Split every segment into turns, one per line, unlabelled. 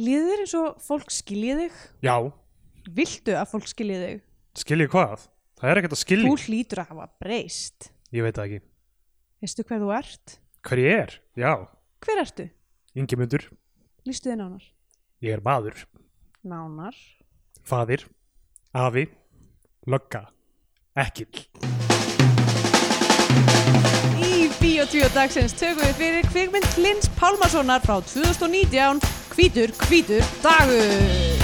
Líður þér eins og fólk skiljið þig?
Já,
Viltu að fólk skiljið þig?
skiljið hvað? Það er ekkert að skilja,
Þú hlýtur að hafa breyst.
ég veit það ekki.
Veistu hver þú ert?
Hver ég er? Já,
Hver ertu?
yngimundur,
Lýstu þið nánar.
ég er maður,
Nánar.
faðir, afi, lögga, ekkill.
Í Bíotvíó dagsins tökum við fyrir kvikmynd Lins Pálmarssonar frá 2019 Hvítur, hvítur dagur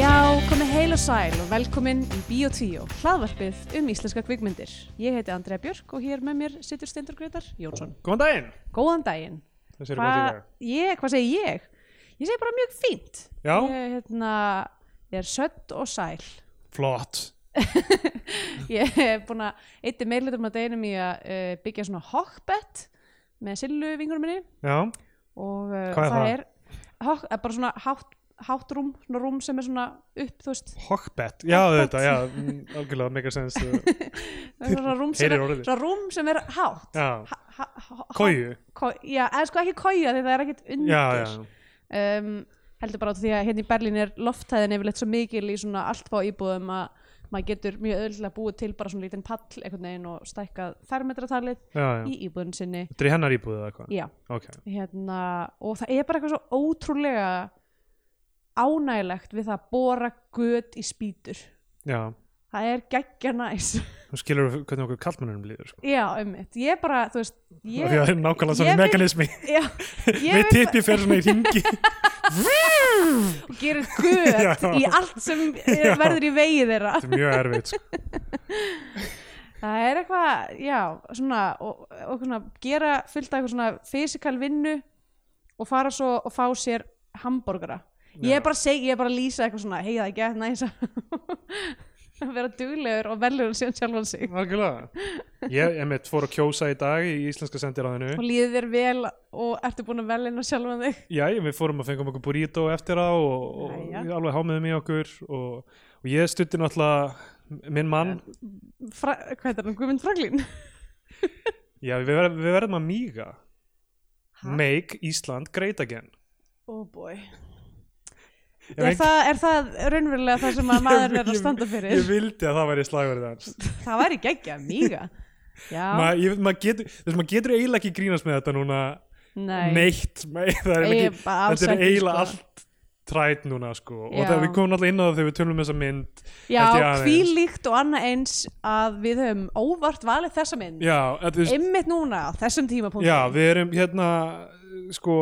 Já, komið heil og sæl og velkomin í Bíotvíó hlaðvarpið um íslenska kvikmyndir Ég heiti Andrea Björk og hér með mér situr Steindur Gretar Jónsson
Góðan daginn!
Góðan daginn
Þessi eru hvað
Hva, ég, Hvað segi ég? Ég segi bara mjög fínt
Já.
Ég, hérna, ég er sött og sæl
Flott.
Ég er búin að eitthi meirleitum að deginum í að uh, byggja svona hokkbett með sillu vingurum minni
Já,
og uh,
Hvað er það?
er hokk, eh, bara svona hátt, hátt rúm, svona rúm sem er svona upp þú veist,
hokkbett. Já, þetta, já, mm, algjörlega, mega sens. uh,
það er svona rúm sem er,
Heyrir orðið.
svona rúm sem er hátt
Já,
Ha- ha- ha-
kóju.
Ko- Já, eða sko ekki kója því það er ekkert undir
Já, já,
um, heldur bara út af því að hérna í Berlín er lofthæðin yfirleitt svo mikil í svona allt fá íbúðum að maður getur mjög öðrulega búið til bara svona lítinn pall einhvern veginn og stækkað fermetratalið
já, já.
í íbúðun sinni
Þetta er í hennar íbúðið eða hvað?
já,
Ok,
hérna, og það er bara eitthvað svo ótrúlega ánægilegt við það að bora göt í spýtur
já.
það er geggja næs
Þú skilur hvernig okkur kallmennunum líður, sko.
já, einmitt, ég bara, þú veist
Ég, Því að
ég,
það er nákvæmlega svona
ég vil-
mekanismi.
já, ég
Við
vil
tippi fer svona í ringi.
og gerir göt
Já.
í allt sem er,
Já.
verður í vegi þeirra
Þetta er mjög erfitt, sko.
Það er eitthvað, já, svona, og, og svona, gera fullt af eitthvað svona fysikal vinnu og fara svo og fá sér hambúrgara. Ég er bara að segja, ég er bara að lýsa eitthvað svona, hei það er ekki að næsa að vera duglegur og velur síðan sjálfan sig.
Algjörlega. Ég er með fór að kjósa í dag í Íslenska sendiráðinu.
Og líður þér vel og ertu búin að velina sjálfan þig.
Já, við fórum að fengum okkur burrito eftir á og, og
Jæja.
við alveg hámiðum í okkur og, og ég stutti náttúrulega minn mann.
Fra, hvað er það, Guðmund Franklín?
Já, við, ver, við verðum að míga.
Ha?
Make Ísland great again.
Oh boy.
Ef
Er
einhver-
það, er það raunverulega það sem að maður er að standa
Ég
fyrir?
vildi að það væri slagverðið hans.
Það væri geggja, mýga. Já,
Ma, ég, maður getur, þess, maður getur eiginlega ekki grínast með þetta núna
nei.
neitt, ma, það er
Ég
ekki,
er bara alls
þetta er
ekki,
eiginlega
sko.
allt træt núna sko og
Já.
það, við komum alltaf inn á það þegar við tölum um þessa mynd held ég
Já,
aðeins.
kvílíkt og annað eins að við höfum óvart valið þessa mynd
já, að, við,
einmitt núna á þessum tímapunkti
já, við erum hérna sko,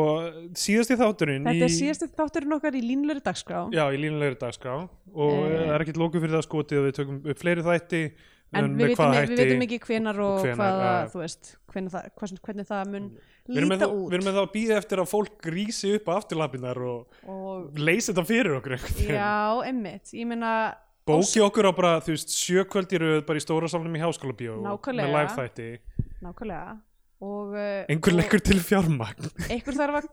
síðasti þátturinn
Þetta er
í-
síðasti þátturinn okkar í línlöru dagskrá
já, í línulegri dagskrá og
Eh.
það er ekkert lóku fyrir það skotið að við tökum upp fleiri þætti
en
með
við vitum,
hvaða
við vitum ekki hvenar og
hvenær,
hvað,
já, já.
þú veist, hvenar það, hvernig, hvernig það mun
við erum, með,
líta
þá-
út
við erum með það að býða eftir að fólk rísi upp á afturlapinar og
og,
leysi þetta fyrir okkur einhvern veginn.
Já, einmitt, ég meina
bóki okkur á bara, þú veist, sjökvöldiröð bara í stóra salnum í háskóla bíó
Nákvæmlega.
með live þætti,
nákvæmlega og uh,
einhver leggur til fjármagn
einhver þarf að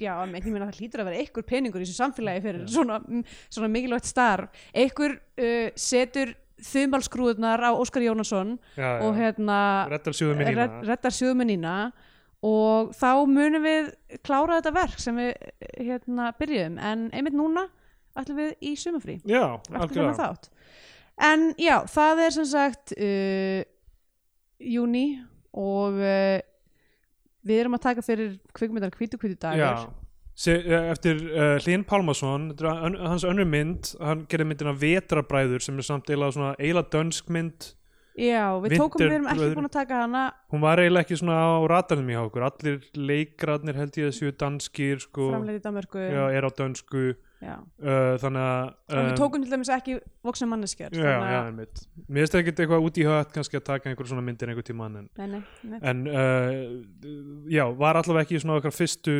já, einmitt, ég meina það hlýtur að vera einhver peningur í þessu samfélagi fyrir svona, svona mikilvægt starf einhver uh, setur þumalskrúðnar á Óskar Jónasson
já, já.
og hérna
reddar sjóðum í
redd- reddar sjöðumunina og þá munum við klára þetta verk sem við eh, hérna, byrjuðum en einmitt núna ætlum við í sumafrí
já,
eftir þennan
algjörlega
þátt en já, það er sem sagt uh, júni og uh, við erum að taka fyrir kvikmyndar hvítu hvítu dagur
já. Se, eh, eftir uh, Hlín Pálmason þetta er ön- hans önnur mynd, hann gerði myndina Vetrabræður sem er samt eiginlega svona eiginlega dönsk mynd,
Já, við tókum, við erum ekki
Vinterbröður.
búin að taka hana
hún var eiginlega ekki svona á ratarnum í okkur, allir leikrarnir held ég að séu danskir sko,
framleitt í Danmörku
já, er á dönsku uh,
Já. og
þannig að eh,
við tókum til dæmis ekki voksna manneskjör
Já, já, einmitt. Mér finnst ekkert eitthvað út í hött kannski að taka einhver svona myndir einhver tíma en,
Nei, nei, nei.
en uh, já, var allavega ekki svona okkar fyrstu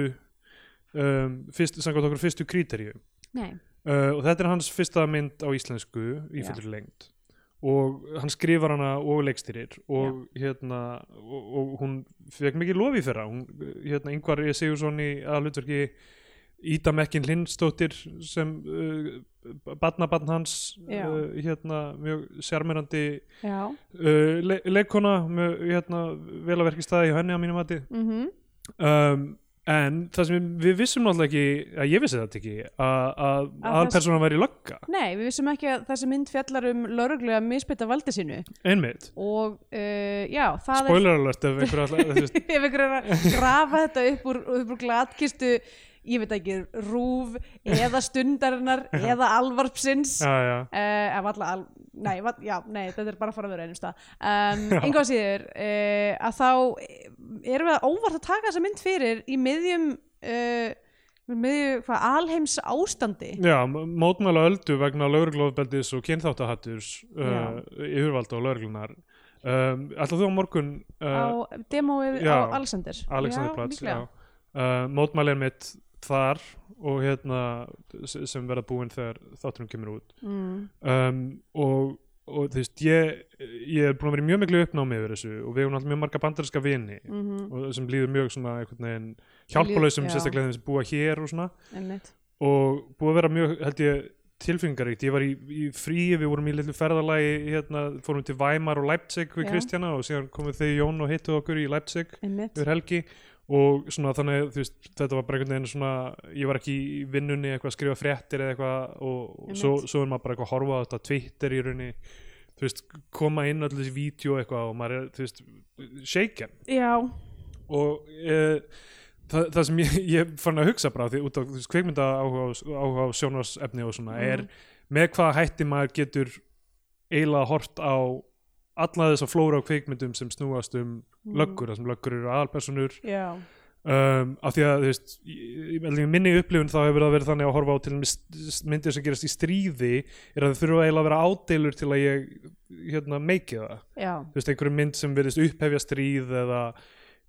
um, fyrst, samkvæmt okkar fyrstu kríterju
nei.
Eh, uh, og þetta er hans fyrsta mynd á íslensku í
Já.
fullur lengd og hann skrifar hana og leikstýrir og hérna og, og hún fekk mikið lofi fyrir hún, hérna yngvar ég segjur svona í aðlutverki Ída Mekkin Lindstóttir sem uh, badnabarn hans
Já.
uh, hérna mjög sérmerandi
já,
uh, le leikona með hérna velaverki staði hjá henni á mínum mati
mhm
um, en það sem við vissum náttúrulega ekki að ég vissi þetta ekki að- að aðalpersónan væri lögga
Nei, við vissum ekki að þessi mynd fjallar um lauruglu að misbytta valdi sínu
einmitt
og uh, já, það
spoiler alert ef einhver alltaf þú veist,
er ef einhver er að grafa þetta upp úr, upp úr glatkistu ég veit ekki, rúf eða stundarinnar eða alvarpsins
já, já.
Uh, ef alla, al, nei, va- já, nei, þetta er bara að fara að vera einum stað um, einhvað síður uh, að þá erum við að óvart að taka þessa mynd fyrir í miðjum uh, miðjum, hvað, alheims ástandi
Já, m- mótmæla öldu vegna lauruglofbeldis og kynþáttahatturs uh,
Já.
yfirvalda og lauruglunar um, Alltaf þú á morgun
á
uh,
demóið
já,
á Alexander
Alexanderplatz
já, líklega.
já. uh, Mótmæla er mitt þar og hérna s- sem verða búin þegar þátturum kemur út
mm.
um, og, og þú veist ég, ég er búin að vera í mjög miklu uppnámi yfir þessu og við erum alltaf mjög marga bandarinska vini
mhm,
og sem líður mjög svona einhvern veginn hjálpalausum
já.
sérstaklega þeim sem búa hér og svona
einmitt
og búið að vera mjög, held ég, tilfingaríkt ég var í, í fríi, við vorum í litlu ferðalagi hérna, fórum til Weimar og Leipzig við
Já.
Kristjana og síðan komum þau Jón og hittu okkur í Leipzig
einmitt
yfir helgi og svona þannig, þú veist, þetta var bara einhvern veginn svona, ég var ekki í vinnunni eitthvað að skrifa fréttir eða eitthvað og, og svo,
Einmitt.
svo er maður bara eitthvað að horfa á þetta á Twitter í rauninni, þú veist, koma inn allir þessi vídeo eitthvað og maður er, þú veist, shaken
já,
og uh, það, það sem ég, ég fann að hugsa bara því út á þú veist, kveikmynda áhuga, á- áhuga á sjónarsefni og svona
Mhm.
er með hvaða hætti maður getur eiginlega hort á alla þess að flóra á kveikmyndum sem snúast um löggur, þar sem löggur eru aðalpersonur
já,
um, af því að þú veist, í, í í minni upplifun þá hefur það verið þannig að horfa á til dæmis st- myndir sem gerast í stríði er að það þurfa eiginlega að vera ádeilur til að ég hérna, meiki það
já,
þú veist, einhverju mynd sem virðist upphefja stríð eða,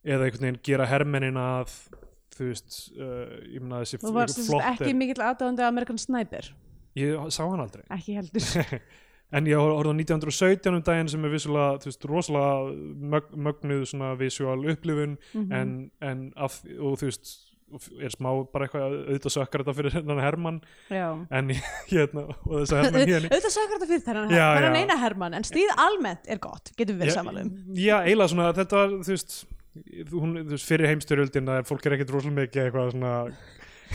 eða einhvern veginn gera hermennin að þú veist, uh, ég meina þessi
þú varst sem sagt ekki mikill aðdáðandi Amerikan Sniper,
ég sá hann aldrei
ekki heldur
en ég horfði á 1917 um daginn sem er vissulega, þú veist, rosalega mög, mögnuð svona visual upplifun
Mhm.
en, en af, og þú veist og f- er smá bara eitthvað auðvitað sökkar þetta fyrir hennan Hermann
já
en hérna, og þess að
Au-
Hermann hérna
auðvitað sagði þetta fyrir þennan
Já,
þennan
já.
eina Hermann, en stríð almennt er gott getum við verið samanlega um
Já, eiginlega svona, þetta var, þú veist hún, þú veist, fyrir heimstyrjöldin að fólk er ekkert rosalega mikið eitthvað svona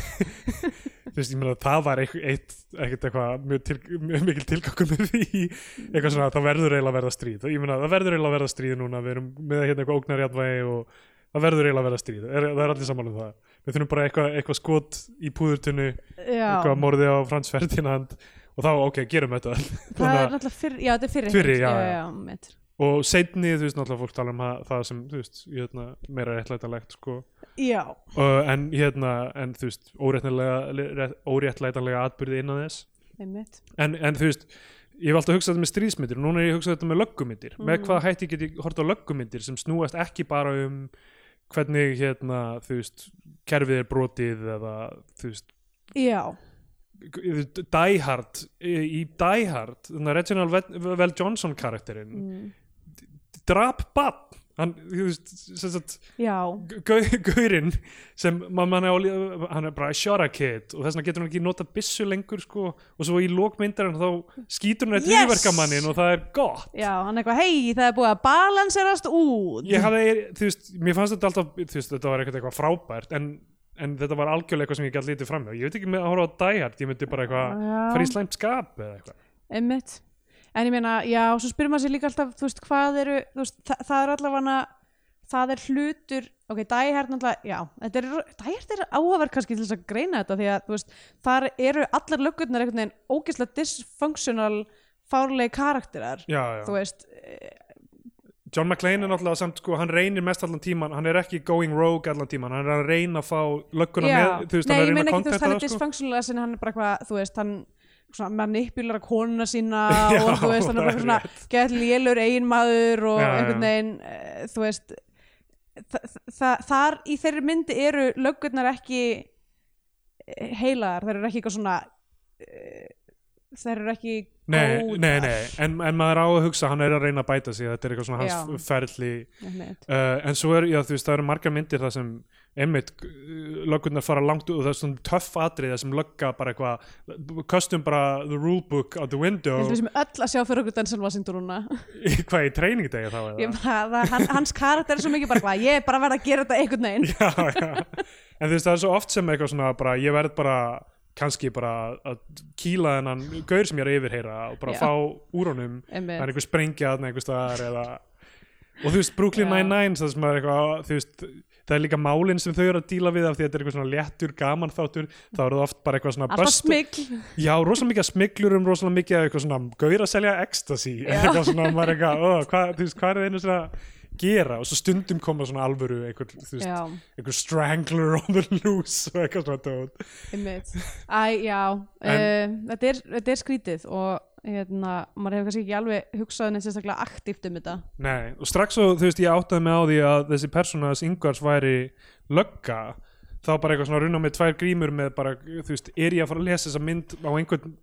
þú veist, ég meina það var eitt, eitt ekkert eitthvað mjög, til, mjög mikil tilgangu með því eitthvað svona, það verður eiginlega að verða stríð ég meina, það verður eiginlega að verða stríð núna við erum með hérna eitthvað ógnarjadvægi og það verður eiginlega að verða stríð, er, það er allir sammála um það við þurfum bara eitthvað, eitthvað skot í púðurtunni
já,
eitthvað morði á Frans Ferdinand og þá, ok, gerum þetta
það
Þannig
er
að-
náttúrulega fyrir, já þetta er fyrir
Fyrri, já, já.
já, já, mitt
og seinni, þú veist, náttúrulega fólk tala um það- það sem, þú veist, hérna, meira réttlætanlegt sko,
já,
uh, en hérna en þú veist, óréttlega óréttlætanlega atbyrði innan þess
einmitt
en, en þú veist, ég hef alltaf hugsað þetta með stríðsmyndir og núna er ég hugsað þetta með löggumyndir með hvaða hætti get ég hort á löggumyndir sem snúast ekki bara um hvernig, hérna, þú veist kerfið er brotið eða, þú veist,
já,
Die Hard í Die Hard, þannig að Reginald Vel- Vel Johnson karakterinn
mm.
drap bann hann, þú veist, sem sagt
já,
gau- gaurinn sem ma- mann er á lí- hann er bara a shot a kid og þess vegna getur hann ekki nota byssu lengur sko, og svo í lókmyndarinn þá skýtur hann eitt
Yes!
yfirverkamannin og það er gott
já, hann eitthvað hei, það er búið að balanserast út
ég hafði, þú veist, mér fannst þetta alltaf þú veist, þetta var ekkert eitthvað frábært en, en þetta var algjörlega eitthvað sem ég gæti lítið framjá ég veit ekki með að horfa á Die Hard, ég myndi bara eitthvað
Já.
fara í slæmt skap eða eitthvað
einmitt en ég meina, já, svo spyrir maður sér líka alltaf þú veist, hvað eru, þú veist, það, það er allavega það er hlutur ok, dæhært náttúrulega, já, þetta er dæhært er áhverð kannski til þess að greina þetta því að, þú veist, þar eru allar löggurnar einhvern veginn ógeðslega dysfunctional fárlegi karakterar
já,
þú
já.
veist, eh,
John McClane er náttúrulega samt sko, hann reynir mest allan tíman, hann er ekki going rogue allan tíman, hann er að reyna að fá lögguna
já,
með, þú veist,
nei,
hann er
ég
að
meina ekki, þú veist,
reyna að kontakta
hann
það
er
sko.
dysfunctional en hann er bara eitthvað, þú veist, hann svona manipulara konuna sína
Já,
og þú veist, hann er
það
bara
er
svona gett lélur eiginmaður og
Já, já.
einhvern veginn eh, þú veist þa- þa- þar í þeirri myndi eru löggurnar ekki eh, heilagar, þær eru ekki eitthvað svona eh, þær eru ekki
Nei,
góðar.
nei, nei, en, en maður á að hugsa hann er að reyna að bæta sig, þetta er eitthvað svona
Já.
hans ferli
Einmitt.
uh, en svo er, já þú veist, það eru margar myndir það sem einmitt uh, löggurnar fara langt út og það er svona töff atriða sem lögga bara eitthvað köstum bara the rulebook out the
Ég
window
held við sem öll að sjá fyrir okkur Denzel Washington núna
í- hvað í treiningdegi þá eða
Ég bara, það, hann, hans karakter er svo mikið bara hvað ég er bara að vera að gera þetta einhvern veginn
já, já. en þú veist það er svo oft sem eitthvað svona bara, ég verð bara kannski bara að kýla þennan gaur sem ég er að yfirheyra og bara
Já.
fá úr honum það er
Einmitt.
einhver sprengja þarna einhver staðar eða og þú veist Brooklyn
Já.
Nine-Nine það sem er eitthvað, þú veist það er líka málinn sem þau eru að díla við af því að þetta er eitthvað svona léttur gaman þáttur þá eru það oft bara eitthvað svona
alltaf
bust-
smikl
já, rosalega mikið af smyglurum, rosalega mikið af eitthvað svona gauðir að selja ecstasy eða
Já.
eitthvað svona, maður er eitthvað, ó, hvað, þú veist, hvað er það einu svona að gera og svo stundum koma svona alvöru einhver, þú veist,
Já,
einhver strangler on the loose og eitthvað svona dót.
einmitt Æ, já, uh, þetta, er, þetta er skrítið og hérna, maður hefur kannski ekki alveg hugsað neitt sérstaklega aktíft um þetta
Nei, og strax og þú veist ég áttaði mig á því að þessi persóna þess yngvars væri lögga þá bara eitthvað svona runna með tvær grímur með bara, þú veist, er ég að fara að lesa þessa mynd á einhvern,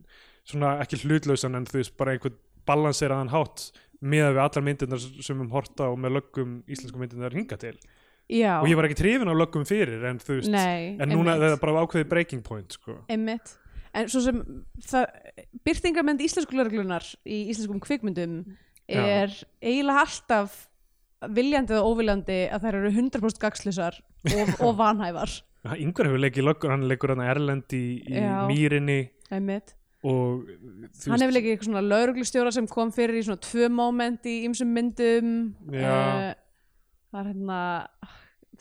svona ekki hlutlausan en þú veist, bara einhvern balanseraðan hátt miðað við allar myndirnar sem um horta og með löggum íslensku myndirnar hinga til
Já,
og ég var ekki trefin á löggum fyrir en þú veist,
nei
en núna
einmitt.
það er bara ákveðið breaking point sko.
Einmitt. En svo sem það, byrtingarmynd íslensku lörglunar í íslenskum kvikmyndum
Já.
er eiginlega alltaf viljandi eða óviljandi að þær eru 100% gagslisar og, og vanhæfar.
Yngvar hefur leikið löggur, hann leikur hann Erlend í, í
Já.
Mýrinni
Einmitt.
og þú
Hann
veist-
hefur líka eitthvað svona lörglustjóra sem kom fyrir í svona tvö moment í ymsum myndum.
Já.
Eh, það er hérna,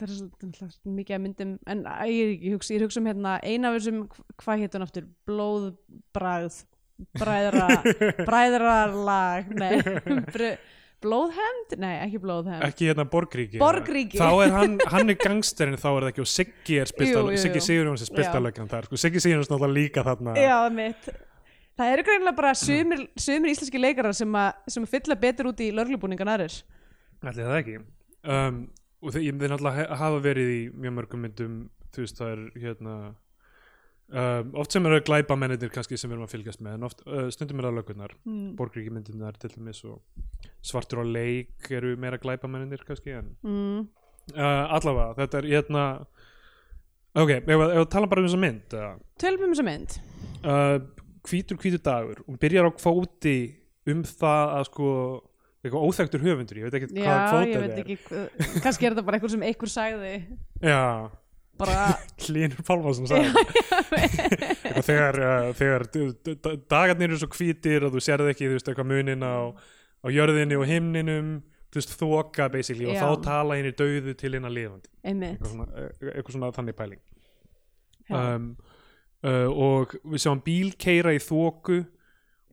það er svona mikið að myndum, en æ, ég er ekki hugsa, ég er að hugsa um hérna eina af þessum, hvað hétt hún aftur, blóðbragð, bræðra, bræðralag, nei, br- blóðhemd, nei, ekki blóðhemd.
ekki hérna Borgríki
Borgríki.
þá er hann, hann er gangsterinn þá er það ekki og Siggi
Jú, jú,
er spiltal
jú.
Siggi Sigurjóns er
Já.
spiltalöggan þar sko. Siggi Sigurjóns náttúrulega líka þarna
Já, mitt. Það eru greinlega bara sumir, sumir íslenski leikarar sem, a, sem að fylla betur út í lörglubúningan aðrir.
allir það ekki um, og þeir, þeir náttúrulega he- hafa verið í mjög mörgum myndum þú veist það er hérna um, oft sem eru glæpa mennir kannski sem við erum að fylgjast með en oft uh, stundum eru það lögurnar
Mm.
Borgríki myndirnar til dæmis og svartur á leik eru meira glæpa mennir kannski en
Mm.
uh, allavega þetta er hérna ok, ef við tala bara um þessa mynd eða
Tölum um þessa mynd.
uh, hvítur hvítur dagur og byrjar á kvóti um það að sko eitthvað óþektur höfundur, ég veit ekki
Já,
hvað kvóti
ég veit
það er
ekki, hvað- kannski er þetta bara eitthvað sem einhver sagði
Já,
bara,
Hlynur Pálmarsson sagði eitthvað þegar, uh, þegar d- d- d- dagarnir eru svo hvítir og þú sérð ekki, þú veist, eitthvað munin á, á jörðinni og himninum þú veist, þoka basically
Já.
og þá tala hinn í dauðu til hinn að lifandi
einmitt
eitthvað svona, e, eitthvað svona þannig pæling
Já.
um, uh, og við sjáum bíl keira í þoku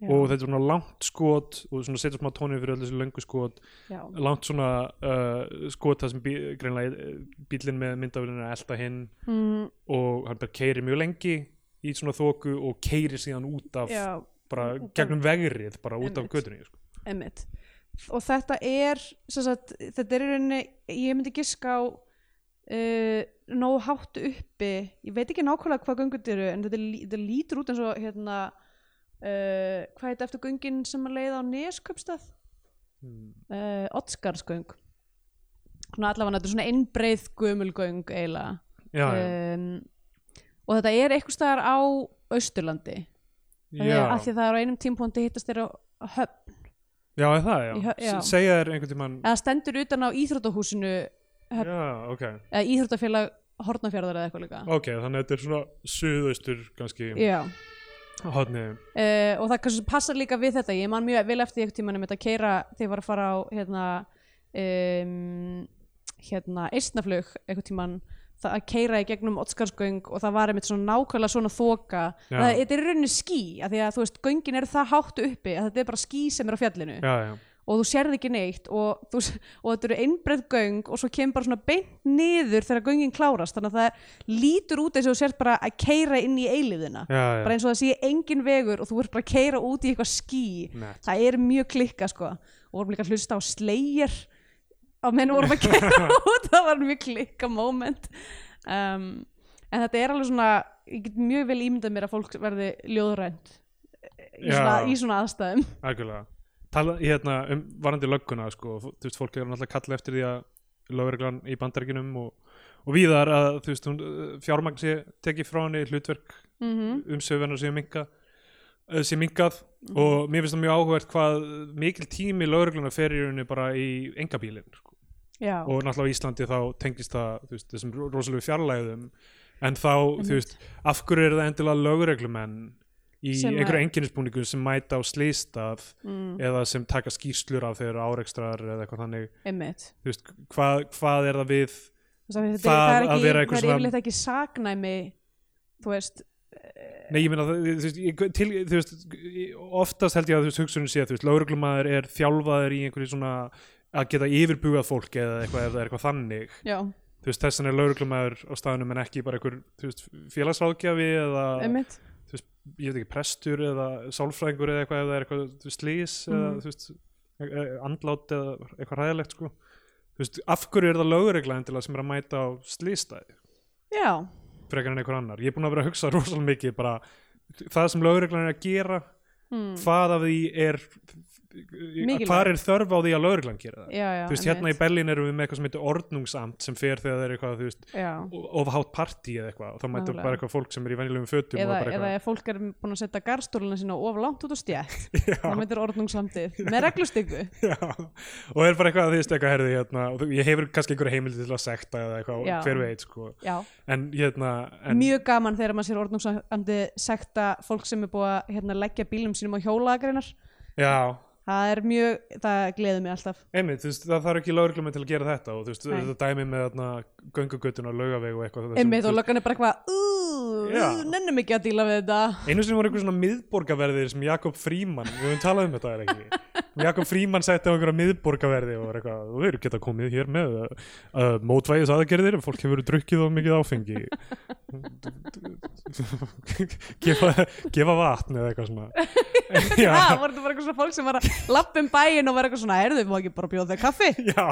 Já.
og þetta er svona langt skot og svona setja smá tónið fyrir öll þessi löngu skot
Já,
langt svona uh, skot það sem bí, greinlega bílinn með myndavélinn er að elta hinn
mm,
og hann bara keiri mjög lengi í svona þoku og keiri síðan út af
já
bara
Út af-
gegnum vegrið bara út af
Einmitt.
götunni sko.
einmitt og þetta er sem sagt, þetta er í rauninni, ég myndi giska á uh, nógu hátt uppi ég veit ekki nákvæmlega hvað göngut eru en þetta, lí- þetta lítur út eins og hérna uh, hvað heit eftir göngin sem að leiða á Nesköpstað
Mm.
uh, Ottskarsgöng svona allavega þetta er svona innbreið gömulgöng eiginlega
já,
um, og þetta er eitthvað staðar á Austurlandi
já,
það er af
já,
því að það er á einum tímpóndi hittast þeir á á höfn
já, er það, já.
Í hö- já.
S- segja þér einhvern tímann
eða stendur utan á íþróttahúsinu höfn.
já, ok,
eða íþróttafélag Hortnafjörðar eða eitthvað líka
ok, þannig að þetta er svona suðaustur kannski
Já,
hotni,
uh, og það kannski passar líka við þetta ég man mjög vel eftir því tímanum þetta keira þegar ég var að fara á hérna um, hérna eistnaflug eitthvað tíman það að keira í gegnum Otskarsgöng og það var einmitt svona nákvæmlega svona þoka
Já.
það, þetta er í rauninni ský af því að þú veist, göngin eru það hátt uppi að þetta er bara ský sem er á fjallinu
já, já
og þú sérð ekki neitt og, þú, s- og þetta eru einbreyð göng og svo kemur bara svona beint niður þegar göngin klárast þannig að það lítur út eins og þú sérð bara að keira inn í eilíðina
já, já.
bara eins og það sé engin vegur og þú ert bara að keira út í eitthvað ský
Nett.
það er mjög klikka sko og vorum líka að hlusta á Slayer á menn vorum að keira út það var mjög klikka moment um, en þetta er alveg svona ég get mjög vel ímyndað mér að fólk verði ljóðrænt í svona,
Já.
í svona aðstæðum
algjörlega Tala, hérna, um varandi lögguna sko, þú veist, fólk er náttúrulega kallið eftir því að lögreglan í bandaríkinum og, og víðar að þú veist, hún, eh, fjármagn sé tekið frá henni hlutverk
mm
umsöfunar sem minka eh, sem minkað og mér finnst það mjög áhugavert hvað mikil tími lögregluna fer í rauninni bara í engabílin sko.
Já,
og náttúrulega á Íslandi þá tengist það þú veist, þessum ro- rosalegu fjarlæðum en þá, þú veist, af hverju er það endilega lögreglumenn í
Sem að-
einhverju enginnisbúningu sem mæta á slýstað
mm,
eða sem taka skýrslur af þeirra árekstrar eða eitthvað þannig
einmitt
þú veist, hvað, hvað er það við
Þess að þetta,
Það
það er
að
ekki,
vera
það
einhver
er
svona-
yfirleitt ekki saknæmi þú veist
Nei, ég meina, þú þú veist, ég, til, þú veist, oftast held ég að þú veist, hugsunin sé að þú veist, lauruglumæður er þjálfaður í einhverju svona að geta yfirbugað fólk eða eitthvað, eða eitthvað þannig.
já,
Þú veist, þessan er lauruglumæður á staðunum en ekki bara einhver, þú veist, félagsráðgjafi eða,
einmitt
þú veist, ég veit ekki, prestur eða sálfræðingur eða eitthvað, eða eitthvað, þú veist, slís eða,
Mhm.
þú veist, e- e- andlát eða eitthvað hræðilegt, sko. Þú veist, af hverju er það lögregla endilega sem er að mæta á slístæði?
já,
frekar en einhver annar ég er búin að vera að hugsa rosalega mikið bara það sem lögreglan er að gera
mm,
hvað af því er
Mikilvægt.
hvað er þörf á því að lögreglan gera það
já, já
þú veist hérna í Berlín erum við með eitthvað sem heitir ordnungsamt sem fer þegar það er eitthvað þú veist
já.
ofhátt partí eða eitthvað og þá mætur
Nákvæmlega.
bara eitthvað fólk sem er í venjulegum fötum
eða,
og
eða
bara eitthvað
ef fólk er búin að setja garstóluna sína of langt út á stjætt þá
Já,
myndir ordnungsamtið með reglustyggu
já. og er bara eitthvað þú veist eitthvað herði hérna og þú- ég hefur kannski einhverja heimildi til að sekta eða eitthvað
Já.
hver veit sko
já,
en hérna en,
mjög gaman þegar maður sér ordnungsamtið sekta fólk sem er búið að hérna, leggja bílum sínum á hjólagreinar
já
það er mjög, það gleður mig alltaf
Einmitt, þú veist, það þarf ekki lögreglum til að gera þetta og þú veist,
Nei.
þetta dæmi með þarna göngugötun og laugaveg og eitthvað þetta sem-
einmitt og
þú veist,
löggan er bara eitthvað "Ú,
Já.
ú, nennum ekki að díla við þetta
Einu sinni voru einhver svona miðborgaverðir sem Jakob Fríman, við höfum talað um þetta er ekki Jakob Fríman setti á einhverja miðborgaverði og var eitthvað, þú verður geta komið hér með uh, uh, mótvægis aðgerðir fólk hefur drukkið og mikið áfengi gefa, gefa vatn eða eitthvað svona Já.
það voru þetta bara eitthvað svona fólk sem var að lappum bæinn og var eitthvað svona, erðu, má ekki bara bjóða þau kaffi
Já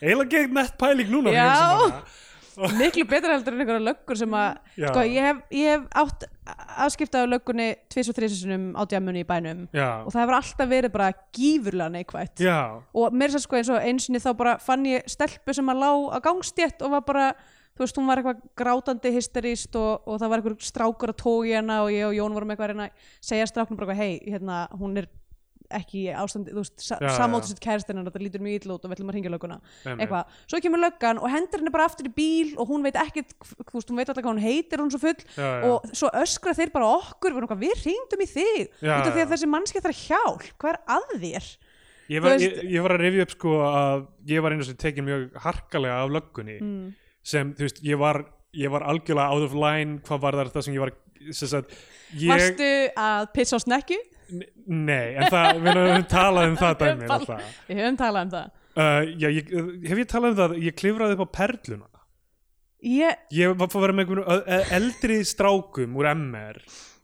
Eiginlega gegn nett pæling núna þegar ég
Já.
hugsa um hana.
miklu betra heldur en einhverja löggur sem að
Já.
sko, ég hef, ég hef átt afskipta á löggunni tvis og þrísinsunum á djamunni í bænum og
Já,
það hefur alltaf verið bara gífurlega neikvætt
já
og mér sér sko eins og einsinni þá bara fann ég stelpu sem að lá á gangstjett og var bara, þú veist, hún var eitthvað grátandi hysterist og, og það var eitthvað strákur að tói hana og ég og Jón vorum eitthvað að reyna að segja stráknum bara eitthvað, hei, hérna, hún er ekki í ástandi, þú veist, sa
Já, já.
samótið sitt kæristinn þetta lítur mjög illa út og við ætlum að hringja lögguna
Einmitt.
eitthvað, svo kemur löggan og hendur henni bara aftur í bíl og hún veit ekkit þú veist, hún veit alltaf hvað hún heitir, hún er svo full
Já, já.
og svo öskra þeir bara á okkur við, erum eitthvað, við hringdum í þig
Já,
út af því að
já.
þessi mannskja þarf hjálp, hvað er að þér
ég
Þú
var,
veist-
ég, ég var að rifja upp sko að ég var einu sem tekin mjög harkalega af löggunni
Mm.
sem þú veist ég var, ég var algjörlega out of line hvað var það sem ég var sem sagt, ég,
Varstu að pissa á snekju?
nei en það, við höfum talað um það dæmi
Tal-
náttúrulega.
Við höfum talað um það.
uh, já, ég, hef ég talað um það ég klifraði upp á perluna
Ég,
ég var að vera með einhvern ö- ö- eldri strákum úr MR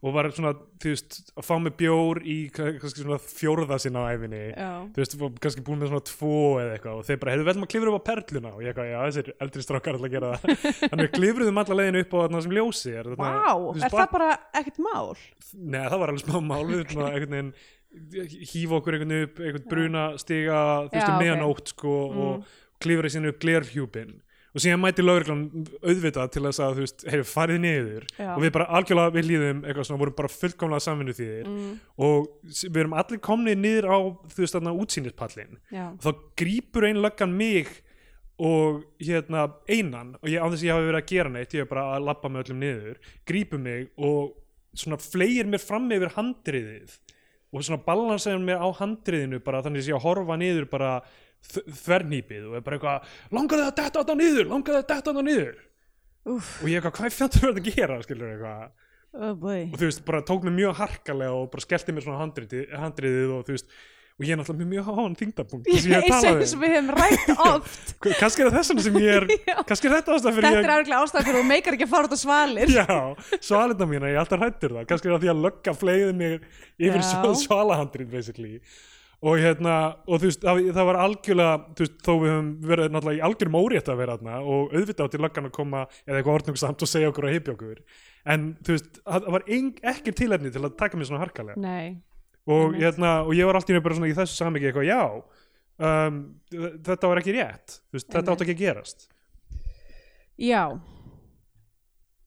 og var svona, þú veist, að fá með bjór í kannski svona fjórða sinna á æfinni
Já.
þú veist, var kannski búin með svona tvo eða eitthvað og þeir bara, heyrðu, við ætlum að klifra upp á perluna og ég eitthvað, já, þessir eldri strákar ætla að gera það þannig við klifruðum alla leiðinu upp á þarna sem ljósi er,
vá,
þarna, þú
er
veist,
það bara ekkert mál?
Nei, það var alveg smá mál við þurfum að einhvern veginn hýfa okkur einhvern upp, einhvern bruna stiga þú veist
Já,
um
ok. Mm.
meðanótt sko og klifra í sinni upp glerhjúpin og síðan mæti lauruglan auðvitað til þess að þú veist, heyrðu farið niður
Já.
og við bara algjörlega við hlýðum eitthvað svona, vorum bara fullkomlega samvinnu þýðir mm. og s- við erum allir komnið niður á þú veist þarna útsýnispallin
Já.
þá grípur ein löggan mig og hérna einan og ég án þess að ég hafi verið að gera neitt ég er bara að labba með öllum niður grípur mig og svona fleir mér fram yfir handriðið og svona balansaður mér á handriðinu bara þannig að ég sé að horfa niður bara þvernýpið og er bara eitthvað langaði að detta þetta niður, langaði að detta þetta niður
Úff,
og ég eitthvað, hvað fjöndur verður að gera skilur eitthvað
oh boy.
og þú veist, bara tók mér mjög harkalega og bara skellti mér svona handriði, handriðið og þú veist, og ég er náttúrulega með mjög háan þingdapunkt
Ég
sem ég hef talað
sem
um
við hefum rætt oft.
K- kannski er það þess vegna sem ég
Já.
er kannski er þetta ástæð fyrir
Þetta
ég
er áreiklega ástæð fyrir þú meikar ekki að fara út á svalir.
já, svalina mína, um ég er alltaf hrættur það kannski er það því að lögga fleiði mig yfir
Já.
svalahandrin basically og hérna, og þú veist, það, það var algjörlega þú veist, þó við höfum verið náttúrulega í algjörum órétt að vera þarna og auðvitað átti löggan að koma eða eitthvað orðnungsamt og segja okkur og hypja okkur en þú veist, það það var ein, ekkir tilefni til að taka mér svona harkalega
nei,
og,
Einmitt.
hérna, og ég var allt í einu bara svona í þessu samhengi eitthvað, já um, þ- þetta var ekki rétt, þú veist, þetta
Einmitt.
átt ekki að gerast
já,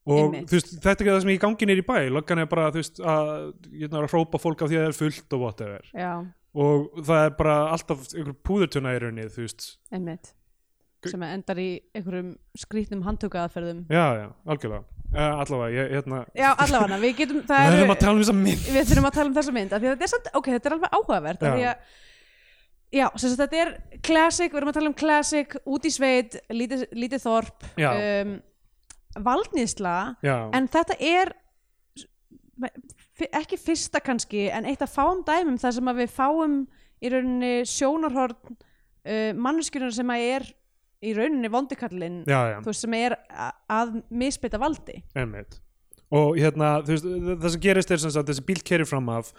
og
Einmitt.
þú veist, þetta er það sem ég gangi nýr í bæ löggan er bara, þú veist, að, hérna, að hrópa fólk af því að það er fullt og whatever
já,
og það er bara alltaf einhver púðurtuna í rauninni, þú veist
einmitt
Gu-
sem endar í einhverjum skrýtnum handtökaðaferðum
já, já, algjörlega, uh, allavega ég, hérna,
já, allavega, við getum það
við
eru-
erum að tala um þess að mynd
við þurfum að tala um þessa mynd af því að þetta er samt, ok, þetta er alveg áhugavert af
Já.
því að Já, sem sagt þetta er classic, við erum að tala um classic, út í sveit, lítið, lítið þorp,
Já.
um, valdnýðsla,
já,
en þetta er f- ekki fyrsta kannski, en eitt af fáum dæmum þar sem að við fáum í rauninni sjónarhorn uh, manneskjurinn sem að er í rauninni vondikallin,
já, já,
þú veist, sem er a- að misbytta valdi.
einmitt og hérna, þú veist, það sem gerist er sem sagt, þessi bíl keri fram af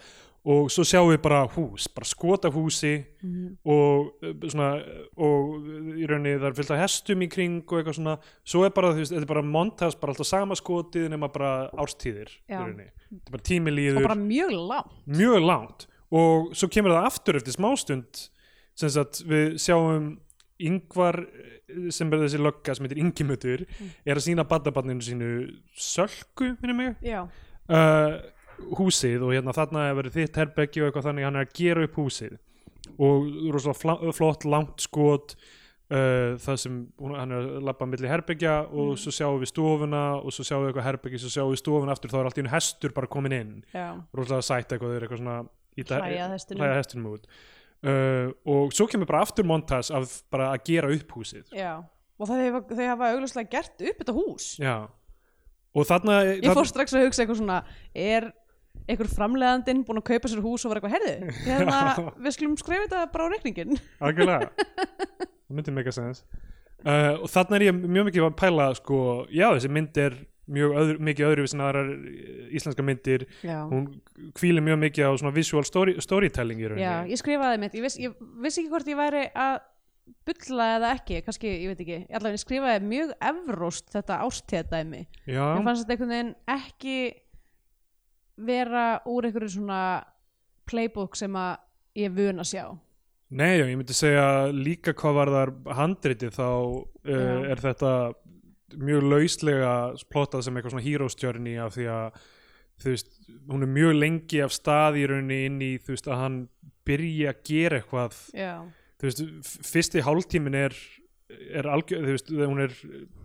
og svo sjáum við bara hús, bara skota húsi
Mhm.
og eh, svona eh, og eh, í rauninni það er fyllt af hestum í kring og eitthvað svona, svo er bara þú veist, þetta er bara montas, bara alltaf sama skotið nema bara árstíðir, í
Já.
rauninni þetta er bara tími
Og
líður,
bara mjög langt.
mjög langt og svo kemur það aftur eftir smástund sem sagt, við sjáum yngvar eh, sem er þessi lögga sem heitir Ingimutur er að sína badabanninu sínu sölku, minnum mig
Já,
uh, húsið og hérna þarna hefur verið þitt herbergi og eitthvað þannig hann er að gera upp húsið og rosalega fla- flott langt skot uh, það sem hún, hann er að labba milli herbergja og svo sjáum við stofuna og svo sjáum við eitthvað herbergi svo sjáum við stofuna aftur þá er allt í einu hestur bara komin inn
já.
rosalega sætt eitthvað þeir eitthvað svona ýta-
Hlæja að hestinum.
hlæja að hestinum út uh, og svo kemur bara aftur montas af bara að gera upp húsið
Já, og það hefur, þau hafa augljóslega gert upp þetta hús.
já og þarna
Ég fór strax að hugsa eitthvað svona, er einhver framleiðandinn búinn að kaupa sér hús og vera eitthvað herðu? Hérna, við skulum skrifa þetta bara á reikningin.
Algjörlega Það myndi mega sens uh, Og þarna er ég mjög mikið að pæla sko, Já, þessi mynd er mjög öðru, mikið öðru við sem aðrar eh, íslenska myndir
Já.
Hún hvílir mjög mikið á svona visual story, storytelling í
Já,
rauninni
ég skrifaði mitt, ég vissi ég viss ekki hvort ég væri að bulla eða ekki, kannski, ég veit ekki, allavega ég skrifaði mjög evróst þetta ástíðadæmi.
Já,
Mér fannst þetta einhvern veginn ekki vera úr einhverju svona playbook sem að ég er vun að sjá.
nei, já, ég myndi segja líka hvað var þar handriti þá uh,
Já.
er þetta mjög lauslega plottað sem eitthvað svona hero's journey af því að þú veist, hún er mjög lengi af stað í rauninni inn í þú veist að hann byrji að gera eitthvað
Já,
þú veist, f- fyrsti hálftímin er er algjör, þú veist, hún er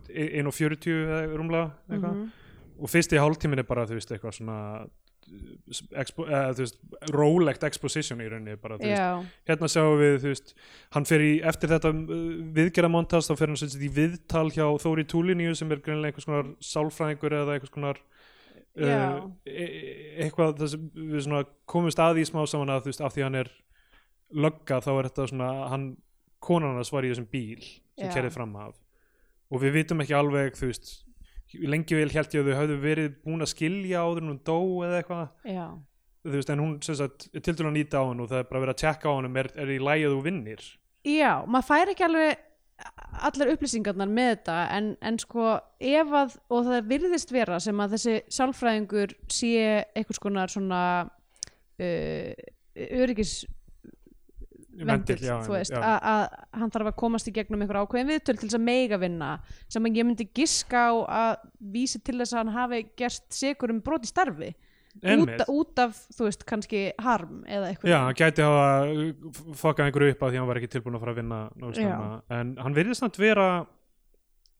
1.40 eða rúmlega eitthvað,
Mhm.
og fyrsti hálftímin er bara, þú veist, eitthvað svona uh, expo, eða, þú veist, rólegt exposition í rauninni, bara, þú veist,
já,
hérna sjáum við, þú veist, hann fer í eftir þetta viðgerðamontast, þá fer hann sem sagt í viðtal hjá Þóri Túliníu sem er greinilega einhvers konar sálfræðingur eða einhvers konar
Já.
uh, e- e- eitthvað það sem við svona komumst að í smá saman að þú veist, af því hann er lögga þá er þetta svona hann konan hans var í þessum bíl sem
Já.
kerði fram af og við vitum ekki alveg þú veist lengi vel held ég að þau höfðu verið búin að skilja áður en hún dó eða eitthvað
já,
þú veist en hún sem sagt er til að nýta á hann og það er bara verið að tjekka á hann er, er í lægi að þú vinnir
Já, maður fær ekki alveg allar upplýsingarnar með þetta en, en sko ef að og það virðist vera sem að þessi sálfræðingur sé einhvers konar svona uh, öryggis
Vendill,
vendill,
já,
þú veist,
já.
að að hann þarf að komast í gegnum einhver ákveðin viðtöl til þess að meiga vinna sem að ég myndi giska á að vísi til þess að hann hafi gert segur um brot í starfi
Einmitt.
út, út af, þú veist, kannski harm eða eitthvað
Já, hann gæti hafa uh, fokkað einhverju upp að því hann var ekki tilbúin að fara að vinna nógu snemma. en hann virðist samt vera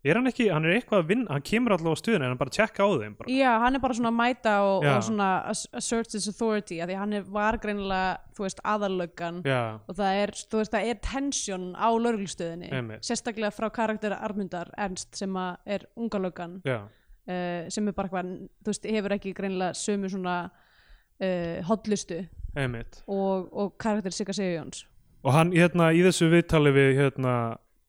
er hann ekki, hann er eitthvað að vinna hann kemur allavega á stuðinu en hann bara tjekka á þeim bara.
Já, hann er bara svona að mæta og,
Já.
og svona ass- assert his authority af því hann er, var greinilega, þú veist, aðarlöggan
Já,
og það er, þú veist, það er tension á lörglustöðinni
Einmitt.
sérstaklega frá karakter Armundar Ernst sem að er unga löggan
já,
uh, sem er bara hvað, þú veist, hefur ekki greinilega sömu svona uh, hotlustu
einmitt
og, og karakter Sigga Sigjóns
og hann hérna í þessu viðtali við hérna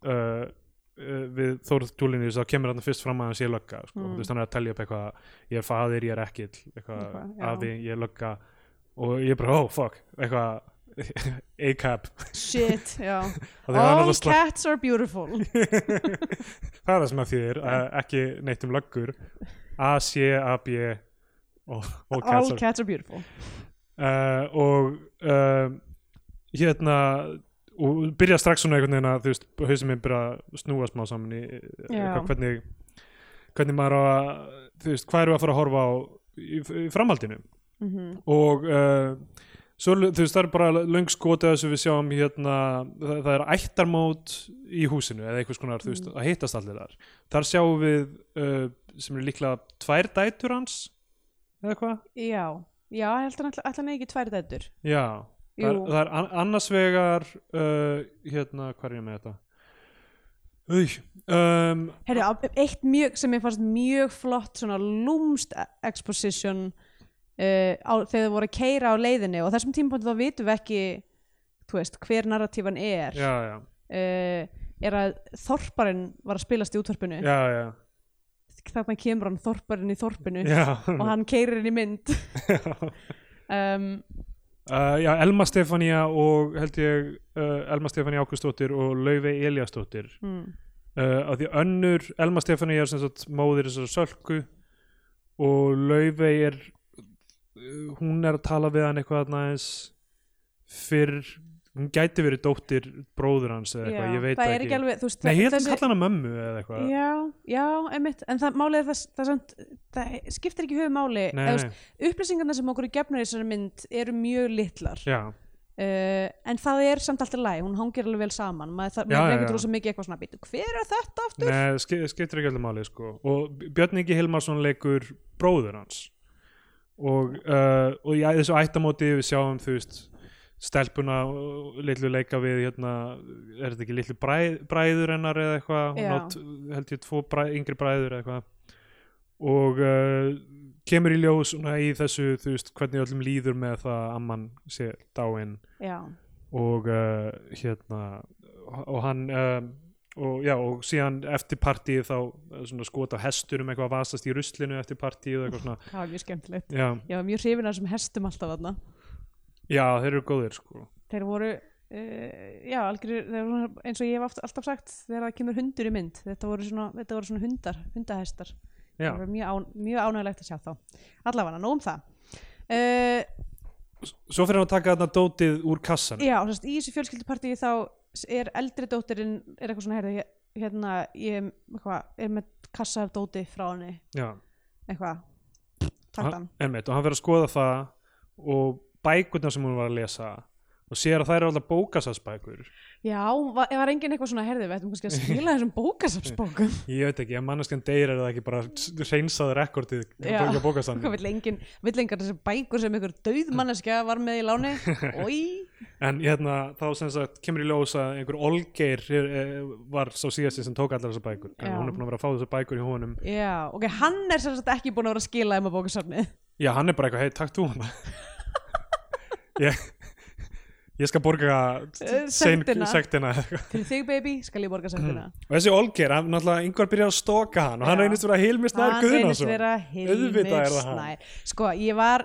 uh, uh, við Þórð Túlinni þá kemur hann fyrst fram að hann sé lögga sko.
Mm.
þú veist hann er að telja upp eitthvað ég er faðir, ég er ekkill eitthvað,
Eitthvað, já.
afi, ég er lögga og ég er bara, oh fuck eitthvað, A-cap
shit, já
Það er
all
annað að sla-
cats are beautiful
það er það sem að þýðir að ekki neitt um löggur A, C, A, B E. Oh, og, og
all
kassar
cats are beautiful
uh, og uh, hérna og byrja strax svona einhvern veginn að þú veist, hausum minn byrja að snúa smá saman í eh,
Já.
hvað, hvernig hvernig maður á að þú veist, hvað erum við að fara að horfa á í, í framhaldinu
mm
og uh, svo, þú veist, það er bara löng skotið þessu við sjáum hérna það, það er ættarmót í húsinu eða einhvers konar, þú veist, að hittast allir þar þar sjáum við uh, sem eru líklega tvær dætur hans eða hvað?
já, já, ég held að hann ekki tvær dættur
Já, það er,
Jú.
það er an- annars vegar uh, hérna, hvað er ég með þetta? Új, um,
Herri, á- eitt mjög, sem ég fannst mjög flott svona lúmst exposition uh, á, þegar þau voru að keira á leiðinni og á þessum tímpóndi þá vitum við ekki þú veist, hver narratífan er
já, já,
uh, er að þorparinn var að spilast í útvarpinu
já, já,
þarna kemur hann þorparinn í þorpinu
já,
og hann keirir inn í mynd
já.
um,
Uh, já, Elma Stefania og held ég uh, Elma Stefania Ákustóttir og Laufey Eliastóttir
mm,
uh, af því önnur, Elma Stefania er sem sagt móðir þessar sölku og Laufey er uh, hún er að tala við hann eitthvað þarna aðeins fyrr, hún gæti verið dóttir bróður hans eða eitthvað,
já.
ég veit
það er ekki alveg þú veist,
Nei, ég held að
þessi-
kalla hana mömmu eða eitthvað
já, já, einmitt en það málið er það, það, samt, það skiptir ekki höfumáli
Nei,
eða, þú
nei,
upplýsingarna sem okkur er gefnar í þessari mynd eru mjög litlar uh,
já,
en það er samt alltaf læg, hún hangir alveg vel saman maður, það,
Já,
maður
já,
er ekkert
já.
rosa mikið eitthvað svona býtu, hver er þetta aftur?
nei, ske- skiptir ekki allir máli sko. og B- Björn Ingi Hilmarsson leikur bróður hans og, uh, og í æ- þessu ættamóti við sjáum þú veist stelpuna uh, litlu leika við hérna, er þetta ekki litlu bræð, bræður hennar eða eitthvað, hún
Já.
átt held ég tvo bræ, yngri bræður eða eitthvað og uh, kemur í ljós svona, í þessu, þú veist, hvernig öllum líður með það að amman sé dáin
já,
og uh, hérna og hann um, og já og síðan eftir partíð þá eh, svona skot á hesturum eitthvað að vasast í ruslinu eftir partíð og eitthvað svona
það var mjög skemmtilegt
já,
ég var mjög hrifin af þessum hestum alltaf þarna
já þeir eru góðir sko
þeir voru uh, já, algjörir, þeir voru, svona- eins og ég hef oft, alltaf sagt þegar það kemur hundur í mynd þetta voru svona, þetta voru svona hundar, hundahestar
já.
það voru mjög, án, mjög ánægilegt að sjá þá allavega, nóg um það uh,
svo fyrir hann að taka þarna dótið úr kassan
Já, sérst, í þessu fjölskyldupartíu þá er eldri dóttirinn, er eitthvað svona herði, hérna, ég er- eitthvað, er með kassa af dóti frá henni,
já,
eitthvað taktan,
emmitt og hann fyrir að skoða það og bækurnar sem hún var að lesa og sér að það eru alltaf bókasassbækur
já, var, var enginn eitthvað svona herði, við ættum kannski að skila þessum bókasafsbókum
ég veit ekki, ef manneskjan deyr er það ekki bara reynsaður rekordið
Já.
hjá bókasann
hvað vill enginn, vill engar þessar bækur sem einhver döðmanneskja var með í láni oi,
En hérna, þá sem sagt kemur í ljós að einhver Olgeir eh, var sá síðasti sem tók allar þessar bækur en
Já.
hún er búin að vera að fá þessar bækur í honum
já, ok, hann er sérst ekki búin að vera að skila þeim að bókasafnið
Já, hann er bara eitthvað, hei, takk þú hana ég, ég skal borga
Eh,
sein-
sektina.
sektina eða eitthvað.
fyrir þig baby, skal ég borga sættina
Og þessi Olgeir, hann náttúrulega yngvar byrjar að stoka hann og hann
Já.
reynist vera Hilmi Snær
hann reynist
Guðnason
vera Hilmir
Auðvitað er það hann.
Snær sko ég var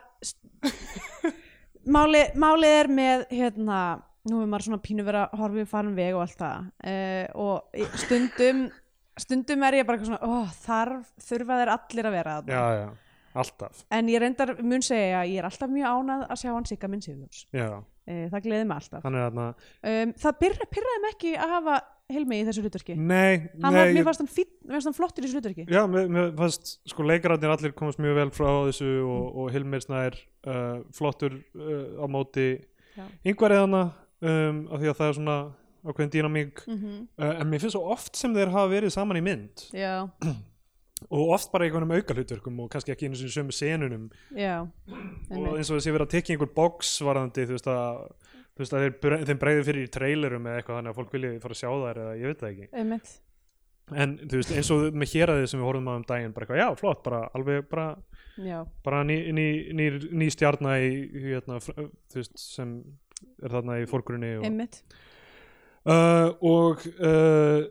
máli, máli er með hérna, nú er maður svona pínu vera horfið farin veg og allt það uh, og í- stundum stundum er ég bara eitthvað svona ó, þarf, þurfa þeir allir að vera
Já,
þarna
já, alltaf
en ég reyndar mun segja að ég er alltaf mjög ánað að sjá hann sigga minn Sigurjóns
Já,
uh, það gleði mig alltaf
hann er þarna
um, það pyrra, pyrraði mig ekki að hafa Hilmi í þessu hlutverki
Nei,
hann
nei
var, mér
ég-
fannst hann, fínn- mér fannst hann flottur í þessu hlutverki
Já, mér, mér fannst sko leikararnir allir komast mjög vel frá þessu og, og Hilmir Snær uh, flottur uh, á móti
Já.
yngvar eðana um, af því að það er svona ákveðin dýnamík
mm
uh, en mér finnst svo oft sem þeir hafa verið saman í mynd
já,
og oft bara í einhvernum aukalutverkum og kannski ekki einu sinni í sömu senunum
já
og
einmitt.
eins og þessi verið að tekja einhver box varðandi þú veist að, þú veist að þeir, bre- þeim bregði fyrir í trailerum eða eitthvað þannig að fólk vilja fara að sjá þær eða ég veit það ekki
Einmitt.
en þú veist eins og með hér sem við horfum á um daginn bara eitthvað já flott bara alveg bara
Já,
bara ný, ný, ný, ný stjarna í, í hérna, fr- þú veist, sem er þarna í fórgrunni og,
einmitt
uh, og uh,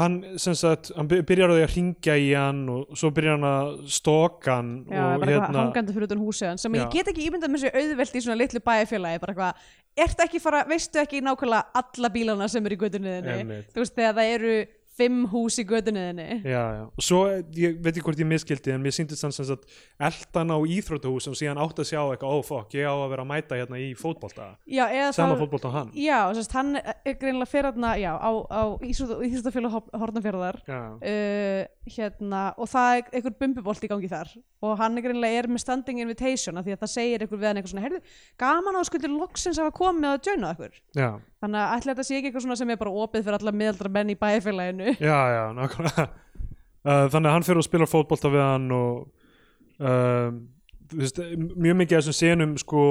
hann sem sagt, hann by- byrjar á því að ringja í hann og svo byrjar hann að stóka hann
Já,
og hérna-
bara eitthvað hangandi fyrir utan húsið hans sem
Já.
ég get ekki ímyndað mér sér auðvelt í svona litlu bæjarfélagi bara eitthvað, ert ekki fara, veistu ekki nákvæmlega alla bílana sem eru í gödunniðinni
Einmitt.
þú veist þegar það eru fimm hús í gödunniðinni
já, já. og svo, eh, ég veit ekki hvort ég miskildi en mér sýndist hann sem sagt eldan á íþrótuhús sem síðan átt að sjá eitthvað, ó oh, fokk, ég á að vera að mæta hérna í fótbolta
já, eða
sama
það
fótbolta á hann
já, sérst, hann er greinilega fyrir þarna já, á, á Ísustafélag Hortnafjörðar
já,
uh, hérna, og það er einhver bumbubolt í gangi þar og hann er greinlega er með standing invitation af því að það segir einhver við hann eitthvað svona heyrðu, gaman að þú skuldir loksins hafa komið að joina okkur
já,
þannig að ætla þetta sé ekki eitthvað svona sem er bara opið fyrir alla miðaldra menn í bæfélaginu
já, já nákvæmlega uh, þannig að hann fyrir og spilar fótbolta við hann og um, þú veist, mjög mikið af þessum senum sko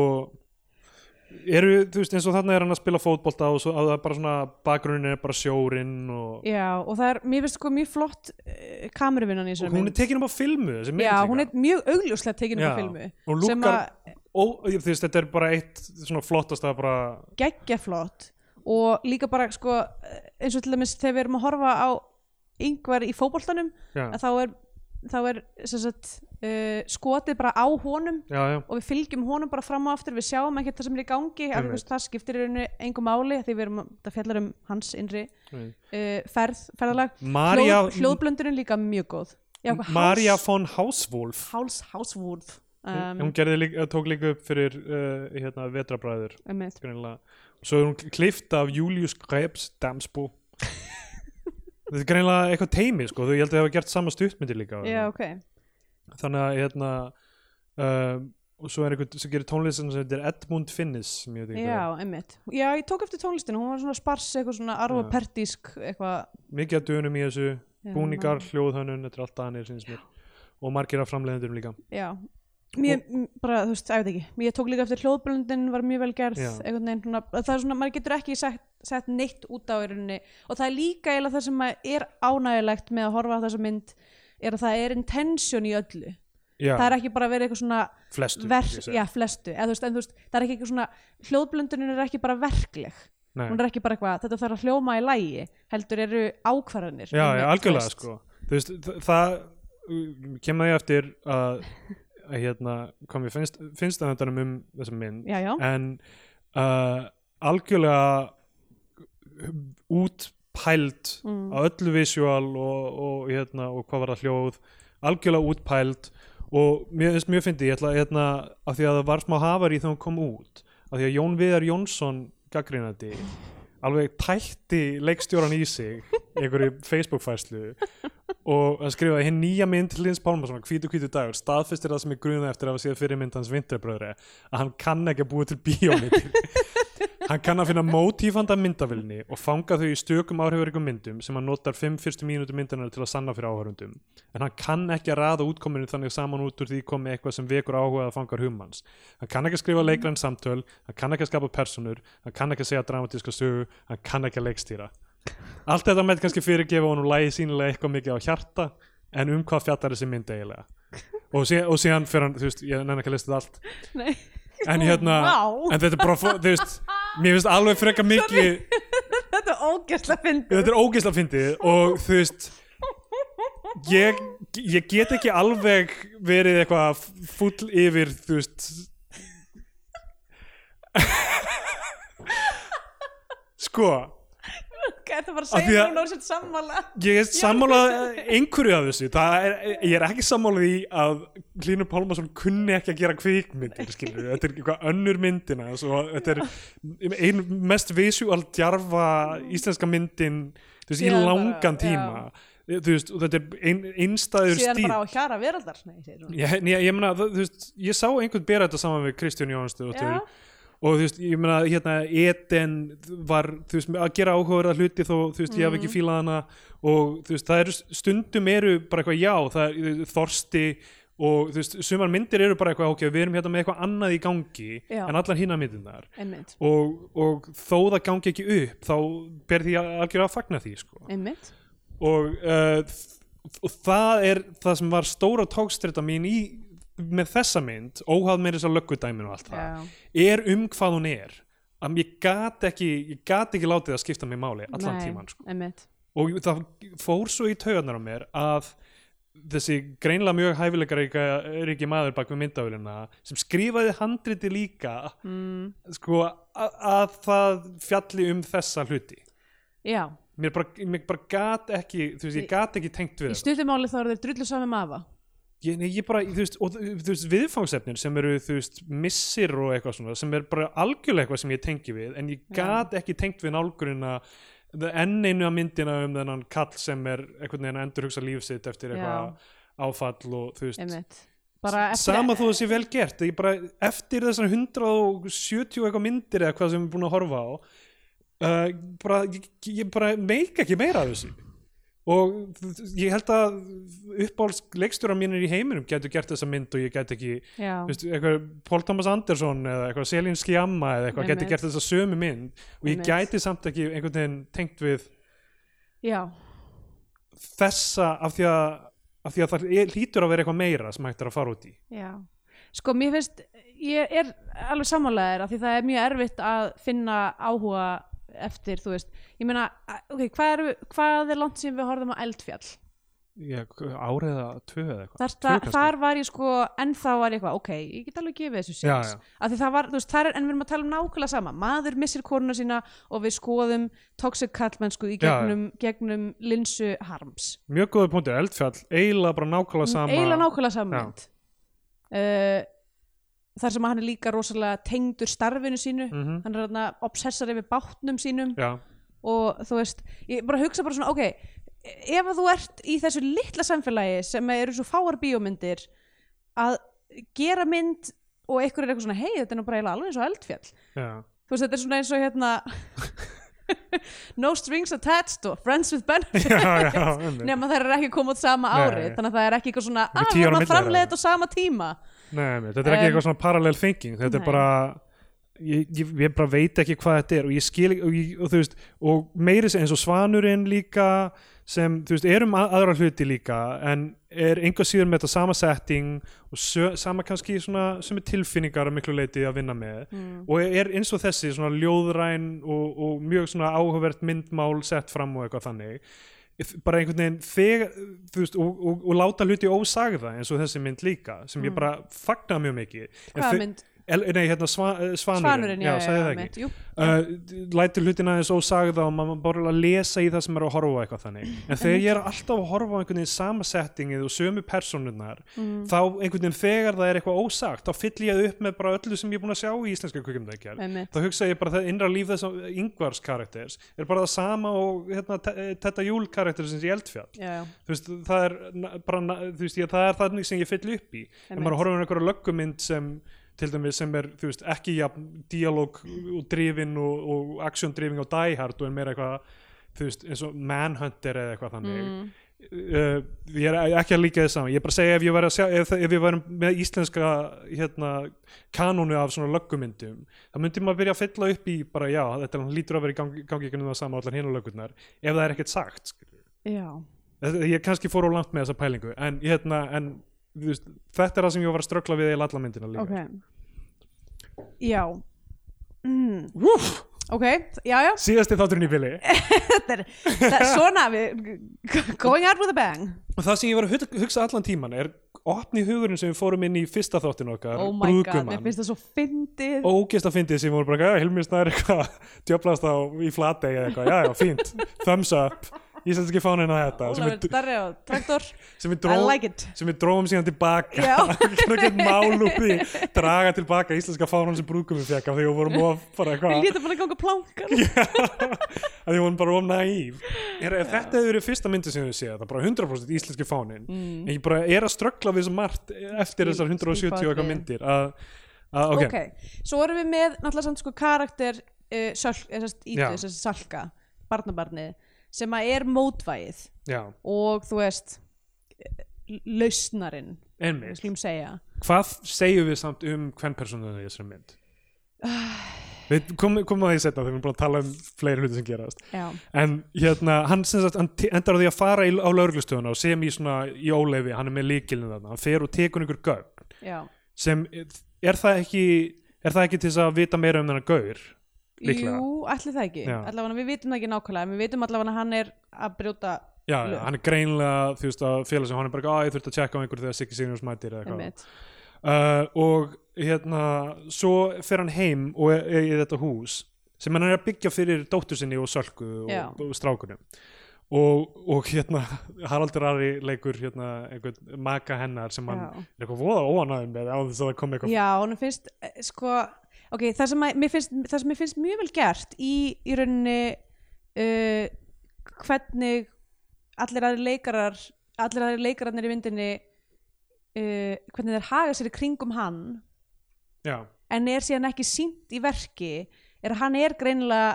eru, þú veist, eins og þarna er hann að spila fótbolta og svo að það er bara svona, bakgrunin er bara sjórinn og,
já, og það er, mér finnst sko mjög flott uh, kameruvinnan í
og
þessari
hún er tekin upp á filmu þessi mynd
já,
líka.
hún er mjög augljóslega tekin upp á
Já,
filmu sem
og lúkkar-
að
Ó, ég- þú veist, þetta er bara eitt svona flottast að bara
geggja flott og líka bara sko eins og til dæmis þegar við erum að horfa á yngvar í fótboltanum
já,
að þá er, þá er sem sagt, uh, skotið bara á honum
já, já,
og við fylgjum honum bara fram og aftur við sjáum ekki það sem er í gangi af
Einmitt.
einhvers, það skiptir í rauninu engu máli því við erum, það fjallar um hans innri
Einmitt.
uh, ferð, ferðalag
María
Hljóð, hljóðblöndurinn líka mjög góð Já, hvað,
María von Hauswolf
Háls, Hálsvúrð
um,
um,
hún gerði líka, tók líka upp fyrir uh, hérna, vetrabræður
einmitt.
greinilega. svo er hún klift af Julius Krebs Damsbú þetta er greinilega eitthvað teimi sko, þú- ég held að það hafa gert sama stuttmyndir líka
Já, ok
þannig að hérna um, og svo er einhvern sem gerir tónlist sem heitir Edmund Finnis sem ég veit ekki hver er.
Já, einmitt. Já, ég tók eftir tónlistinu, hún var svona spars, eitthvað svona
Já.
arvopertísk, eitthvað. um,
mikið að dönum í þessu
Já,
búningar, hljóðhönnun, þetta er allt aðanir sínst mér og margir af framleiðendurum líka
Já, mér, m- bara, þú veist, ég veit ekki ég tók líka eftir hljóðblöndin, var mjög vel gerð
Já.
einhvern veginn, svona, það er svona, maður getur ekki sett, sett neitt út á erunni og það er líka eiginlega það sem að er ánægilegt með að horfa á þessa mynd er að það er intention í öllu
já,
það er ekki bara að vera eitthvað svona
flestu
verk, já, flestu, eða þú veist, en þú veist það er ekki eitthvað svona, hljóðblöndunin er ekki bara verkleg
Nei.
hún er ekki bara eitthvað, þetta þarf að hljóma í lægi heldur eru ákvarðanir
já,
einmitt,
já,
þú
algjörlega
veist.
sko þú veist, þ- það uh, kem að ég eftir að, að hérna, hvað mér finnst, finnst að þetta um þessa mynd
já, já,
en uh, algjörlega útpæld
Mm.
á öllu visual og, og, hérna, og hvað var það hljóð algjörlega útpæld og mér finnst mjög fyndi, ég ætla hérna, af því að það var smá hafar í þegar hún kom út af því að Jón Viðar Jónsson gaggrinandi alveg tætti leikstjóran í sig í einhverju Facebook-fæslu og hann skrifaði hinn nýja mynd Lins Pálmarsson, hvítu hvítu dagur staðfistir það sem er gruna eftir að hafa séð fyrirmynd hans vinterbröðri að hann kann ekki að búa til bíómyndir Hann kann að finna mótífanda myndavilni og fanga þau í stökum áhrifurikum myndum sem hann notar 5 fyrstu mínútu myndunar til að sanna fyrir áhörundum. En hann kann ekki að raða útkominu þannig saman út úr því komi eitthvað sem vekur áhuga að fangar humans. Hann kann ekki að skrifa leikræn samtöl, hann kann ekki að skapa personur, hann kann ekki að segja dramatíska sögu, hann kann ekki að leikstýra. Allt þetta með kannski fyrirgefa honum lægi sínilega eitthvað mikið á hjarta en um hvað fjallar þessi mynd eiginlega. Og, sé, og síðan fyrir hann, þú veist, ég nenni ekki að lista þetta allt.
nei
En hérna,
Vá.
en þetta er bara, fó- þú veist, mér finnst alveg freka mikið,
þetta er ógæslega fyndið
þetta er ógeðslega fyndið og þú veist, ég, ég get ekki alveg verið eitthvað full yfir, þú veist, sko,
Ég ætla bara að
Af því
segja
að-
mér núna og sér sammála
ég er sammálað einhverju af þessu, það er, ég er ekki sammálað í að Hlynur Pálmarsson kunni ekki að gera kvikmyndir, skilur við, þetta er eitthvað önnur myndina, svo þetta er ein mest visual djarfa íslenska myndin, þú
Já,
veist, í
bara,
langan tíma, þú veist, og þetta er ein, einstæður
síðan
stíl.
bara á hjara veraldar Nei, segir hún.
Ég, ég, ég meina, þú þú veist, ég sá einhvern bera þetta saman við Kristján Jónsdóttur
Já.
og þú veist, ég meina, hérna Eden var, þú veist, að gera áhugaverða hluti þó, þú veist, ég hef
Mm.
ekki fílað hana og þú veist, það eru, stundum eru bara eitthvað já, það er þú veist, þorsti og þú veist, sumar myndir eru bara eitthvað ok, við erum hérna með eitthvað annað í gangi
Já.
en allar hinna myndirnar
einmitt,
og, og þó það gangi ekki upp þá ber því að algjörða að fagna því sko
einmitt
og, uh, þ- og það er það sem var stóra tókstrita mín í, með þessa mynd óháð með þess að löggudæminu og allt það
Já.
er um hvað hún er að ég gat ekki, ég gat ekki látið að skipta mér máli allan sko.
Nei,
tíman sko.
einmitt,
og það fór svo í taugarnar á mér að þessi greinlega mjög hæfileikaríka ríki maður bak við myndavélina sem skrifaði handriti líka
mm,
sko að, að það fjalli um þessa hluti
já,
mér bara, mér bara gat ekki þú veist, ég gat ekki tengt við
í stuttumáli þá eru þeir drullu saman með afa
ég, nei, ég bara, þú veist, og, þú veist viðfangsefnin sem eru, þú veist, missir og eitthvað svona, sem er bara algjörlega eitthvað sem ég tengi við, en ég gat ekki tengt við nálgurina the enn einu að myndina um þennan kall sem er einhvern veginn að endurhugsa líf sitt eftir
Já.
eitthvað áfall og þú veist
einmitt bara eftir,
sama þú það sé vel gert ég bara, eftir þessar 170 eitthvað myndir eða hvað sem við erum búin að horfa á uh, bara, ég, ég bara meik ekki meira af þessu og þ- ég held að uppáhalds leikstjóra mínir í heiminum gætu gert þessa mynd og ég gæti ekki
já,
veist, eitthvað, Paul Thomas Anderson eða eitthvað Selin Skjamma eða eitthvað gæti
Einmitt.
gert þessa sömu mynd og ég
Einmitt.
gæti samt ekki einhvern veginn tengt við
já,
þessa af því að, af því að það er- hlýtur að vera eitthvað meira sem hægt er að fara út í
já sko mér finnst, ég er alveg samanlegaðir af því það er mjög erfitt að finna áhuga eftir, þú veist ég meina, ok, hvað er, hvað er langt sem við horfum á eldfjall
áriða tvö eða eitthvað
þar, þar,
kannski.
þar var ég sko ennþá var ég eitthvað, ok, ég get alveg gefið þessu
Já,
séns
já.
af því það var, þú veist, þar er, en við erum að tala um nákvæmlega sama maður missir konuna sína og við skoðum toxic kallmennsku í
Já, já.
gegnum, gegnum linsu harms
mjög góður punktur, eldfjall, eiginlega bara nákvæmlega sama
Mm, eiginlega nákvæmlega sama
Já.
mynd uh, þar sem hann er líka rosalega tengdur starfinu sínu
Mhm.
hann er þarna obsessar yfir bátnum sínum
já,
og þú veist, ég bara hugsa bara svona ok, ef að þú ert í þessu litla samfélagi sem eru svo fáar bíómyndir að gera mynd og einhver er eitthvað svona hei, þetta er nú bara eiginlega alveg eins og eldfjall
já,
þú veist, þetta er svona eins og hérna no strings attached og friends with benefits
já, já einmitt.
nema það er ekki að koma út sama
Nei.
ári þannig að það er ekki eitthvað svona
Þetta er
að
tíu
við
ára
erum
milli
að framlega
þeirra.
þetta á sama tíma
Nei, einmitt, þetta er ekki
Um,
eitthvað svona parallel thinking þetta
nei.
er bara ég, ég, ég bara veit ekki hvað þetta er og ég skil ekki- og, ég- og þú veist, og meiri eins og svanurinn líka sem, þú veist, erum að, aðra hluti líka en er einhver síður með þetta sama setting og sö, sama kannski svona sem er tilfinningar að miklu leiti að vinna með
Mm.
og er eins og þessi svona ljóðræn og, og mjög svona áhugavert myndmál sett fram og eitthvað þannig bara einhvern veginn þegar þú veist, og, og, og láta hluti ósagða eins og þessi mynd líka sem ég bara fagna mjög mikið En
Mm. hvaða
þau-
mynd,
El, nei, hérna sva, eh, Svanurinn,
svanurinn, já,
sagði það
mitt,
ekki
jú,
uh, lætur hlutina aðeins ósagða og maður bara að lesa í það sem er að horfa á eitthvað þannig en þegar ég er alltaf að horfa á einhvern veginn samasettingið og sömu personurnar þá einhvern veginn þegar það er eitthvað ósagt þá fyll ég það upp með bara öllu sem ég er búin að sjá í íslenska kvikmyndagerð
einmitt,
þá hugsa ég bara það innra líf þess að yngvars karakters er bara það sama og hérna, Te- eh, Tetta Júl karakter sem sé eldfjall
já, já,
þú veist, það er na- bara, na- þú veist, ég, það er þannig sem ég fyll upp í en maður
Einmitt.
horfum einhverja löggumynd sem til dæmis sem er, þú veist, ekki jafn dialóg og drifin og, og action drifin á Die Hard og er meira eitthvað þú veist, eins og Manhunter eða eitthvað þannig uh, ég er ekki að líka þess saman, ég er bara að segja ef ég væri, að sjá, ef, ef ég væri með íslenska hérna, kanónu af svona löggumyndum þá myndi maður byrja að fylla upp í bara já, þetta lítur að vera í gangi, gangi ekki um það sama allar hinu löggurnar, ef það er ekkert sagt skilur.
já.
Þetta- ég kannski fór á langt með þessa pælingu en, hérna, en þú veist, þetta er það sem ég var að ströggla við í alla myndina líka
okay. já mm,
Úff,
ok, já já
síðasti þátturinn í bili
þetta er, það er svona við, going out with a bang
og það sem ég var að hug- hugsa allan tíman er opni hugurinn sem við fórum inn í fyrsta þáttin okkar
oh my god, mér finnst það svo fyndið
og ógist að fyndið sem voru bara "Ja, Hilmi Snær eitthvað djöflast á í flatei eða eitthvað, já já, fínt, thumbs up íslenski fáninn að þetta sem
Ólafur
við,
Darri og Traktor
sem við
I
dróðum
like it
sem við dróðum síðan tilbaka
Já.
gerðum ekkert mál úr því draga tilbaka íslenska fánum sem brúkum við fekk af því að við vorum of bara
við
eitthvað
lítum bara að ganga plánkan
að því hún bara of naív er, ef þetta hefur verið fyrsta myndi sem þau séð það er bara 100% íslenski fánin en ég bara er að ströggla við þessum margt eftir
Skil-
þessar 170
skil
og
bakvið.
eitthvað myndir að, að ok,
svo erum við með náttúrulega samt sko karakter uh, sölk, sest, ítu,
Já.
sest, salka, barnabarnið sem að er mótvægið
já,
og þú veist eh, lausnarinn, við
einmitt
skulum segja
hvað segjum við samt um hvern persónunni í þessari mynd við komum kom að því setna þegar við erum búin að tala um fleiri hluti sem gerast
já,
en hérna, hann, sem sagt, hann te- endar á því að fara í, á lauruglustöðuna og sem í svona í óleifi, hann er með líkilin þarna hann fer og tekur einhver gögn
já
sem, er það ekki er það ekki til þess að vita meira um þennan gaur líklega
Jú, allir það ekki
Já.
allavega, Við vitum það ekki nákvæmlega en Við vitum allavega að hann er að brjóta
já,
Lög.
hann er greinlega þú veist að félag sem hann er bara að ég þurfti að tjekka á einhverju þegar Siggi Signus mætir eða eitthvað
einmitt.
uh, og hérna svo fer hann heim og er, er í þetta hús sem hann er að byggja fyrir dóttur sinni og sölku
Já.
og, og strákunum og, og hérna Haraldur Ari leikur hérna einhvern maka hennar sem hann
Já.
er eitthvað voða óanæðin með á þess að það kom eitthvað
Já, hún finnst eh, sko, ok, það sem, að, mér finnst, það sem mér finnst mjög vel gert í, í rauninni uh, hvernig allir aðri leikarar allir aðri leikararnir í myndinni uh, hvernig þeir haga sér í kringum hann
já,
en er síðan ekki sínt í verki er að hann er greinilega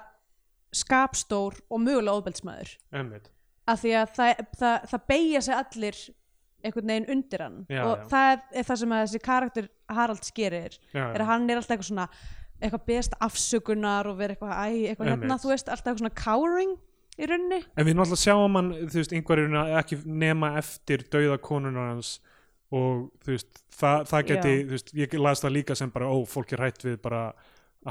skapstór og mögulega ofbeldsmaður
einmitt
af því að það, það, það beigja sig allir einhvern veginn undir hann
Já,
og
já.
það er- er það sem að þessi karakter Haralds gerir,
já,
er að
já,
hann er alltaf eitthvað svona eitthvað beðast afsökunar og vera eitthvað æ, eitthvað
Einmitt.
hérna, þú veist, alltaf eitthvað svona cowering í rauninni,
en við náttúrulega sjáum hann þú veist, einhverjum ekki nema eftir dauða konunar hans og þú veist, það, það geti
Já.
þú veist, ég las það líka sem bara, ó, fólk er hætt við bara að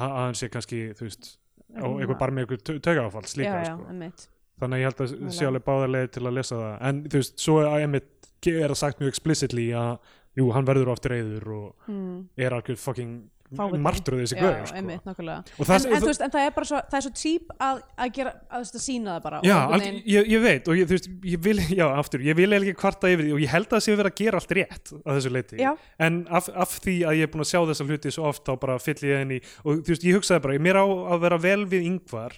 að hann sé kannski þú veist, á
Rúma.
einhver bara með einhver taugafall slíka,
já, já,
sko.
einmitt
þannig að ég held að sé
Nálega.
alveg báðar leið til að lesa það en þú veist, svo að emitt er það sagt mjög explicitly að, jú, hann verður oft reyður og
mm,
er alveg fucking
Fáviti.
martröð þessi
já,
guður, sko
einmitt, nokkulega
Og
en,
það-
en,
það-
þú veist, en það er bara svo, það er svo típ að, að gera, að þú veist, að sína það bara og
Já,
einhvern
alg,
veginn-
ég, ég veit og ég, þú veist, ég vil, já, aftur, ég vil eiginlega ekki kvarta yfir því og ég held að það sé verið að gera allt rétt að þessu leiti,
Já.
en af, af því að ég er búin að sjá þessa hluti svo oft þá bara fyll ég henni og þú veist, ég hugsaði bara, mér á að vera vel við yngvar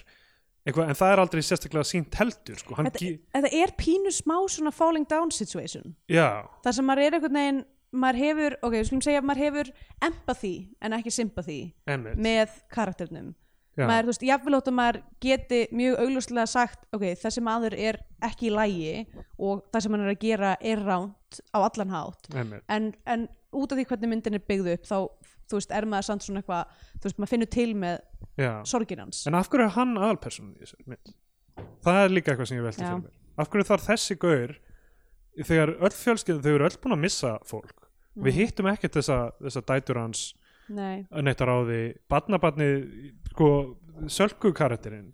eitthvað, en það er aldrei sérstaklega sínt heldur, sko, hann,
þetta,
gi-
þetta er pínu smá svona falling down situation
já
þar sem maður er einhvern veginn maður hefur, ok, við skulum segja að maður hefur empathy en ekki sympathy
Einmitt.
með karakternum
Já.
maður, þú veist, jafnvel ótt að maður geti mjög augljóslega sagt, ok, þessi maður er ekki í lægi og það sem hann er að gera er ránt á allan hátt
Einmitt.
en, en út af því hvernig myndin er byggð upp þá, þú veist, er maður samt svona eitthvað þú veist, maður finnur til með
já.
sorgin hans
en af hverju er hann aðalpersonan í þessu mynd? það er líka eitthvað sem ég velti
Já.
fyrir mér af hverju þarf þessi gaur þegar öll fjölskylda, þau eru öll búin að missa fólk,
Mm.
við hittum ekkert þessa, þessa dætur hans
Nei,
neitt að ráði barnabarni sko, sölku karakterinn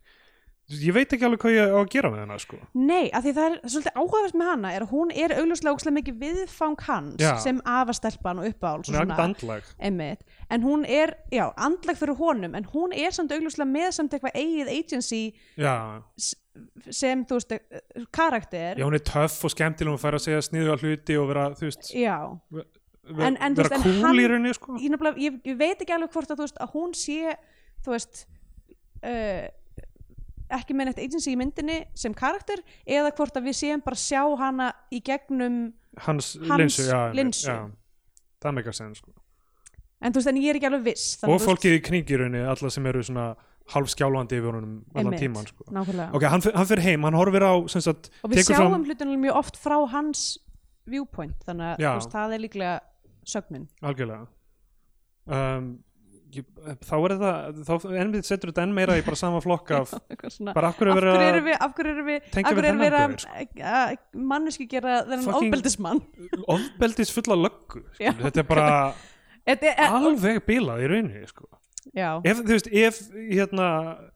ég veit ekki alveg hvað ég á að gera með hennar sko.
Nei, af því það er svolítið áhugavert með hana er að hún er augljóslega ógstlega mikið viðfang hans
Já.
sem afastelpan og uppáhald
hún er ekkert andlag
einmitt, en hún er, já, andlag fyrir honum en hún er samt augljóslega með samt eitthvað eigið agency
já.
sem, þú veist, eh, karakter
já, hún er töff og skemmtileg hún fær að segja sniðu að hluti og vera, þú veist
Já.
vera,
En- en, þú
vera
veist, en
cool
hann-
í rauninni sko.
Ég, nefnilega- ég, ég veit ekki alveg hvort að, þú veist, að hún sé þú veist uh, ekki með neitt agency í myndinni sem karakter eða hvort að við séum bara að sjá hana í gegnum
hans,
hans
linsu, já, einmitt,
linsu.
Já. það meikar sen sko.
en þú veist, en ég er ekki alveg viss þannig að
og
þú veist-
fólkið í kringi í rauninni, alla sem eru svona hálfskjálfandi yfir honum allan
Einmitt,
tíman sko.
nákvæmlega
ok, hann, fer- hann fyrir heim, hann horfir á sem sagt,
og við
tekur
sjáum
fram-
hlutunum mjög oft frá hans viewpoint þannig að
Já.
þú veist, það er líklega sögnin
algjörlega um, ég, þá er það þá, enn við setur þetta enn meira í bara sama flokk af
Eitthvað svona,
bara af hverju
af
er verið
hverju
að-
erum við af hverju erum við,
Tengja
af
við
hverju erum við
þennan sko?
að, að manneski gera þennan
Fucking-
ofbeldismann
ofbeldis fulla löggu sko.
Já.
þetta er bara
Þetta er-
alveg bilað í rauninni sko.
já,
ef, þú veist, ef hérna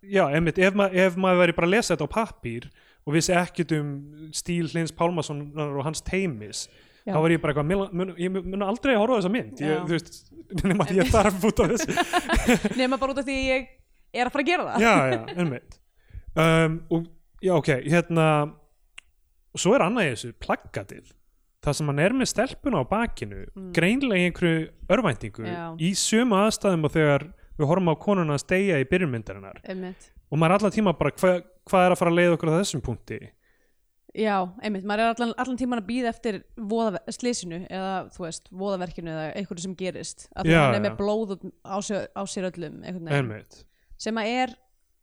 já, emitt, ef, ma ef maður væri bara að lesa þetta á pappír og vissi ekkert um stíl Hlins Pálmasonar og hans teimis
Já.
þá var ég bara eitthvað, "Mér la- mun, ég mun aldrei að horfa á þessa mynd ég,
Já.
þú veist, nema að ég þarf út af þessu
nema bara út af því að ég er að fara að gera það
já, já, einmitt um, og, já, ok, hérna og svo er annað í þessu plaggatið, það sem hann er með stelpuna á bakinu, greinlega í einhverju örvæntingu,
Mm. Já.
í sömu aðstæðum og þegar við horfum á konuna að steigja í byrjumyndarinnar
einmitt.
og maður er allan tíma bara, hva, hvað er að fara að leiða okkur á þessum punkti
já, einmitt, maður er allan, allan tíman að býða eftir voða, slísinu eða þú veist, voðaverkinu eða einhverju sem gerist að
Já,
það er
já.
með blóð út- á sér, á sér öllum einhvern veginn.
einmitt,
sem að er,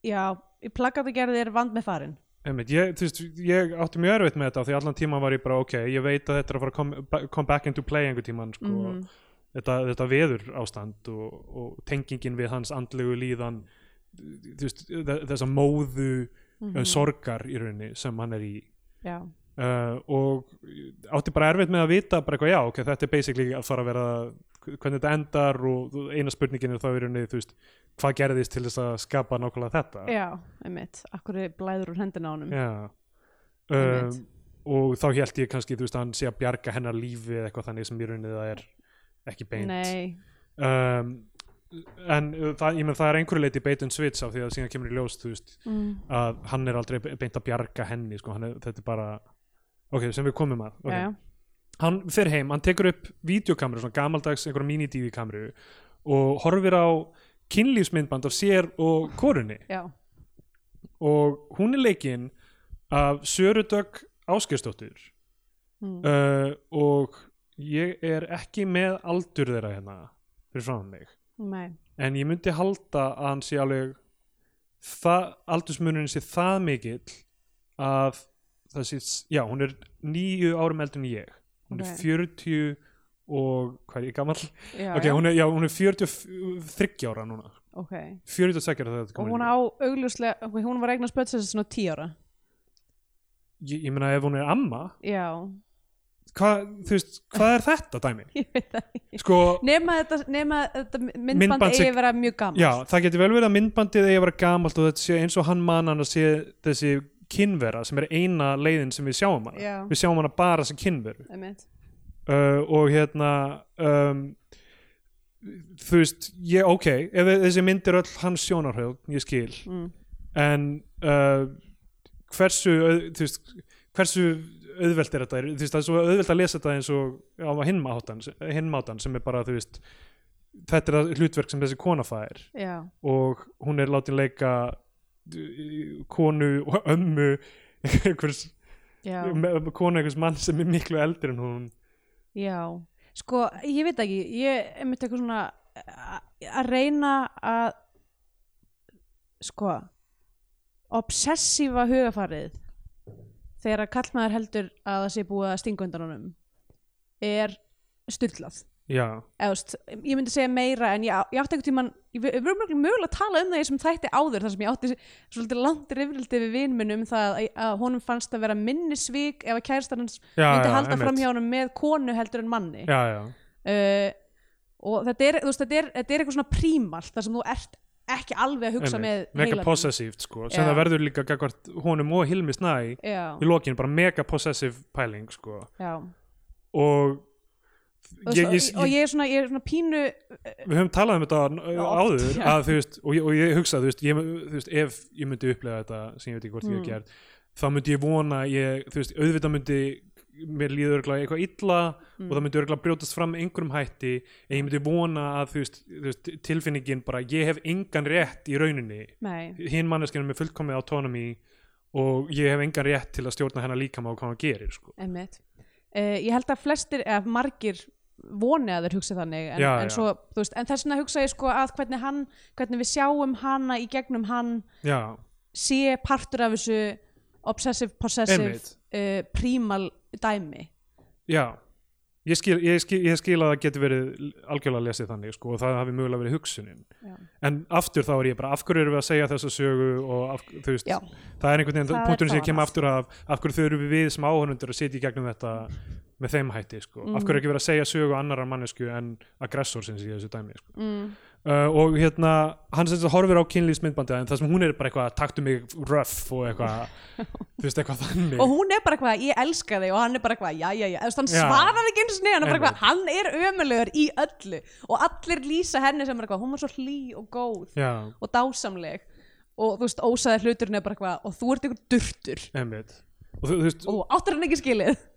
já, plakatagerði er vand með farin
einmitt ég, þú veist, ég átti mjög erfitt með þetta því allan tíma var ég bara, ok, ég veit að þetta er að fara að come, ba- come back into play einhver tíman sko,
Mhm.
þetta, þetta veður ástand og, og tengingin við hans andlegu líðan þú veist, þe- þessa móðu mm sorgar í rauninni sem hann er í
já,
uh, og átti bara erfitt með að vita bara eitthvað já, ok, þetta er basically að fara að vera hvernig þetta endar og þú- eina spurningin er þá í rauninni, þú veist hvað gerðist til þess að skapa nákvæmlega þetta
já, einmitt, akkur blæður úr hendina á honum
Já.
Einmitt.
Um, og þá held ég kannski þú veist að hann sé að bjarga hennar lífi eða eitthvað þannig sem í rauninni það er ekki beint
nei,
um, en uh, það, ég menn það er einhverju leiti bait and switch af því að síðan kemur í ljós þú veist
mm,
að hann er aldrei be- beint að bjarga henni sko, hann er, þetta er bara ok, sem við komum að okay.
já,
hann fer heim, hann tekur upp videokamru, svona gamaldags einhverja mini-DV kamru og horfir á kynlífsmyndband af sér og korunni
já,
og hún er leikinn af Söru Dögg Áskjörsdóttur
mm,
uh, og ég er ekki með aldur þeirra hérna fyrir frá mig
nei
en ég myndi halda að hann sé alveg það, aldursmunurinn sé það mikill að það sé, já, hún er níu árum eldur en ég hún
Ok.
er 40 og hvað er ég gamall?
já,
ok,
já,
hún er, já, hún er 43 ára núna
ok
42 ára þegar þetta
og
komið
hún á augljóslega, ok, hún var eignar spötsins svona 10 ára
ég, ég meina ef hún er amma
já,
hvað, þú veist, hvað er þetta dæmi?
ég veit það ekki
sko,
nema þetta, nema þetta myndband,
Myndband
myndband
sem-
eigi að vera mjög gammal
já, það getur vel verið að myndbandið eigi að vera gamalt og þetta sé eins og hann man hann að sé þessi kynvera sem er eina leiðin sem við sjáum hana
Já.
við sjáum hana bara sem kynveru
einmitt
uh, og hérna um, þú veist ég, ok, ef þessi mynd er öll hans sjónarhjóð, ég skil
mm.
en uh, hversu auð- þú veist, hversu auðvelt er þetta, Er- þú veist, það er svo auðvelt að lesa þetta eins og á hinmátan hinmátan sem er bara, þú veist þetta er það hlutverk sem þessi kona fær
já,
og hún er látin leika uh, konu og ömmu einhvers,
já,
me- konu einhvers mann sem er miklu eldir en hún
já sko, ég veit ekki ég er mitt eitthvað svona a- að reyna að sko obsessífa hugafarið þegar að kallmaður heldur að það sé búið að stinga undan honum er styrlað
já,
Eðust, ég myndi segja meira en ég, á- ég átti einhvern tímann ég- við við erum mjög mögulega að tala um það í þessum þætti áður þar sem ég átti svolítið langt rifrildi við vinminn um það að, að honum fannst að vera minni svík ef að kærastan hans
já,
myndi
já,
halda
einmitt.
fram hjá honum með konu heldur en manni
já, já,
uh, og þetta er, þú veist, þetta, er, þetta er eitthvað svona prímalt þar sem þú ert ekki alveg að hugsa
einmitt.
með
mega
heilanum.
possessíft sko, sem
Já.
það verður líka gagvart honum og Hilmi Snæ
já,
í lokinu, bara mega possessive pæling sko,
já.
og
Og,
ég, ég,
svo- og
ég,
ég er svona, ég er svona pínu
við höfum talað um þetta n-
Já, oft,
áður
já.
að, þú veist, og, ég, og ég hugsa, þú veist, ég, þú veist ef ég myndi upplega þetta sem ég veit ekki hvort ég
Mm.
hef gert þá myndi ég vona, ég, þú veist, auðvitað myndi mér líður örgulega eitthvað illa
Mm.
og það myndi örgulega brjótast fram með einhverjum hætti en ég myndi vona að þú veist, þú veist, tilfinningin bara, ég hef engan rétt í rauninni
nei,
hinn manneskinn er með fullkomið autonomy og ég hef engan rétt til að stjórna hennar líkama og hvað hann gerir sko.
Einmitt. Uh, ég held að flestir, eða margir voni að þeir hugsa þannig en,
Já,
en,
já.
svo, þú veist, en þess vegna hugsa ég sko að hvernig, hann, hvernig við sjáum hana í gegnum hann
já,
sé partur af þessu obsessive, possessive,
Einmitt.
uh, prímal dæmi
já ég skil, ég, skil, ég skil að það getur verið algjörlega lesið þannig sko, og það hafi mögulega verið hugsunin
Já.
en aftur þá er ég bara af hverju erum við að segja þessa sögu og af, þú veist,
Já.
það er einhvern
Það
veginn
er
punkturinn sem
það
ég kem
annað.
aftur af af hverju þurfum við sem áhörnundur að sitja í gegnum þetta með þeim hætti sko. af
Mm.
hverju er ekki verið að segja sögu annarra mannesku en aggressor sem sé í þessu dæmi sko.
mm.
uh, og hérna hann sem sagt horfir á kynlýsmyndbandið en það sem hún er bara eitthvað taktu mig rough og eitthvað þú veist eitthvað þannig
og hún er bara eitthvað, ég elska þig og hann er bara eitthvað, já, já, já, Þú veist, hann
Já.
svarar ekki eins og neðan, hann er bara
Einmitt.
eitthvað, hann er ömulegur í öllu og allir lýsa henni sem er eitthvað, hún var svo hlý og góð
já,
og dásamleg og þú veist, ósaði hluturinn er bara eitthvað og þú ert einhver durtur
einmitt og, þú, þú veist, og,
og áttur hann ekki skilið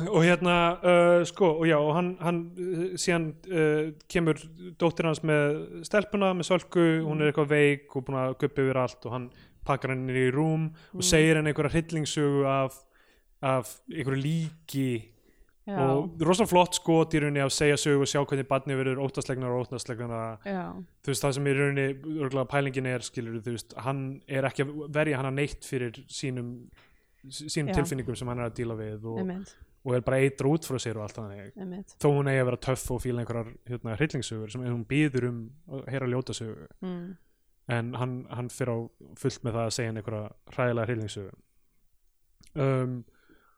hérna uh, sko, og já, og hann, hann uh, síðan uh, kemur dóttir hans með stelpuna, með sölku hún er eitthvað veik og búin að guppi yfir allt og hann pakkar henni niður í rúm
Mm.
og segir henni einhverja hryllingssögu af, af einhverju líki
já,
og rosa flott skot í rauninni að segja sögu og sjá hvernig barni verður óttaslegnar og óttaslegnar
já,
þú veist það sem í rauninni örgulega pælingin er skilur þú veist hann er ekki að verja hana neitt fyrir sínum sí- sínum
Já.
tilfinningum sem hann er að díla við og,
einmitt,
og er bara eitra út frá sér og allt þannig
einmitt
þó hún eigi að vera töff og fíla einhverjar hérna, hryllingssögur sem hún býður um að heyra ljóta sögu
mm.
en hann, hann fyrir á fullt með það að segja hann einhverja hræðilega hryllingssögu um,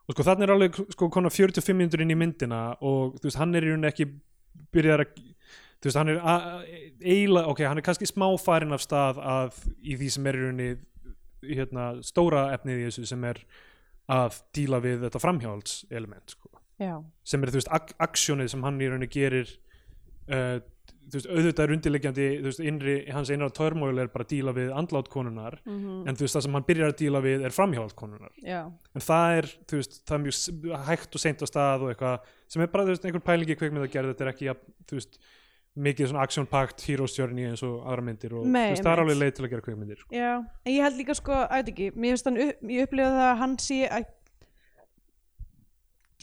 og sko þannig er alveg sko konar 45 minnur inn í myndina og þú veist hann er í rauninni ekki byrjar að þú veist hann er eiginlega, ok, hann er kannski smá farin af stað að í því sem er í rauninni hérna stóra efnið í þessu sem er að díla við þetta framhjáhalds element sko.
já,
sem er þú veist ak aksjónið sem hann í rauninni gerir uh, þú veist auðvitað er undirleggjandi þú veist innri hans einar törmóil er bara að díla við andlát konunar en þú veist það sem hann byrjar að díla við er framhjáhald konunar
já,
en það er þú veist það er mjög s- hægt og seint á stað og eitthvað sem er bara þú veist einhver pælingi kveikmynd að gera þetta er ekki jafn, þú veist mikið svona action-packed hero's journey eins og aðra myndir og
Nei,
þú veist það er
einmitt.
alveg leið til að gera kveikmyndir sko.
já en ég held líka sko, að þetta ekki mér finnst hann, upp, ég upplifa það að hann sé að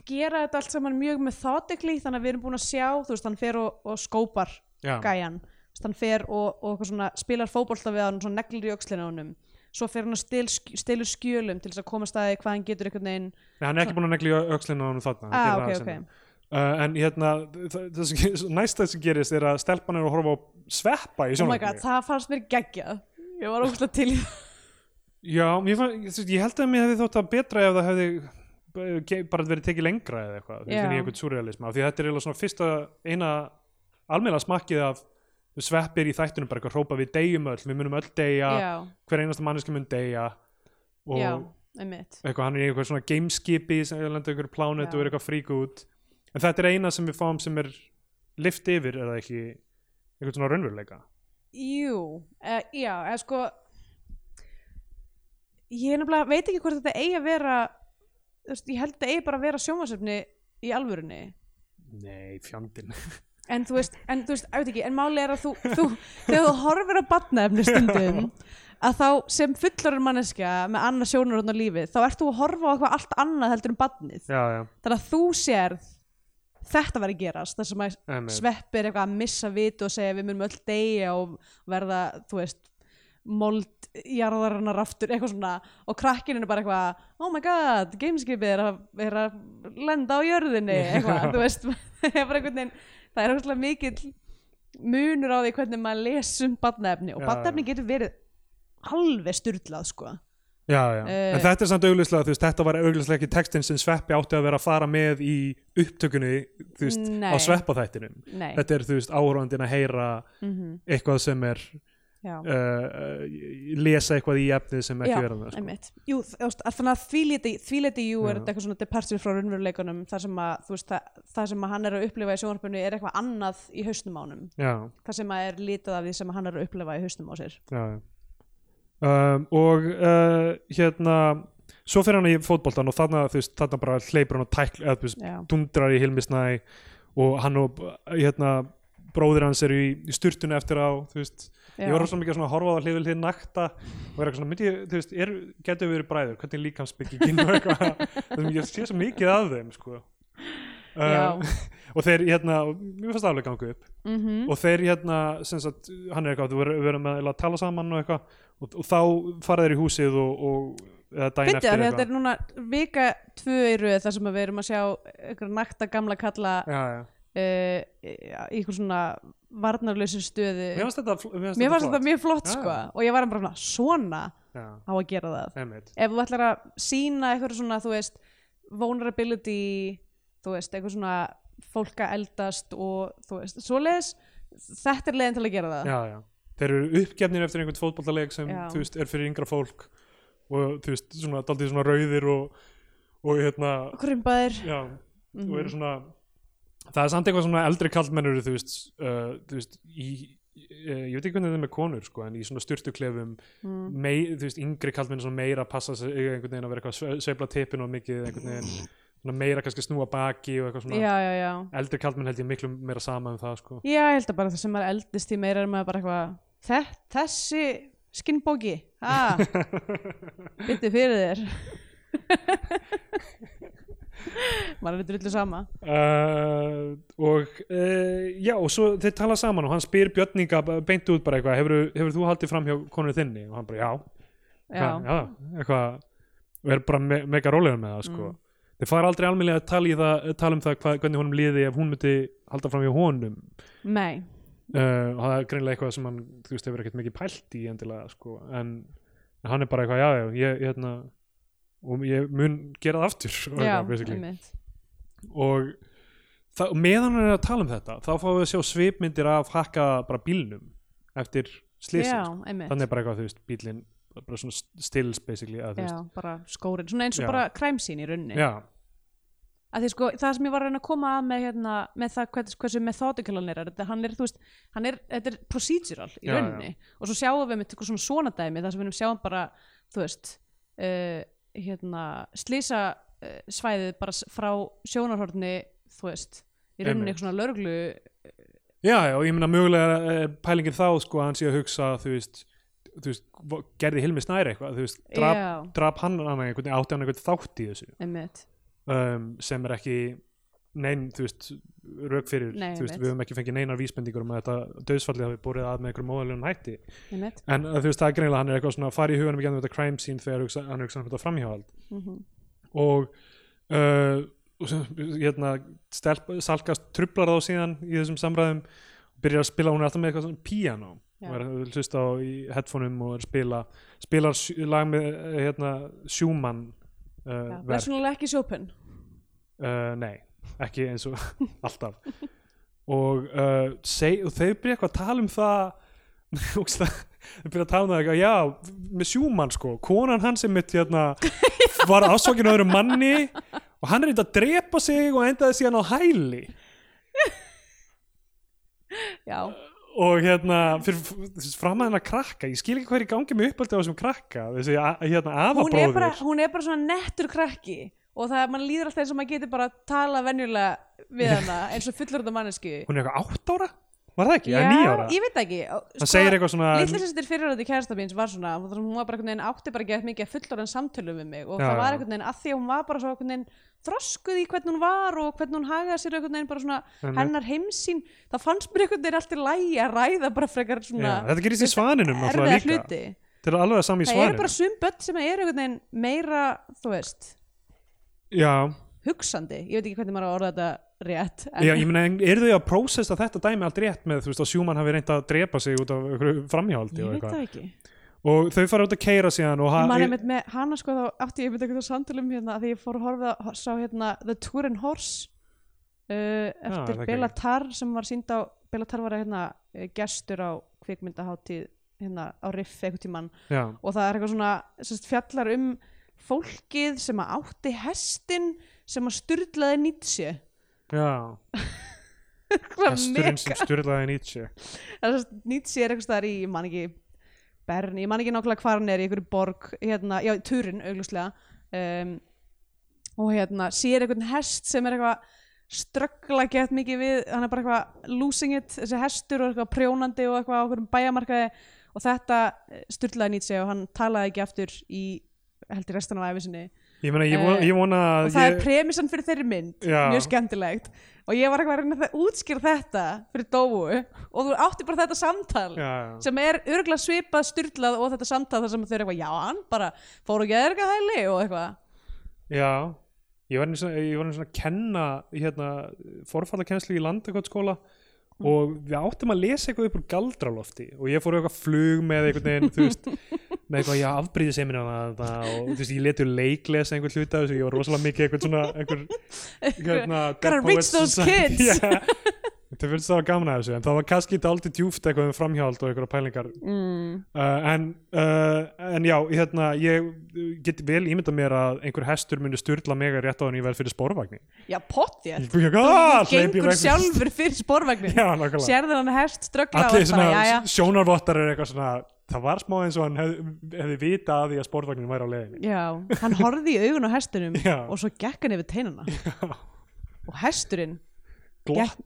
gera þetta allt saman mjög methodically þannig að við erum búin að sjá, þú veist, hann fer og, og skópar
Já.
gæjan Þú veist, hann fer og, og eitthvað svona, spilar fótbolta við hann og svona neglir í öxlina á honum svo fer hann að stil, stilur skjölum til þess að koma staði hvað hann getur einhvern veginn
Nei, hann er ekki búin að negli öxlina á hann þarna hann
ah,
gerir það
ok,
seinna.
ok,
Uh, en hérna, það, það sem, gerist- næsta sem gerist er að stelpan er að horfa á sveppa í
oh my god,
sjónvarpinu.
það fannst mér geggjað ég var ógustlega til í það
Já, ég, fann, ég, þú veist, ég held að mér hefði þótt að betra ef það hefði eh, ge- bara verið tekið lengra eða eitthvað, þú veist,
Já.
inn í einhvern surrealism af því að þetta er eiginlega svona fyrsta eina almenna smakkið af sveppir í þættunum bara eitthvað hrópa við deyjum öll, við munum öll deyja,
já,
hver einasta manneski mun deyja og
já, einmitt
eitthvað, hann er í eitthvað svona gameskipi sem er lendið einhverju plánet
Já.
og er eitthvað frík út en þetta er eina sem við fáum sem er lift yfir eða ekki eitthvað svona raunveruleika
jú, uh, já, eða sko ég er nefnilega veit ekki hvort þetta eigi að vera þú veist, ég held þetta eigi bara að vera sjónvarsöfni í alvörunni
Nei, fjandinn
en þú veist, en þú veist, ég veit ekki en máli er að þú, þú þegar þú horfir á batnaefni stundum að þá sem fullorinn manneskja með annað sjónurhóðn á lífið, þá ert þú að horfa á eitthvað allt annað heldur en batnið
Já, já,
þannig að þú sérð þetta verið að gerast, þar sem að
emmi
sveppir eitthvað að missa vit og segja við munum öll deyja og verða, þú veist mold jarðarinnar aftur eitthvað svona og krakkinin er bara eitthvað oh my god, gameskipið er, að- er að lenda á jörðinni eitthvað, þú veist, það er bara einhvern veginn það er eitthvað mikill munur á því hvernig maður lesum badnaefni og
Já,
badnaefni getur verið alveg styrlað sko
Já, já,
eh,
en þetta er samt auglislega þú veist, þetta var auglislega ekki textin sem Sveppi átti að vera að fara með í upptökunni þú veist,
Nei.
á Sveppaþættinum
nei,
Þetta er, þú veist, áhorfandinn að heyra eitthvað sem er
Mhm, já
uh, uh, lesa eitthvað í efnið sem ekki
Já,
verða það, sko.
einmitt. Jú, þú veist, að þannig að því liti, því liti jú er
Já.
þetta eitthvað svona departure frá raunveruleikunum þar sem að, þú veist, það, það sem að hann er að upplifa í sjónvarpunni er eitthvað annað í hausnum ánum
Já,
það sem að er litað af því sem að hann er að upplifa í hausnum á sér
já, já. Um, og uh, hérna svo fyrir hann í fótboltan og þarna, þú veist, þarna bara hleypur hann og tækl, eða, þú veist,
Já,
dundrar í Hilmisnæ og hann og hérna, bróðir hans eru í, í sturtunni eftir á þú veist,
já,
ég var rosalega mikið að svona horfa á það hlið við hlið nakta og er eitthvað svona, myndi ég, þú veist, er, getur við verið bræður hvernig er líkamsbyggingin og eitthvað það sem ég sé svo mikið að þeim sko. Ehm,
Já.
og þeir hérna, og mér fannst það alveg ganga upp
mm
og þeir hérna, sem sagt, hann er eitthvað þú verður- við erum að, að tala saman og eitthvað og, og þá fara þeir í húsið og, og eða daginn
Fyndi,
eftir
þetta er núna vika tvö í röð þar sem að við erum að sjá einhverja nakta gamla kalla uh,
já, já.
í einhver svona varnarlausu stöðu
mér fannst þetta fl-
Mér fannst þetta mjög flott
Já.
sko og ég var bara svona, svona
flott. já,
á að gera það
einmitt.
ef þú ætlar að sína eitthvað svona, þú veist, vulnerability, þú veist, eitthvað svona fólk að eldast og þú veist, svoleiðis, þetta er leiðin til að gera það.
já, já. þeir eru uppgefnir eftir einhvern fótballaleik sem
Já.
þú veist, er fyrir yngra fólk og þú veist, svona, daldið svona rauðir og, og hérna
Krumpaðir.
já,
Mhm.
og eru svona það er samt eitthvað svona eldri kallmennur þú veist, uh, þú veist í, uh, ég veit ekki hvernig þetta er með konur sko, en í svona styrtuklefum
Mm.
mei, þú veist, yngri kallmenn svona meira að passa sig einhvern veginn að vera eitthvað að sveifla tippin og mikið einhvern veginn svona meira kannski snúa baki og eitthvað svona
Já, já, já.
eldri kallmenn held ég miklu meira sama um það sko.
Já, ég held að bara það sem maður eldist í meira er maður bara eitthvað, "Þe- þessi skinnbóki, ha, bytti fyrir þér. maður er drullu sama.
uh, og uh, já og svo þeir tala saman og hann spyr Björninga beint út bara eitthvað, hefur, hefur þú haldið fram hjá konur þinni og hann bara já,
Já,
já eitthvað, og er bara me mega rólegur með það
Mm.
sko. þeir fara aldrei almennilega að tala, í það, tala um það hvað, hvernig honum liði ef hún myndi halda fram hjá honum
nei,
uh, og það er greinilega eitthvað sem hann þú veist hefur ekkert mikið pælt í endilega sko. en, en hann er bara eitthvað já, já, ég, ég hérna og ég mun gera það aftur og
já,
eitthvað, basically
einmitt.
og það, og meðan hann er að tala um þetta þá fáum við að sjá svipmyndir af hakka bara bílnum eftir slysið
Já,
sko.
einmitt.
þannig er bara eitthvað þú veist bílinn bara svona stills basically að, þú
já,
veist.
bara skórin, svona eins og
Já.
bara kræmsýn í rauninni
já,
að því sko, það sem ég var að reyna að koma að með, hérna, með það hvernig, hversu methodical hann er þetta, hann er, þú veist, hann er, þetta er procedural í
Já,
rauninni og svo sjáum við með eitthvað svona svona dæmi þar sem við sjáum bara, þú veist uh, hérna, slýsa uh, svæðið bara s- frá sjónarhorni, þú veist í rauninni
Einmitt.
eitthvað svona lörglu
já, já, og ég meina mögulega eh, pælingin þá sko að hann sé að hugsa þú veist, þú veist vo- gerði Hilmi Snæri eitthvað, þú veist, drap,
já,
drap hann hann einhvern átti hann einhvern þátt í þessu
einmitt,
um, sem er ekki nein, þú veist, rauk fyrir
Nei,
þú veist,
einmitt.
við höfum ekki fengið neinar vísbendingur um að þetta döðsfallið hafi borið að með einhverjum móðalegum hætti
einmitt
en uh, þú veist, það er greinilega hann er eitthvað svona að fara í huganum ekki andur þetta crime scene þegar hugsa, hann er hugsa um þetta framhjáhald
mm -hmm.
Eh, og uh, og sem- hérna, stelp, salkast trublar þá síðan í þessum samræðum byrjar að spila, hún er alltaf með eitthvað svona piano
Já.
og er að hlusta á í headphoneum og er að spila spilar sj- lag með eh, hérna, Schumann uh, verk
blessunulega ekki sjópen
uh, nei, ekki eins og alltaf og, uh, seg, og þau byrja eitthvað að tala um það ógeðslega- þau byrja að tala um það eitthvað, já, með sjúmann sko konan hans sem mitt hérna var ásókin á öðrum manni og hann reyndi að drepa sig og endaði síðan á hæli
já,
og hérna fyrir fram að hennar krakka ég skil ekki hvað er í gangi með uppaldi á þessum krakka þessi a- hérna
hún er, bara,
afabróður
hún er bara svona nettur krakki og það, mann líður alltaf eins og maður getur bara að tala venjulega við hana eins og fullur þetta mannesku
hún er eitthvað átt ára, var það ekki? eða níu ára
ég veit það ekki sko,
hann segir eitthvað um-
Lítið
svona
sýstir fyrirröndi kærasta mín var svona þar sem hún var bara einhvern veginn átti bara að geta mikið að fullorðan samtölu við mig og
Já,
það
já.
var einhvern veginn að því að hún var bara svo einhvern veginn þroskuð í hvernig hún var og hvernig hún hagaði sér einhvern veginn bara svona
Einmitt.
hennar heimsín það fannst mér einhvern veginn allt í lægi að ræða bara frekar
Já,
svona
þetta gerist í svaninum náttúrulega
erfiða
líka.
hluti
Þetta er alveg það sami í
það eru
svarinu.
bara sum börn sem eru einhvern veginn meira þú veist
Já,
hugsandi, ég veit ekki hvernig maður á að orða þetta rétt en
já, ég meina, eru þau að prósessa þetta dæmi allt rétt með, þú veist, að sjúmann hafi reynd að drepa sig út af einhverju framhjáldi
ég
og
veit
eitthvað.
það ekki ég
Og þau fara út að keira síðan og
man
hann,
einmitt með hana sko þá átti ég einmitt eitthvað samtölum hérna að því ég fór að horfa að sá hérna The Tour and Horse uh,
það
eftir
er
ah, Bela Tarr sem var sínd á Bela Tarr var hérna eh, gestur á kvikmyndahátíð hérna á Riff eitthvað tímann
já,
og það er eitthvað svona sérst, fjallar um fólkið sem að átti hestin sem að styrlaði Nietzsche
já,
Hvað
hesturinn sem styrlaði Nietzsche.
Það er svo- Nietzsche er eitthvað staðar í, ég man ekki Bern, ég man ekki nákvæmlega hvar hann er í einhverju borg, hérna, já, Turin augljóslega um, og hérna, sér einhvern hest sem er eitthvað ströggla gett mikið við hann er bara eitthvað losing it, þessi hestur og eitthvað prjónandi og eitthvað á einhverjum bæjamarkaði og þetta eh, styrlaði Nietzsche og hann talaði ekki aftur í heldur restan af æfi sinni
Ég meina, ég vona,
Eh,
ég vona
og
að
það er
ég,
premissan fyrir þeirri mynd
Já.
mjög skemmtilegt og ég var eitthvað að reyna að útskýra þetta fyrir Dóu og þú átti bara þetta samtal
já, já,
sem er örgulega svipað styrlað og þetta samtal þar sem þau eru eitthvað já, hann bara fór og geður eitthvað hæli og eitthvað
já, ég var einu svona, ég var einu svona að kenna, hérna, forfallakennslu í landakottskóla
Mm.
og við áttum að lesa eitthvað upp úr galdralofti og ég fór í eitthvað flug með einhvern veginn, þú veist, með eitthvað ég afbríði semina og þú veist, ég leti leikles einhvern hluta af þessu, ég var rosalega mikið einhvern svona, einhver hérna,
Gotta
Dead
reach
Poets
those
Society.
kids.
yeah. Þetta finnst það að gamna þessu en það var kannski dálítið djúft eitthvað um framhjáld og einhverja pælingar
mm.
uh, en, uh, en já, hérna ég get vel ímyndað mér að einhver hestur muni styrla mig rétt á hann ég verð fyrir sporvagni
já, pott þér
Þú
þú gengur sjálfur fyrir sporvagnin
Já, nákvæmlega
sérðu hann hest ströggla og
allir
allt bara, já,
svona sjónarvottar er eitthvað svona það var smá eins og hann hefði, hefði vita að því að sportvagnin væri á leiðinni
já já, hann horfði í augun á hestinum
Já.
og svo gekk hann yfir teinana og hesturinn
Glott.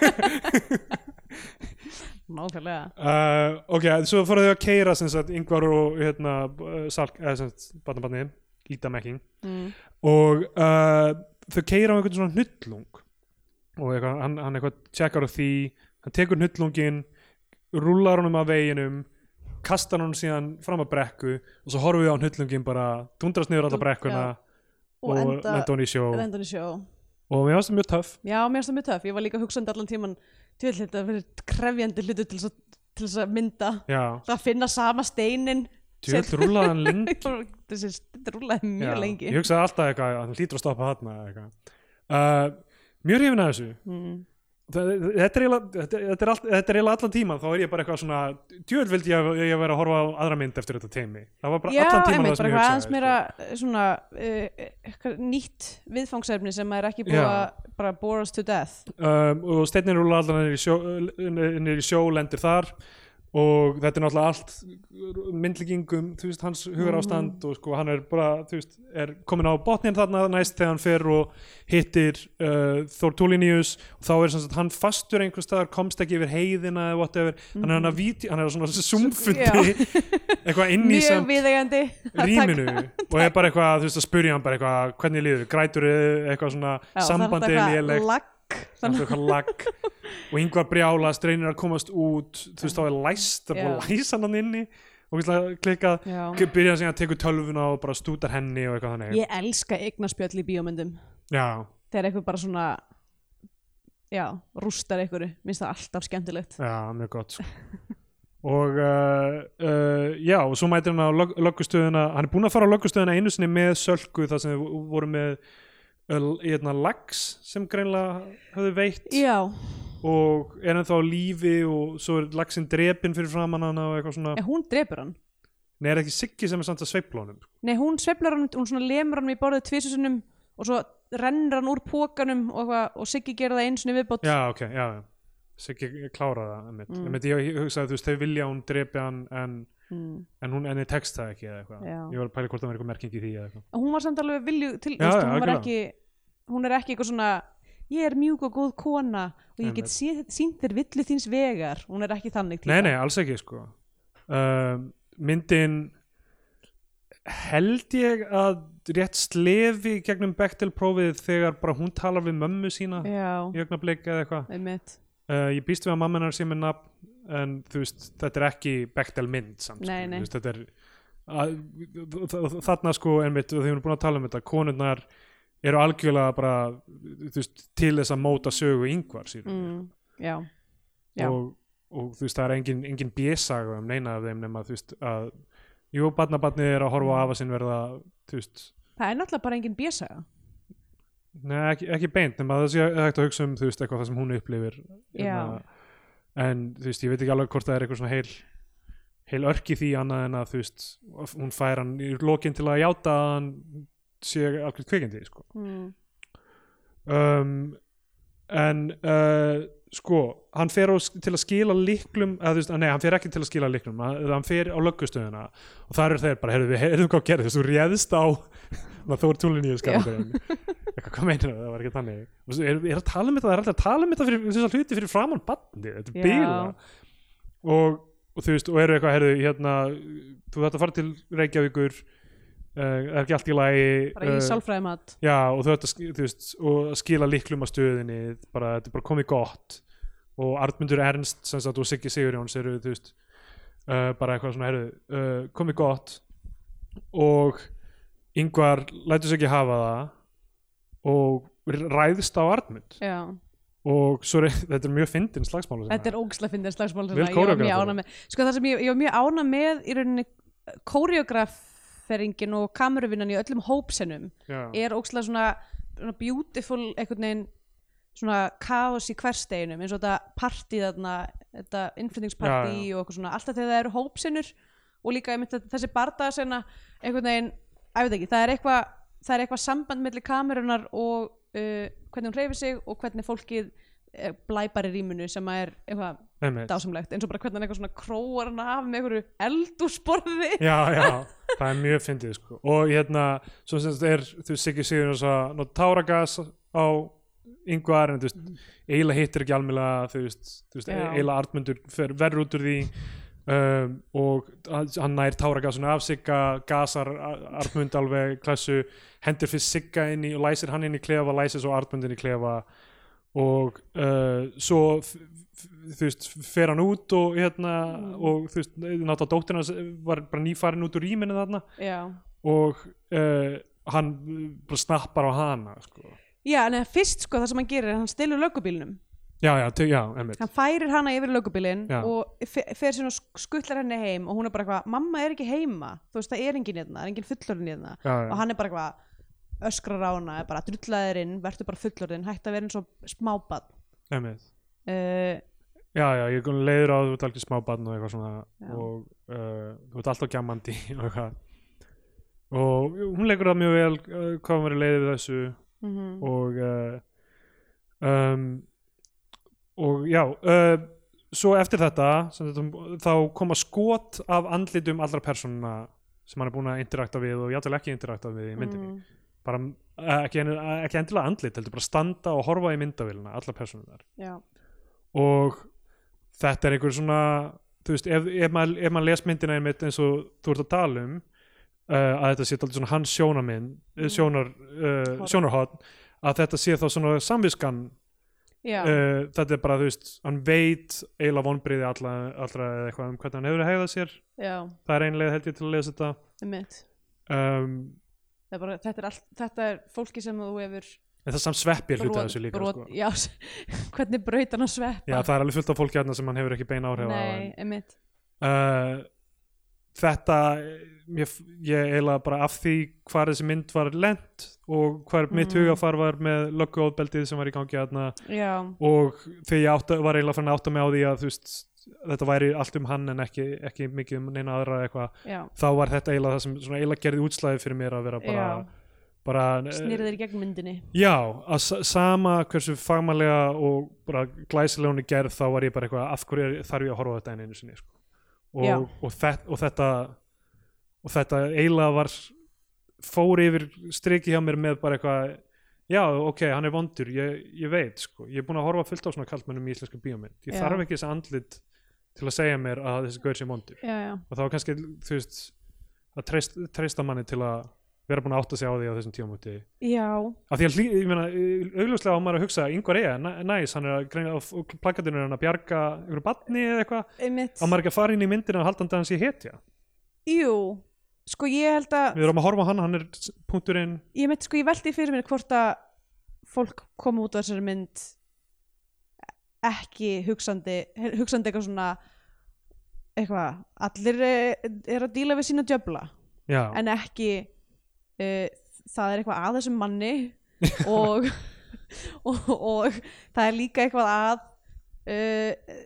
nákvæmlega
uh, ok, svo fóruð þau að keira sem sagt yngvar og hérna uh, salk, eða sem sagt barnabarni Ida Mekking
mm.
og uh, þau keira á einhvern svona hnullung og eitthvað, hann, hann eitthvað tjekkar á því hann tekur hnullungin rúlar honum að veginum kastar honum síðan fram að brekku og svo horfum við á hnullungin bara dundrast niður alla
Dún-
brekkuna
já.
og,
og
og
enda
lenda hann í sjó
enda hann í sjó
og mér varst það mjög töff
Já, mér finnst það mjög töff, ég var líka hugsandi allan tíman til þetta fyrir krefjandi hlutu til þess að, til þess að mynda
já,
það að finna sama steinin
tjöld rúlaði hann lengi
þessi þetta rúlaði mjög
Já,
lengi
ég hugsaði alltaf eitthvað að hann hlýtur að stoppa hann eitthvað uh, mjög hrifin að þessu
mm.
það, þetta, er eiginlega- þetta, þetta er all- þetta er eiginlega allan tíman þá er ég bara eitthvað svona djöðl vildi ég, að- ég að vera að horfa á aðra mynd eftir þetta teimi það var bara
já,
allan tíman
einmitt,
það
bara
sem ég
eitthvað aðeins
hugsaði sko.
meira eh, svona uh, eitthvað nýtt viðfangsefni sem maður er ekki búið
Já.
að bara bore us to death
um, og steinnir rúla allan niður í sjó, niður í sjó lendir þar og þetta er náttúrulega allt myndlíkingum, þú veist, hans hugur ástand og sko hann er bara, þú veist er komin á botnin þarna næst þegar hann fer og hittir uh, Thor Tulinius og þá er sem sagt hann fastur einhvers staðar, komst ekki yfir heiðina eða whatever, hann er hann að víti hann er á svona sumfundi eitthvað inn í
mjög
samt
viðegandi
rýminu og er bara eitthvað, þú veist, að spurja hann bara eitthvað, hvernig líður, grætur eitthvað svona, sambandi lélegt
lagg
þannig eitthvað lagg og yngvar brjálast, reynir að komast út þú veist þá er læst, það er bara
Já.
að læsa hann inni og við ætla að klikka
Já.
byrja að segja að tekur tölvuna og bara stútar henni og eitthvað þannig
ég elska eignaspjöll í bíómyndum
já,
þegar eitthvað bara svona já, rústar einhverju minnst það alltaf skemmtilegt
já, mjög gott sko. og uh, uh, já, og svo mætir hann á lög- löggustöðina hann er búinn að fara á löggustöðina einu sinni með sölku þar sem við vorum með uh, eitna, lags hérna sem greinlega höfðu veitt
já,
og er ennþá á lífi og svo er lagsin drepin fyrir framann hana og eitthvað svona
en hún drepur hann
Nei, er það ekki Siggi sem er samt að sveifla honum? sko?
nei, hún sveiflar hann, hún svona lemur hann í borðið tvisunum og svo rennur hann úr pókanum og, eitthvað- og Siggi gera það eins og viðbót
Já, ok, já, já. Siggi klára það, einmitt.
Mm.
Einmitt, ég hugsaði, þú veist, þau vilja að hún drepi hann en,
mm.
en hún enni tekst það ekki eða eitthvað.
Já.
Ég var að pæla hvort það var eitthvað merking í því eða eitthvað.
En hún var samt alveg vilju til
Já,
já,
já,
hún, var
algjörlega.
ekki, hún er ekki eitthvað svona ég er mjúk og góð kona og ég
Einmitt.
get sé- sýnt þér villu þíns vegar hún er ekki þannig
Nei, nei, alls ekki, sko. Um, myndin held ég að rétt slefi í gegnum Bechtel prófið þegar bara hún talar við mömmu sína
já,
í augnablik eða eitthvað.
einmitt
Uh, ég býst við að mamma hennar sé með nafn en þú veist, þetta er ekki Bechtel mynd samt,
Nei,
sko,
nei.
Þú veist, þetta er að, þ- þ- þarna sko einmitt, og þegar við erum búin að tala um þetta, konurnar eru algjörlega bara þú veist, til þess að móta sögu yngvar mm,
mm, já, já.
og, og þú veist, það er engin, engin bjössaga um neina af þeim nema þú veist að, jú, barnabarnið er að horfa á afa sinn verða, þú veist
það er náttúrulega bara engin bjösa
Nei, ekki, ekki beint, nema það sé hægt að hugsa um þú veist, eitthvað það sem hún upplifir
Já.
hérna. en þú veist, ég veit ekki alveg hvort það er eitthvað svona heil heil örk í því annað en að þú veist hún fær hann í lokin til að játa að hann sé alveg kvikindi sko.
mm.
um, en uh, sko, hann fer á, til að skila liklum, eða þú veist, að nei, hann fer ekki til að skila liklum, hann, hann fer á löggustöðuna og það eru þeir bara, heyrðu, við heyrðum hvað gerðist þú réðst á maður þú er túlinni í skapurinn eitthvað, hvað meinar það, það var ekki þannig og svo er, er að tala um þetta, það er alltaf að tala um þetta fyrir þessar hluti fyrir framann bandi, þetta
Já.
er bíla og, og þú veist, og eru eitthvað heyrðu, hérna, þú þetta fara til Reykjavíkur uh, er ekki allt í lagi
bara í
eh,
sálfræðimat
já, og þú þetta, þú veist, og að skila líklum að stöðinni, bara, þetta er bara komið gott og Arnmundur Ernst sem sagt, og Siggi Sigurjóns eru, þú veist uh, bara eitthvað svona, heyrðu, uh, komið gott og yngvar lætur sig ekki hafa það og ræðist á Arnmund
já.
og svo er, þetta er mjög fyndin slagsmála sem
þetta er ógislega fyndið slagsmál
Vel
ég var mjög
kóreografað.
ánað með sko það sem ég, ég var mjög ánað með í rauninni kóreograferingin og kameruvinnan í öllum hópsenum
já,
er ógslag svona, svona beautiful einhvern veginn svona kaos í hversteginum eins og þetta partí þarna þetta innflytningspartí
Já, já.
og eitthvað svona alltaf þegar það eru hópsinnur og líka einmitt þetta- þessi bardagasena einhvern veginn, að veit ekki, það er eitthvað það er eitthvað samband milli kamerunar og uh, hvernig hún hreyfir sig og hvernig fólkið eh, blæpar í rýminu sem að er eitthvað
einmitt
dásamlegt eins og bara hvernig hann eitthvað svona króar hann af með einhverju eldúsborði
já, já, það er mjög fyndið sko. og hérna, svo sem þetta er þú veist, Siggi Sigurjóns að nota táragas á yngvar en þú veist, eiginlega hittir ekki almjölega þú veist, þú veist
Já.
eiginlega Artmundur fer verður út úr því um, og hann- hann nær táragasunni af Sigga gasar Ar- Artmund alveg klassu, hendur fyrst Sigga inn í og læsir hann inn í klefa, læsir svo Artmund inn í klefa og uh, svo f- f- þú veist, fer hann út og hérna, og þú veist, náttúrulega dóttirna var bara nýfarin út úr rýminu þarna
já
og uh, hann bara snappar á hana sko.
Já, en fyrst sko það sem hann gerir er að hann stilur löggubílnum
já, já, te- já, emmitt
hann færir hana yfir löggubílinn
Já.
og fe- fer sér og sk- skutlar henni heim og hún er bara eitthvað, mamma er ekki heima þú veist það er engin hérna, það er engin fullorinn hérna
Já, já.
og hann er bara eitthvað öskrar á hana, er bara drullaðir inn, verður bara fullorinn hætt að vera eins og smábad
emmitt
uh,
já, já, ég er komin leiður á að þú ert alveg smá barn og eitthvað svona
Já.
og uh, þú ert alltaf gjammandi og eitthvað og hún leikur það mjög vel uh, hvað hún verið leiðið við þessu
mm
og uh, um, og já uh, svo eftir þetta sem þetta, þá koma skot af andlitum allra persónuna sem hann er búin að interakta við og játvel ekki interakta við í myndinni
Mm.
bara uh, ekki, en- ekki endilega andlit heldur bara standa og horfa í myndavélina allar persónunar
já,
og þetta er einhver svona þú veist, ef, ef, maður, ef maður les myndina einmitt eins og þú ert að tala um uh, að þetta sé alltaf svona hans sjónaminn mm. sjónar, uh,
Horn.
sjónarhótt að þetta sé þá svona samviskan
já,
uh, þetta er bara, þú veist, hann veit eiginlega vonbriði allra, allra eða eitthvað um hvernig hann hefur hegðað sér
já,
það er einlega held ég til að lesa þetta
einmitt
um,
Það er bara, þetta, er all, þetta er fólki sem þú hefur
en það samt sveppir hluta þessu líka
brot,
sko.
já, hvernig brautan að sveppa
Já, það er alveg fullt af fólki hérna sem hann hefur ekki beina áhrif á
Nei,
en,
einmitt
uh, Þetta ég, ég eiginlega bara af því hvar þessi mynd var lent og hvar mitt
Mm.
hugafar var með lögguóðbeldið sem var í gangi hérna
Já,
og þegar ég átta, var eiginlega fann að átta mig á því að þú veist, þetta væri allt um hann en ekki, ekki mikið um neina aðra eða eitthvað
já,
þá var þetta eiginlega það sem svona eiginlega gerði útslæði fyrir mér að vera bara,
Já.
bara eh,
snýrið þér í gegn myndinni
Já, að sa- sama hversu fagmælega og bara glæsilega hún er gerð þá var ég bara eitthvað af hverju er- þarf ég að horfa á þetta enn einu sinni sko.
Já.
og, og, þet, og þetta og þetta eiginlega var fór yfir striki hjá mér með bara eitthvað já, ok, hann er vondur, ég, ég veit sko. ég er búin að horfa fullt á svona kaltmennum í íslensku bíómynd ég
Já.
þarf ekki þessi andlit til að segja mér að þessi gaur sé vondur
Já, já,
og þá var kannski, þú veist að treyst, treysta manni til að vera búin að átta sig á því á þessum tíamúti
já,
af því að hlý, ég meina, eh, augljóslega á maður að hugsa yngvar eiga, næs, hann er að greina á plakatinu er hann að bjarga einhverju batni eða eitthvað,
einmitt
á maður ekki að fara inn í myndina og haldandi að hann sé hetja,
Jú, sko ég held að
við erum að horfa á hann hann er s- punkturinn,
ég meitt sko ég veldi fyrir mér hvort að fólk kom út á þessari mynd ekki hugsandi hugsandi eitthvað svona eitthvað, allir eh, eru að díla við sína djöfla
já,
en ekki uh, það er eitthvað að þessum manni og, og, og það er líka eitthvað að uh,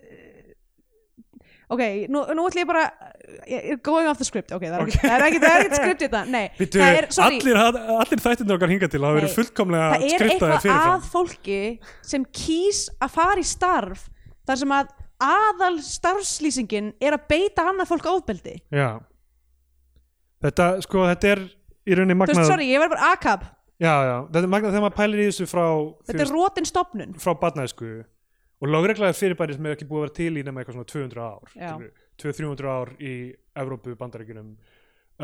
ok, nú, nú ætlum ég bara ég er going off the script, ok, það er ekki, það er ekki, það er ekki script þetta, nei,
Bittu,
það er, sorry
allir, ha- allir þættinu okkar hinga til, það
Nei.
verið fullkomlega
það er
skriftaði
eitthvað
fyrirfram,
að fólki sem kýs að fara í starf þar sem að aðal starfslýsingin er að beita annað fólk ofbeldi
já þetta, sko, þetta er í rauninni
þú veist,
magnað,
sorry, ég verður bara akab
já, já, þetta er magnað þegar maður pælir í þessu frá, þú
þetta er
veist,
rótin stopnun
frá barnæsku og lögreglaði fyrirbæri sem er ekki búið að vera til í nema eitthvað svona 200 ár
Já.
skilurðu. 200-300 ár í Evrópu bandaríkjunum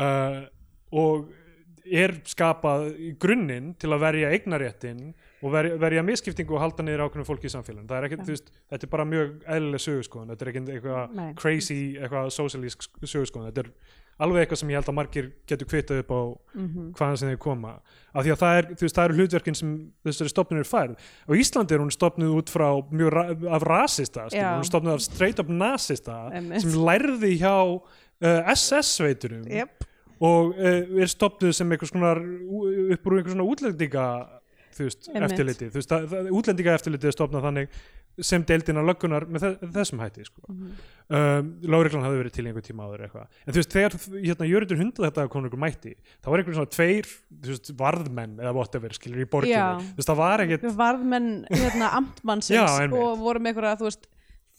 uh, og er skapað í grunninn til að verja eignaréttin og verja, verja miskiptingu og halda niður ákveðnum fólki í samfélaginu það er ekki,
Já.
þú veist, þetta er bara mjög eðlileg sögurskoðun þetta er ekki eitthvað
Nei.
crazy eitthvað socialist sögurskoðun þetta er alveg eitthvað sem ég held að margir getur kvitað upp á
Mhm.
hvaðan sem þeir koma af því að það er, þú veist, það eru hlutverkin sem þessari stopnun er færð á Íslandi er hún stopnuð út frá mjög ra af rasista, skilur,
Já.
hún er stopnuð af straight up nasista
Einmitt.
sem lærði hjá uh, SS-sveitunum
yep.
og uh, er stopnuð sem einhvers konar ú- upp úr einhvers svona útlendinga þú veist,
Einmitt.
eftirliti þú veist, það, það, útlendinga eftirliti er stopnað þannig sem deildina löggunar með þe- þessum hætti sko.
Mhm.
um, Láreglan hafði verið til í einhver tíma áður eitthvað en þú veist, þegar hérna, Jörundur hundið þetta konur ykkur mætti, þá var einhver svona tveir þú veist, varðmenn eða whatever skilur í borginni,
Já.
þú veist, það var ekkert
við varðmenn hérna
Já,
amtmannsins
einmitt.
og vorum einhverja þú veist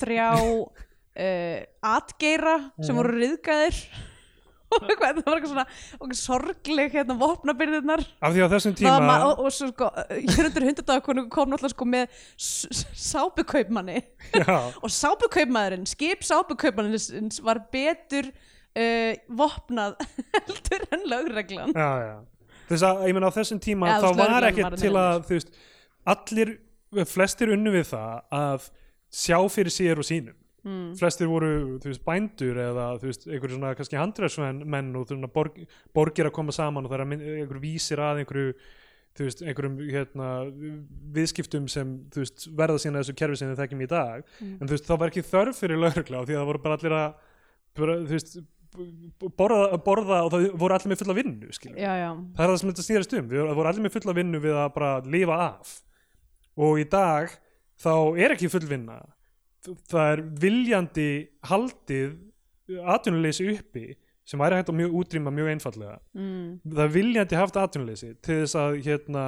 þrjá uh, atgeira sem voru riðgæðir og eitthvað, það var eitthvað svona og sorgleg hérna vopnabyrðirnar
af því að á þessum tíma
Tíma... og, og svo sko, Jörundur hundadagarkonu kom náttúrulega sko með s- s- sápukaupmanni
já,
og sápukaupmaðurinn, skip sápukaupmannsins var betur uh, vopnað heldur en lögreglan
já, já. þess að, ég meina á þessum tíma
Eða, þú
þá
veist,
var
lögreglan var
ekkert
að
til
meina
að þú veist, allir, flestir unnu við það að sjá fyrir sér og sínum mm. flestir voru, þú veist, bændur eða, þú veist, einhverju svona kannski handræðsmenn menn og þú veist, borg, borgir að koma saman og það er að myn- einhverju vísir að einhverju þú veist, einhverjum hérna, viðskiptum sem, þú veist, verða sína þessu kerfi sem við þekkjum í dag en þú veist, það var ekki þörf fyrir lögregla af því að það voru bara allir að bara, þú veist, b- borða, borða og það voru allir með fulla vinnu, skilur
já, já,
það er það sem þetta snýrist um við vorum allir með fulla vinnu við að bara lifa af og í dag þá er ekki fullvinna það er viljandi haldið atvinnuleysi uppi sem væri hægt að mjög útrýma mjög einfallega
mm.
það er viljandi haft atvinnuleysi til þess að hérna,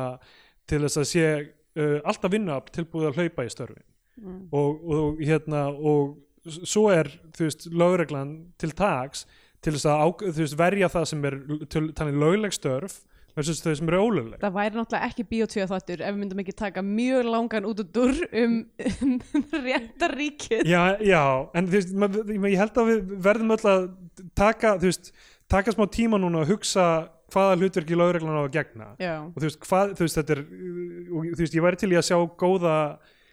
til þess að sé uh, alltaf vinna tilbúið að hlaupa í störfin
Mm.
og, og hérna og s- svo er þú veist lögreglan til taks til þess að á, þú veist, verja það sem er l- til, þannig lögleg störf versus þau sem eru ólögleg
það væri náttúrulega ekki bíotvíða þáttur ef við myndum ekki taka mjög langan út og dur um, um réttaríkið
já, já, en þú veist, mað, ég held að við verðum öll að taka, þú veist, taka smá tíma núna og hugsa hvaða hlutverki lögreglan á að gegna
já.
og þú veist, hvað, þú veist, þetta er uh, og, þú veist, ég væri til í að sjá góða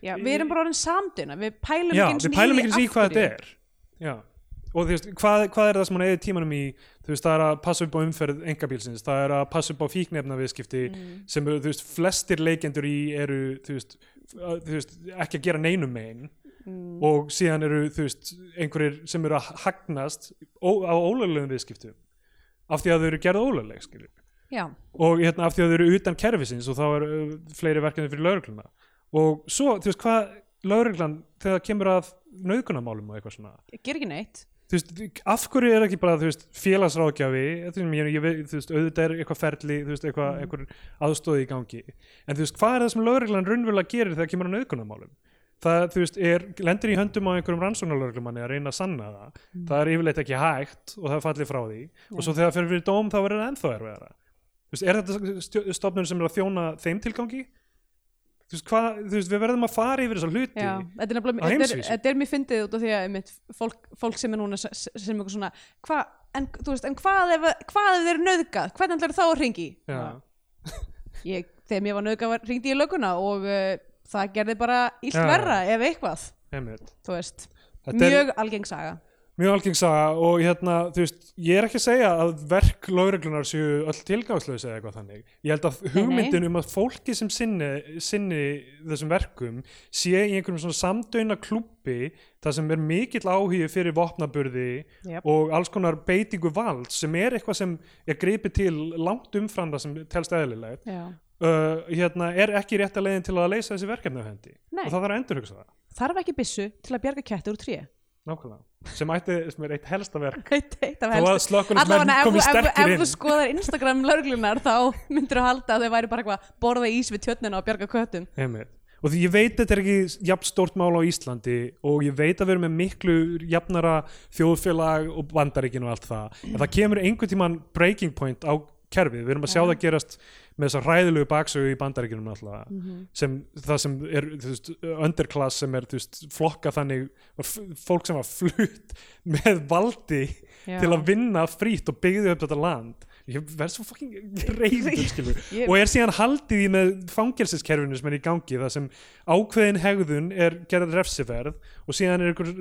já, við erum bara orðin samdina við pælum ekki
já,
einu
við
sinni
pælum ekki eins í
af
hvað þetta
hverju.
er já, og þú veist, hvað, hvað er það sem hann eigi tímanum í, þú veist, það er að passa upp á umferð engabílsins, það er að passa upp á fíknefna viðskipti sem, eru, þú veist, flestir leikendur í eru, þú veist, að, þú veist ekki að gera neinum megin
Mm.
og síðan eru, þú veist, einhverjir sem eru að hagnast ó, á ólöglegum viðskiptum af því að þau eru gerð ólögleg, skilur
já,
og hérna af því að þau eru utan kerfisins og þá er uh, fleiri verkefni fyrir laurugluna og svo, þú veist hvað lauruglan þegar það kemur að nöðgunamálum og eitthvað svona
ger ekki neitt
þú veist, af hverju er ekki bara þú veist, félagsráðgjafi þú veist, ég, ég, veit- þú veist, auðvitað er eitthvað ferli þú veist, eitthvað,
Mm.
einhver aðstóði í gangi en þú veist, hvað er það sem lögreglan raunverulega gerir þegar kemur að nöðgunamálum það, þú veist, er, lendir í höndum á einhverjum rannsóknarlögreglumanni að reyna að sanna það
Mm.
það er yfirleitt ekki hægt og það fallir frá því og svo þegar fyrir fyrir dóm þá verður það ennþá erfiðara þú veist, er þetta stjó- stofnun sem er að þjóna þeim tilgangi þú veist, hvað, þú veist, við verðum að fara yfir þessa hluti
Já, þetta er, nefnilega-
Á
þetta, er,
heimsvísu.
þetta er mér fyndið út af því að einmitt, fólk, fólk sem er núna s- s- sem eitthvað svona hva, en, þú veist, en hvað ef, hvað ef þeir eru nöðgað, hvernig ætlar þá að ringi
Já.
ég, þegar mér var nöðgað var, ringdi ég löguna og uh, það gerði bara illt
Já.
verra ef eitthvað,
einmitt.
þú veist
Þetta er-
mjög algeng saga
mjög algeng saga og hérna, þú veist, ég er ekki að segja að verk lauruglunar séu öll tilgangslösi eða eitthvað þannig. Ég held að hugmyndin um að fólki sem sinni, sinni þessum verkum sé í einhverjum svona samdöina klúbbi þar sem er mikill áhugi fyrir vopnaburði
Jep.
og alls konar beitingu vald sem er eitthvað sem er gripið til langt umfram það sem telst eðlilegt
Já.
uh, hérna, er ekki rétt að leiðin til að leysa þessi verkefni á hendi
Nei.
og það þarf að endurhugsa það,
þarf ekki byssu til að bjarga kettur úr tré
nákvæmlega sem, ætti, sem er eitt helsta verk
eitt eitt af
Þó að
helstu
slökkunismenn
Allavega, ef,
komið
þú- ef,
sterkir
ef
inn
þú skoðar Instagram lauruglunar þá myndur þú halda að þau væri bara eitthvað borða ís við tjötnina og bjarga köttum
Einmitt. og því ég veit þetta er ekki jafn stórt mál á Íslandi og ég veit að við erum með miklu jafnara þjóðfélag og bandaríkin og allt það en það kemur einhvern tímann breaking point á kerfið, við erum að sjá það gerast með þessar ræðilegu baksögu í bandaríkinum alltaf,
Mm.
sem það sem er þú veist, underclass sem er þú veist, flokka þannig, var f- fólk sem var flutt með valdi
Já.
til að vinna frítt og byggði upp þetta land ég verð svo fucking reyður skilur
Ég-
og er síðan haldið í með fangelsiskerfinu sem er í gangi það sem ákveðin hegðun er gerð refsiverð og síðan er ykkur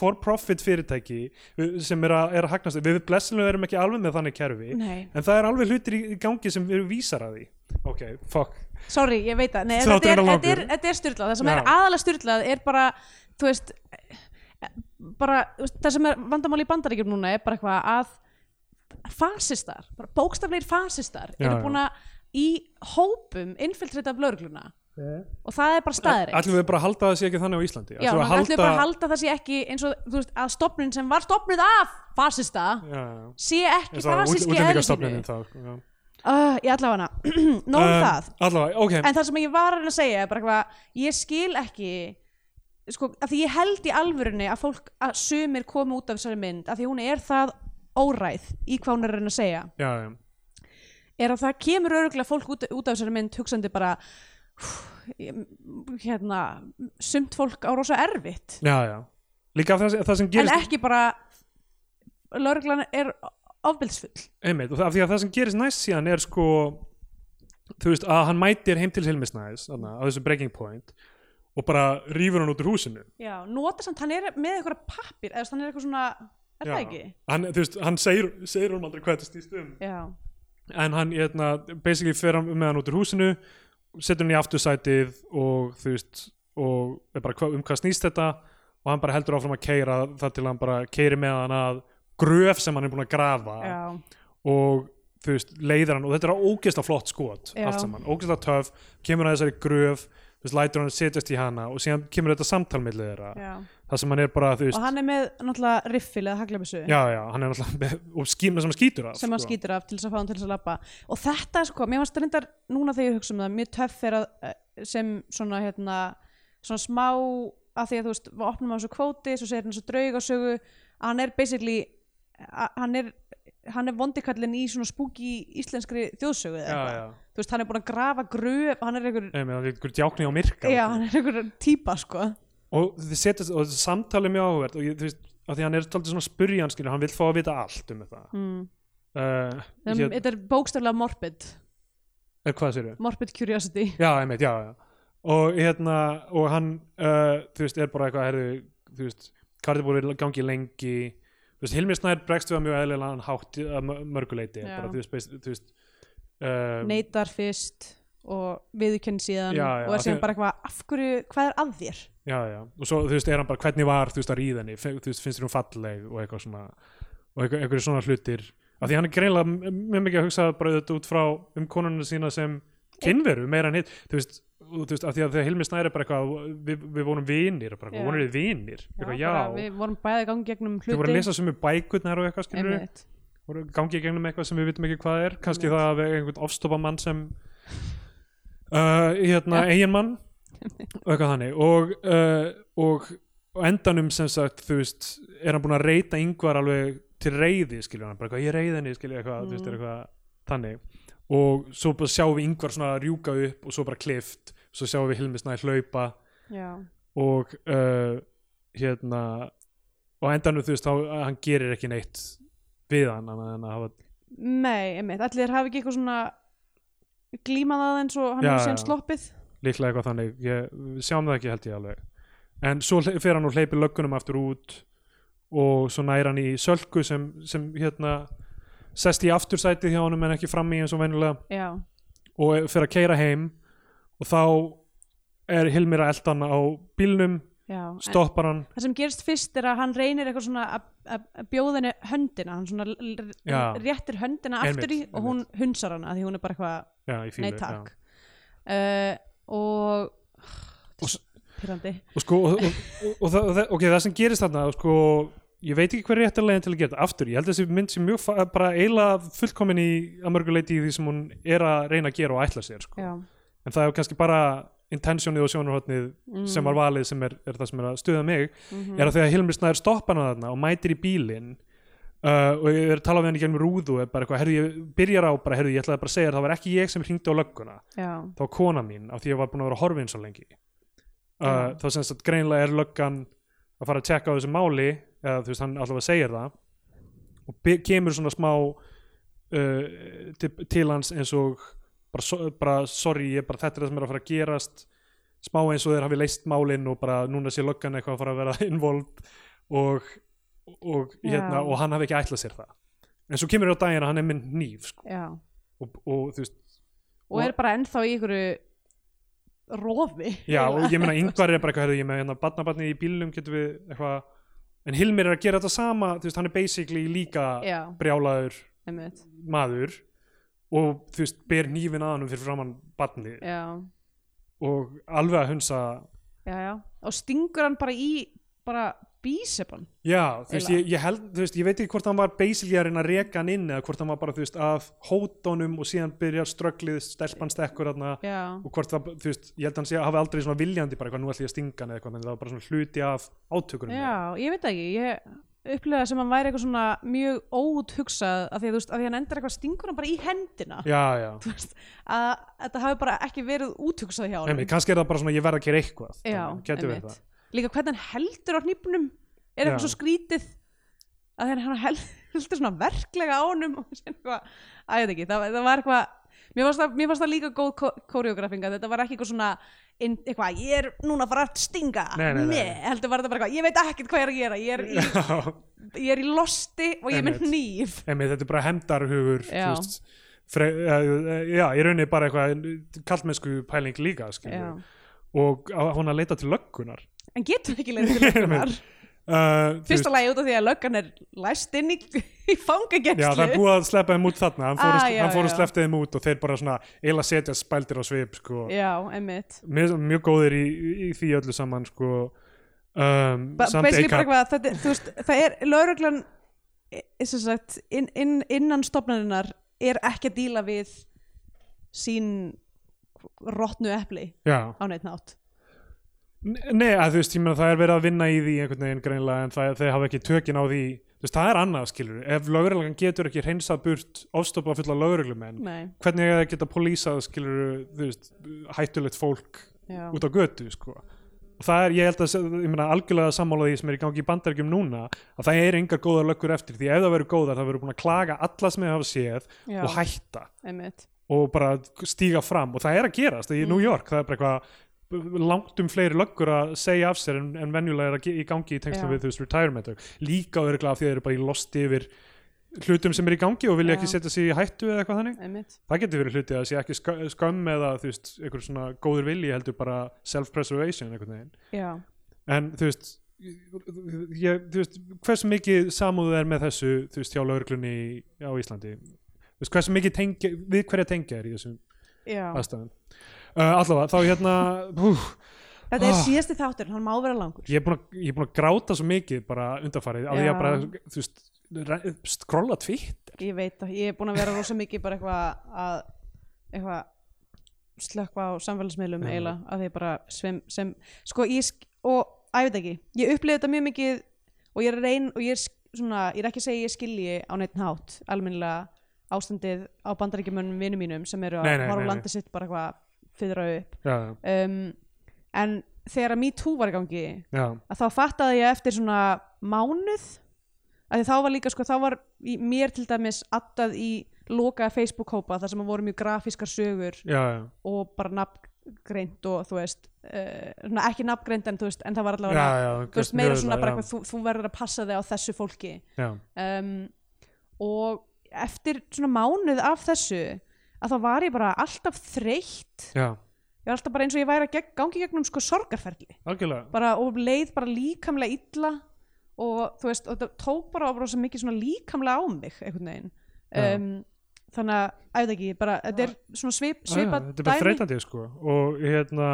for profit fyrirtæki uh, sem er að, er að hagnast við blessinlega erum ekki alveg með þannig kerfi
Nei.
en það er alveg hlutir í í gangi sem eru vísar að því ok, fuck
Sorry, ég veit það, Nei,
Þátturinn
þetta, er,
er langur.
þetta, er, þetta er styrlað, það sem er
Já.
aðalega styrlað er bara, þú veist bara, þú veist, það sem er vandamáli í bandaríkjum núna er bara eitthvað að fasistar, bara bókstafleir fasistar
Já,
eru
já.
búin að í hópum innfiltrita af laurugluna og það er bara staðreik
ætlum við bara að halda að það sé ekki þannig á Íslandi
Eh? Já, þannig
ætlum við
ætlum við bara að halda það sé ekki eins og, þú veist, að stopnun sem var stopnuð af fasista
já, já.
sé ekki
eins og
fasiski
útlendingastofnunin þá já.
Uh, ég ætla hana, nóg um
Um,
það
allavega, ok,
en það sem ég var að reyna að segja er bara eitthvað, ég skil ekki sko, að því ég held í alvörunni að fólk að sumir komi út af þessari mynd að því hún er það óræð í hvað hún er að reyna að segja
já, já
er að það kemur öruglega fólk út, út af þessari mynd hugsandi bara "Hú, ég- hérna, sumt fólk á rosa erfitt
Já, já. Líka af það, sem- það sem
en
gerist,
ekki bara lögreglan er ofbildsfull
einmitt, og það- af því að það sem gerist næst síðan er sko, þú veist, að hann mætir heim til Hilmisnæðis, þarna, á þessu breaking point, og bara rýfur hann út úr húsinu.
já, nota samt, hann er með eitthvað pappir eða þú veist, hann er eitthvað svona, er það
Já.
ekki?
Hann, þú veist, hann segir, segir hann aldrei hvað þetta stýst um.
já,
En hann, hérna, basically fer hann með hann út úr húsinu, setur hann í aftursætið og, þú veist, og er bara hva, um hvað snýst þetta og hann bara heldur áfram að keira þar til hann bara keiri með hann að gröf sem hann er búin að grafa
já,
og þú veist, leiðir hann og þetta er ógeðslega flott skot
Já.
allt saman, ógeðslega töf, kemur að þessari gröf þú veist, lætur hann setjast í hana og síðan kemur þetta samtal milli þeirra
já.
það sem hann er bara, þú veist
og hann er með náttúrulega riffil eða haglabissu
já, já, hann er alltaf með, og skýmna sem hann skýtur sko. af
sem hann skýtur af til þess að fá hann til þess að labba og þetta sko, mér fannst reyndar núna þegar ég hugsa um það mjög töff er að eh, sem svona hérna svona smá að því að þú veist, við opnum á þessu kvóti svo segir hann þessu draugasögu að hann er basically a- hann er, hann er vondikallin í svona spooky íslenskri þjóðsögu eða
já,
eitthvað.
já,
þú veist, hann er búin að grafa gröf hann er einhver,
Nei, menn, það er ykkur djákni á myrka sko.
já, hann er einhver típa sko,
og þið setjast, og þessi samtal er mjög áhugavert og ég, þú veist, af því hann er taldið svona spurjanskinu, hann vil fá að vita allt um þetta
mm.
uh,
en
hér,
þetta er bókstaflega morbid
er, eh, hvað sér
morbid curiosity
já, einmitt, já, já og hérna, og hann uh, þú veist, er bara eitthvað, herðu þú veist, hvað er þetta búið að gangi lengi þú veist, Hilmi Snær bregst við að mjög eðlilega hann hátt að mö- mörguleiti
Já.
bara, þú veist, beis- þú veist uh,
neitar fyrst og viðurkenn síðan
Já, já,
og er
af því-
síðan bara eitthvað af hverju, hvað er að þér
já, já, og svo, þú veist, er hann bara hvernig var, þú veist, að ríða henni, Fe- þú veist, finnst þér hún falleg og eitthvað svona, og eitthvað, eitthvað svona hlutir, af því hann er greinlega m- mjög mikið að hugsa bara þetta út frá um konununa sína sem kynveru, meira en hitt, þú veist, og, þú veist, af því að þegar Hilmi snæri bara eitthvað, við, við vorum vinir, bara
Já.
eitthvað, vonur við vinir, eitthvað, já,
bara, við vorum bæði gangi gegnum hluti
þau voru að lesa sömu bækurnar og eitthvað, skilur við,
Einmitt.
voru gangið gegnum eitthvað sem við vitum ekki hvað er, kannski það að vera einhvern ofstopa mann sem uh, hérna, eiginmann og eitthvað þannig og, uh, og, og endanum sem sagt, þú veist, er hann búin að reyta yngvar alveg til reyði, skilur hann bara eitthvað, ég reyði henni, skilur eitthvað, þú veist, er eitthvað þannig, og svo bara sjáum við yngvar svona rjúka upp og svo bara klift svo sjáum við Hilmi snæ hlaupa
já,
og uh, hérna og á endanum þú veist þá hann gerir ekki neitt við hann annað en að hafa,
nei, einmitt, allir hafi ekki eitthvað svona glímað aðeins og hann
Já,
hefur síðan
já.
sloppið
líklega eitthvað þannig ég, við sjáum það ekki held ég alveg en svo hle- fer hann og hleypir löggunum aftur út og svo nær hann í sölku sem, sem hérna sest í aftursætið hjá honum en ekki fram í eins og venjulega
já,
og er- fer að keira heim og þá er Hilmir að elda hann á bílnum
já En
stoppar hann
það sem gerist fyrst er að hann reynir eitthvað svona að- að að bjóða henni höndina hann svona l-
Já.
l- réttir höndina aftur í
Einmitt,
og hún hunsar hana því hún er bara eitthvað
já, í fílu,
nei
já.
takk uh, og
Og s-
pyrrandi
og sko og, og, og, og, og, ok, það sem gerist þarna sko, ég veit ekki hver er réttarlegin til að gera þetta aftur, ég held að þessi mynd sem mjög fa- bara eiginlega fullkomin í að mörguleiti í því sem hún er að reyna að gera og ætla sér sko.
já,
en það er kannski bara intentionið og sjónarhotnið sem var valið sem er, er það sem er að stuða mig er að þegar Hilmir Snæður stoppar hana þarna og mætir í bílinn Uh, og ég er að tala við henni í gegnum rúðu og er bara eitthvað, herðu ég byrjar á bara, herðu ég ætlaði bara að segja þér, það var ekki ég sem hringdi á lögguna
já
þá kona mín af því ég var búin að vera að horfa eins og lengi uh,
Já.
þá semst að greinlega er löggan að fara að tjekka á þessu máli eða þú veist hann allavega segir það og be- kemur svona smá uh, til, til hans eins og bara, so- bara sorry ég bara þetta er það sem er að fara að gerast smá eins og þeir hafi leist málin og bara núna sé löggan eitthvað að fara að vera involvd og, og,
Já.
hérna, og hann hafi ekki ætlað sér það en svo kemur á daginn að hann er minn hníf sko,
Já,
og, og þú veist
og er bara ennþá í ykkur rofi
Já, og ég meina yngvar er bara eitthvað, herrðu, ég meina hérna barnabarnið í bílnum getum við eitthvað, en Hilmir er að gera þetta sama, þú veist, hann er basically líka
Já,
brjálaður
einmitt
maður og þú veist, ber hnífin að hann fyrir framann barnið
Já,
og alveg að hunsa,
já, já Og stingur hann bara í bara bísepan
já, þú veist,
Eiginlega.
ég, ég held, þú veist, ég veit ekki hvort hann var basically að reyna að reka hann inn eða hvort hann var bara, þú veist, að hótonum og síðan byrjar strögglið, stelpan stekkur þarna
Já,
og hvort það, þú veist, ég held að hann sé að hafa aldrei svona viljandi bara eitthvað, nú ætla ég að stinga hann eða eitthvað, en það var bara svona hluti af átökunum þeirra.
já, ég veit það ekki Ég upplega sem hann væri eitthvað svona mjög óút hugsað af því að þú veist, af því hann endar eitthvað stingur hann bara í hendina
já, já.
Þú veist, að þetta hafi bara ekki verið úthugsað hjá hann
Einmitt, kannski er það bara svona ég verð að gera eitthvað
Já,
getur við
einmitt.
það
Líka hvernig hann heldur á hnýpnum er
Já.
eitthvað svo skrítið að þegar hann hel- heldur svona verklega á honum og sér eitthvað, að ég veit ekki það, það var eitthvað, mér fannst það, mér fannst það líka góð koreografinga, þetta var ekki eitthvað svona inn, eitthvað, ég er núna að fara að stinga
Nei, nei, nei.
heldur var þetta bara eitthvað, ég veit ekkert hvað ég er að gera ég er í,
Já,
ég er í losti og ég er með
Einmitt.
hníf
einmitt, þetta er bara hemdarhugur þú
Já.
veist, fre, eh, já, ég raunni bara eitthvað kallmennsku pæling líka skilur
Já.
við. og á, hún að leita til löggunar
en getur ekki leið til löggunar
Einmitt. uh, þú
Fyrsta lagi út af því að löggan er læst inn í, í fangagekslu
Já, það er búið að sleppa þeim út þarna hann fór,
Ah,
ah,
já,
hann fór að
já.
sleppta þeim út og þeir bara svona eila setja spældir á svip sko.
Já, einmitt
mjög, mjög góðir í, í því öllu saman sko. um,
Ba-
samt
basically bara
Eikar-
eitthvað, það, þú veist, það er lauruglan e- sem sagt, inn, inn, innan stofnarinnar er ekki að díla við sín rottnu epli
Já,
á neitt nátt
N- nei, að þú veist, ég meina það er verið að vinna í því einhvern veginn greinlega en það, þeir hafa ekki tökin á því þú veist, það er annað skilur, ef lögreglan getur ekki hreinsað burt ofstopa fulla lögreglumenn
Nei,
hvernig eiga þeir að geta pólísað skilur, þú veist, hættulegt fólk
já,
út á götu sko. og það er, ég held að, ég meina algjörlega sammála því sem er í gangi í bandaríkjum núna að það er engar góðar löggur eftir því ef það verður góðar það verður búin að klaga alla sem þið hafa séð
já,
og hætta
einmitt
og bara stíga fram og það er að gerast í
Mm.
New York, það er bara eitthvað langt um fleiri löggur að segja af sér en, en venjulega er að ge- í gangi í tengslum
Já.
við þú veist retirement og líka örgla af því að þeir eru bara í losti yfir hlutum sem er í gangi og vilja
Já.
ekki setja sig í hættu eða eitthvað þannig
Einmitt.
það getur verið hluti að það sé ekki sk- skömm eða þú veist, einhver svona góður vilji heldur bara self-preservation einhvern veginn
Já,
en þú veist, ég, þú veist hversu mikið samúðu er með þessu þú veist, hjá lauruglunni á Íslandi þú veist, hversu mikið tengja, við hverja tengja er í þessum
já.
aðstæðum uh, allavega, þá hérna hú,
Þetta er
Ah.
síðasti þáttur, hann má vera langur
ég er búin að- ég er búin að gráta svo mikið bara undarfarið að ég
Já.
að bara, þú veist re- skrolla tvitt
Ég veit að ég er búin að vera rosa mikið bara eitthvað að eitthvað slökva á samfélagsmiðlum
Já.
eiginlega að því bara sem, sem sko ég sk- og að ég veit ekki, ég upplifði þetta mjög mikið og ég er reyn og ég er sk- svona, ég er ekki að segja ég skilji á neitt nátt almennilega ástandið á bandaríkjumönnum vinum mínum sem eru
Nei,
að
nei,
horfa á
nei, nei.
landið sitt bara eitthvað fyrra upp
já,
um, en þegar að MeToo var í gangi
já,
að þá fattaði ég eftir svona mánuð að þá var líka sko, þá var í, mér til dæmis attað í lokaða Facebook-hópa þar sem að voru mjög grafískar sögur
já, já.
og bara nafngreint og þú veist, uh, svona ekki nafngreint en þú veist, en það var
Já,
allavega
já,
þú veist, meira svona bara
já,
eitthvað, þú, þú verður að passa þig á þessu fólki
já,
um, og eftir svona mánuð af þessu að þá var ég bara alltaf þreytt
já,
ég var alltaf bara eins og ég væri að gegn, gangi í gegnum sko sorgarferli
algjörlega
bara, og leið bara líkamlega illa og þú veist, og þetta tók bara á rosa mikið svona líkamlega á mig einhvern veginn
Já.
um, þannig að, að veit ekki, bara, þetta er svona svip,
Já, já,
svipað
þetta er bara þreytandi sko og hérna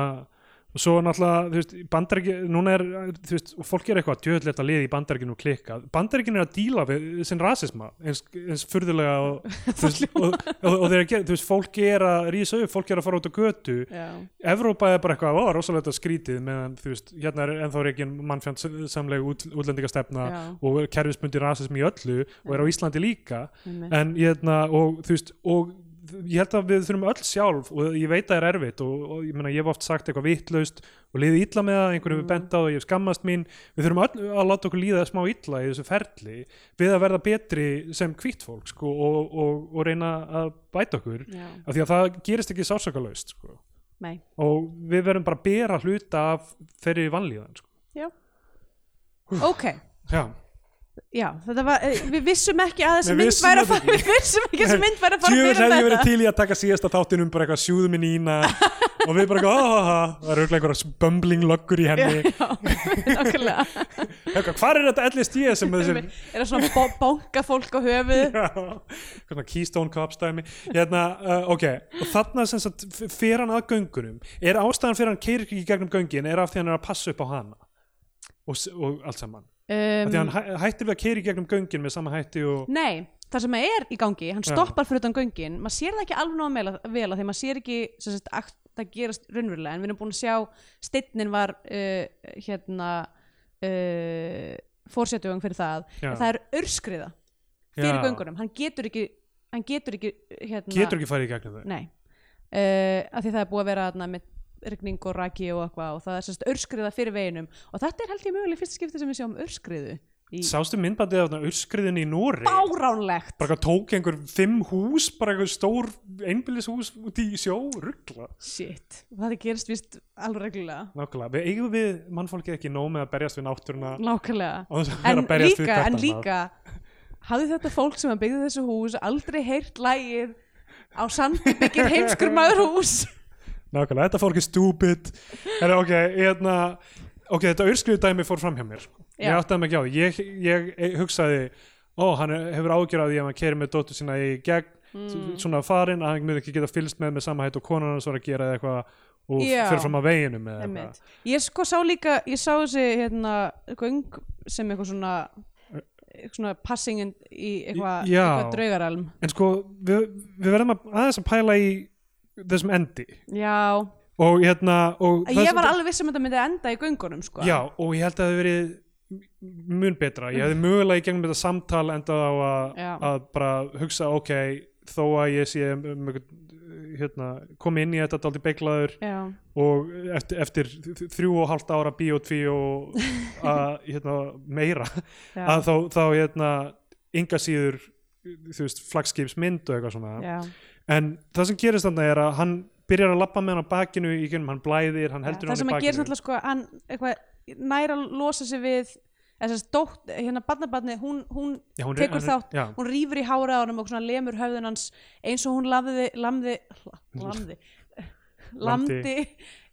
og svo náttúrulega, þú veist, bandaríki núna er, þú veist, og fólk er eitthvað djöðlegt að liði í bandaríkinu og klikka, bandaríkinu er að díla við sinn rasisma, eins, eins furðulega og, þú veist, og, og, og þeir að gera, þú veist, fólk er að rísa upp fólk er að fara út á götu,
Já,
Evrópa er bara eitthvað, ó, rosalega skrítið meðan, þú veist, hérna er ennþá reikin mannfjandsamleg út, útlendingastefna
já,
og kerfisbundi rasismi í öllu og er á Íslandi líka
einmitt.
en ég hefna, og þú veist og ég held að við þurfum öll sjálf og ég veit að það er erfitt og, og ég, meina, ég hef oft sagt eitthvað vitlaust og liðið illa með það
Mm.
einhverjum við bent á það, ég hef skammast mín við þurfum öll að láta okkur líða smá illa í þessu ferli við að verða betri sem hvítt fólk sko, og, og, og reyna að bæta okkur
já,
af því að það gerist ekki sásakalaust sko.
nei
og við verðum bara að bera hluta af þeirri vanlíðan sko.
ok,
já,
já, þetta var eh, við vissum ekki að þessi
Við
mynd
vissum
væri að
þetta
fara við vissum ekki að þessi mynd væri að fara
Djöfull
fyrir
hefði ég
þetta
verið til í að taka síðasta þáttinn um bara eitthvað sjúðu minn ína og við bara eitthvað, oh, það eru örugglega einhverja bumbling löggur í henni
já, okkurlega
eitthvað, hvar er þetta ellist ég sem þessir
er það svona bo bonga fólk á höfuð
Já, eitthvað svona Keystone Cops dæmi hérna, uh, ok, og þarna sem sagt f- fer hann að göngunum er ástæðan fyrir hann keirir ekki í gegnum göngin er af því hann er að passa upp á hana og, s- og allt saman um, því
um,
hann hæ- hættir við að keiri í gegnum göngin með sama hætti og
Nei, það sem er í gangi, hann
Já.
stoppar fyrir utan göngin, maður sér það ekki alveg nóg meila, vel að því maður sér ekki sem sagt, akt, það gerast raunverulega, en við erum búin að sjá steinnin var uh, hérna uh, fórsetjöfung fyrir það,
Já.
en það er örskriða fyrir
Já.
göngunum, hann getur ekki hann getur ekki hérna,
getur ekki farið í gegnum þau
Nei, uh, af því það er búið að vera þarna með rigning og raki og eitthvað og það er sem sagt, örskriða fyrir veginum og þetta er held ég möguleg fyrsta skipti sem við sjáum örskriðu í
sástu myndbandið af þarna urskriðin í Nóri
báránlegt
bara eitthvað tók einhver fimm hús bara eitthvað stór einbýlishús út í sjó ruggla
Shit, það gerist vist alveg reglulega
nákvæmlega, við eigum við mannfólkið ekki nóg með að berjast við náttúruna
Nákvæmlega
á þess að vera
En
að berjast við
líka,
hvert
en
annað.
líka hafði þetta fólk sem að byggði þessu hús aldrei heyrt lægið á sandi byggir heimskur maður hús
nákvæmlega, þetta fólk er stúbid en ok, hérna ok, þetta auðskriðu dæmi fór fram hjá mér ég
Já.
áttaði mig ekki á því ég, ég, ég hugsaði, ó, hann hefur ágjör af því að hann keri með dóttu sína í gegn
Mm.
svona farin, að hann muni ekki geta fylgst með með samahætt og konan hans var að gera eða eitthvað og
Já.
fyrir fram að veginu með
Einmitt. ég sko sá líka ég sá þessi hérna göng sem eitthvað svona eitthvað svona passing in- í eitthvað
Já.
eitthvað draugaralm
en sko, við, við verðum að aðeins að pæla í þessum endi
já,
og hérna og það
ég
sem-
var alveg viss um að þetta myndi enda í göngunum sko
Já, og ég held að það hefði verið m- mun betra, ég hefði mögulega í gegnum þetta samtal enda á að,
Mm. Já.
að bara hugsa, ok, þó að ég sé um, einhvern- hérna, komi inn í þetta daldi beiglaður
já,
og eftir, eftir þ- þrjú og hálft ára bíotví og að, hérna, meira
já,
að þá, þá hérna, ynga síður þú veist, flagskipsmynd og eitthvað svona
já,
en það sem gerist þarna er að hann byrjar að labba með hann á bakinu í gennum, hann blæðir, hann
já. það
heldur hann í
sem að gera
bakinu
náttúrulega sko að hann eitthvað næra losa sig við eða þess að dótt, hérna barnabarni hún, hún
Já, hún-
tekur
hann-
þátt,
já.
hún rýfur í hárið á honum og svona lemur höfðun hans eins og hún lafði, lamði lamði,
Lamdi.
lamdi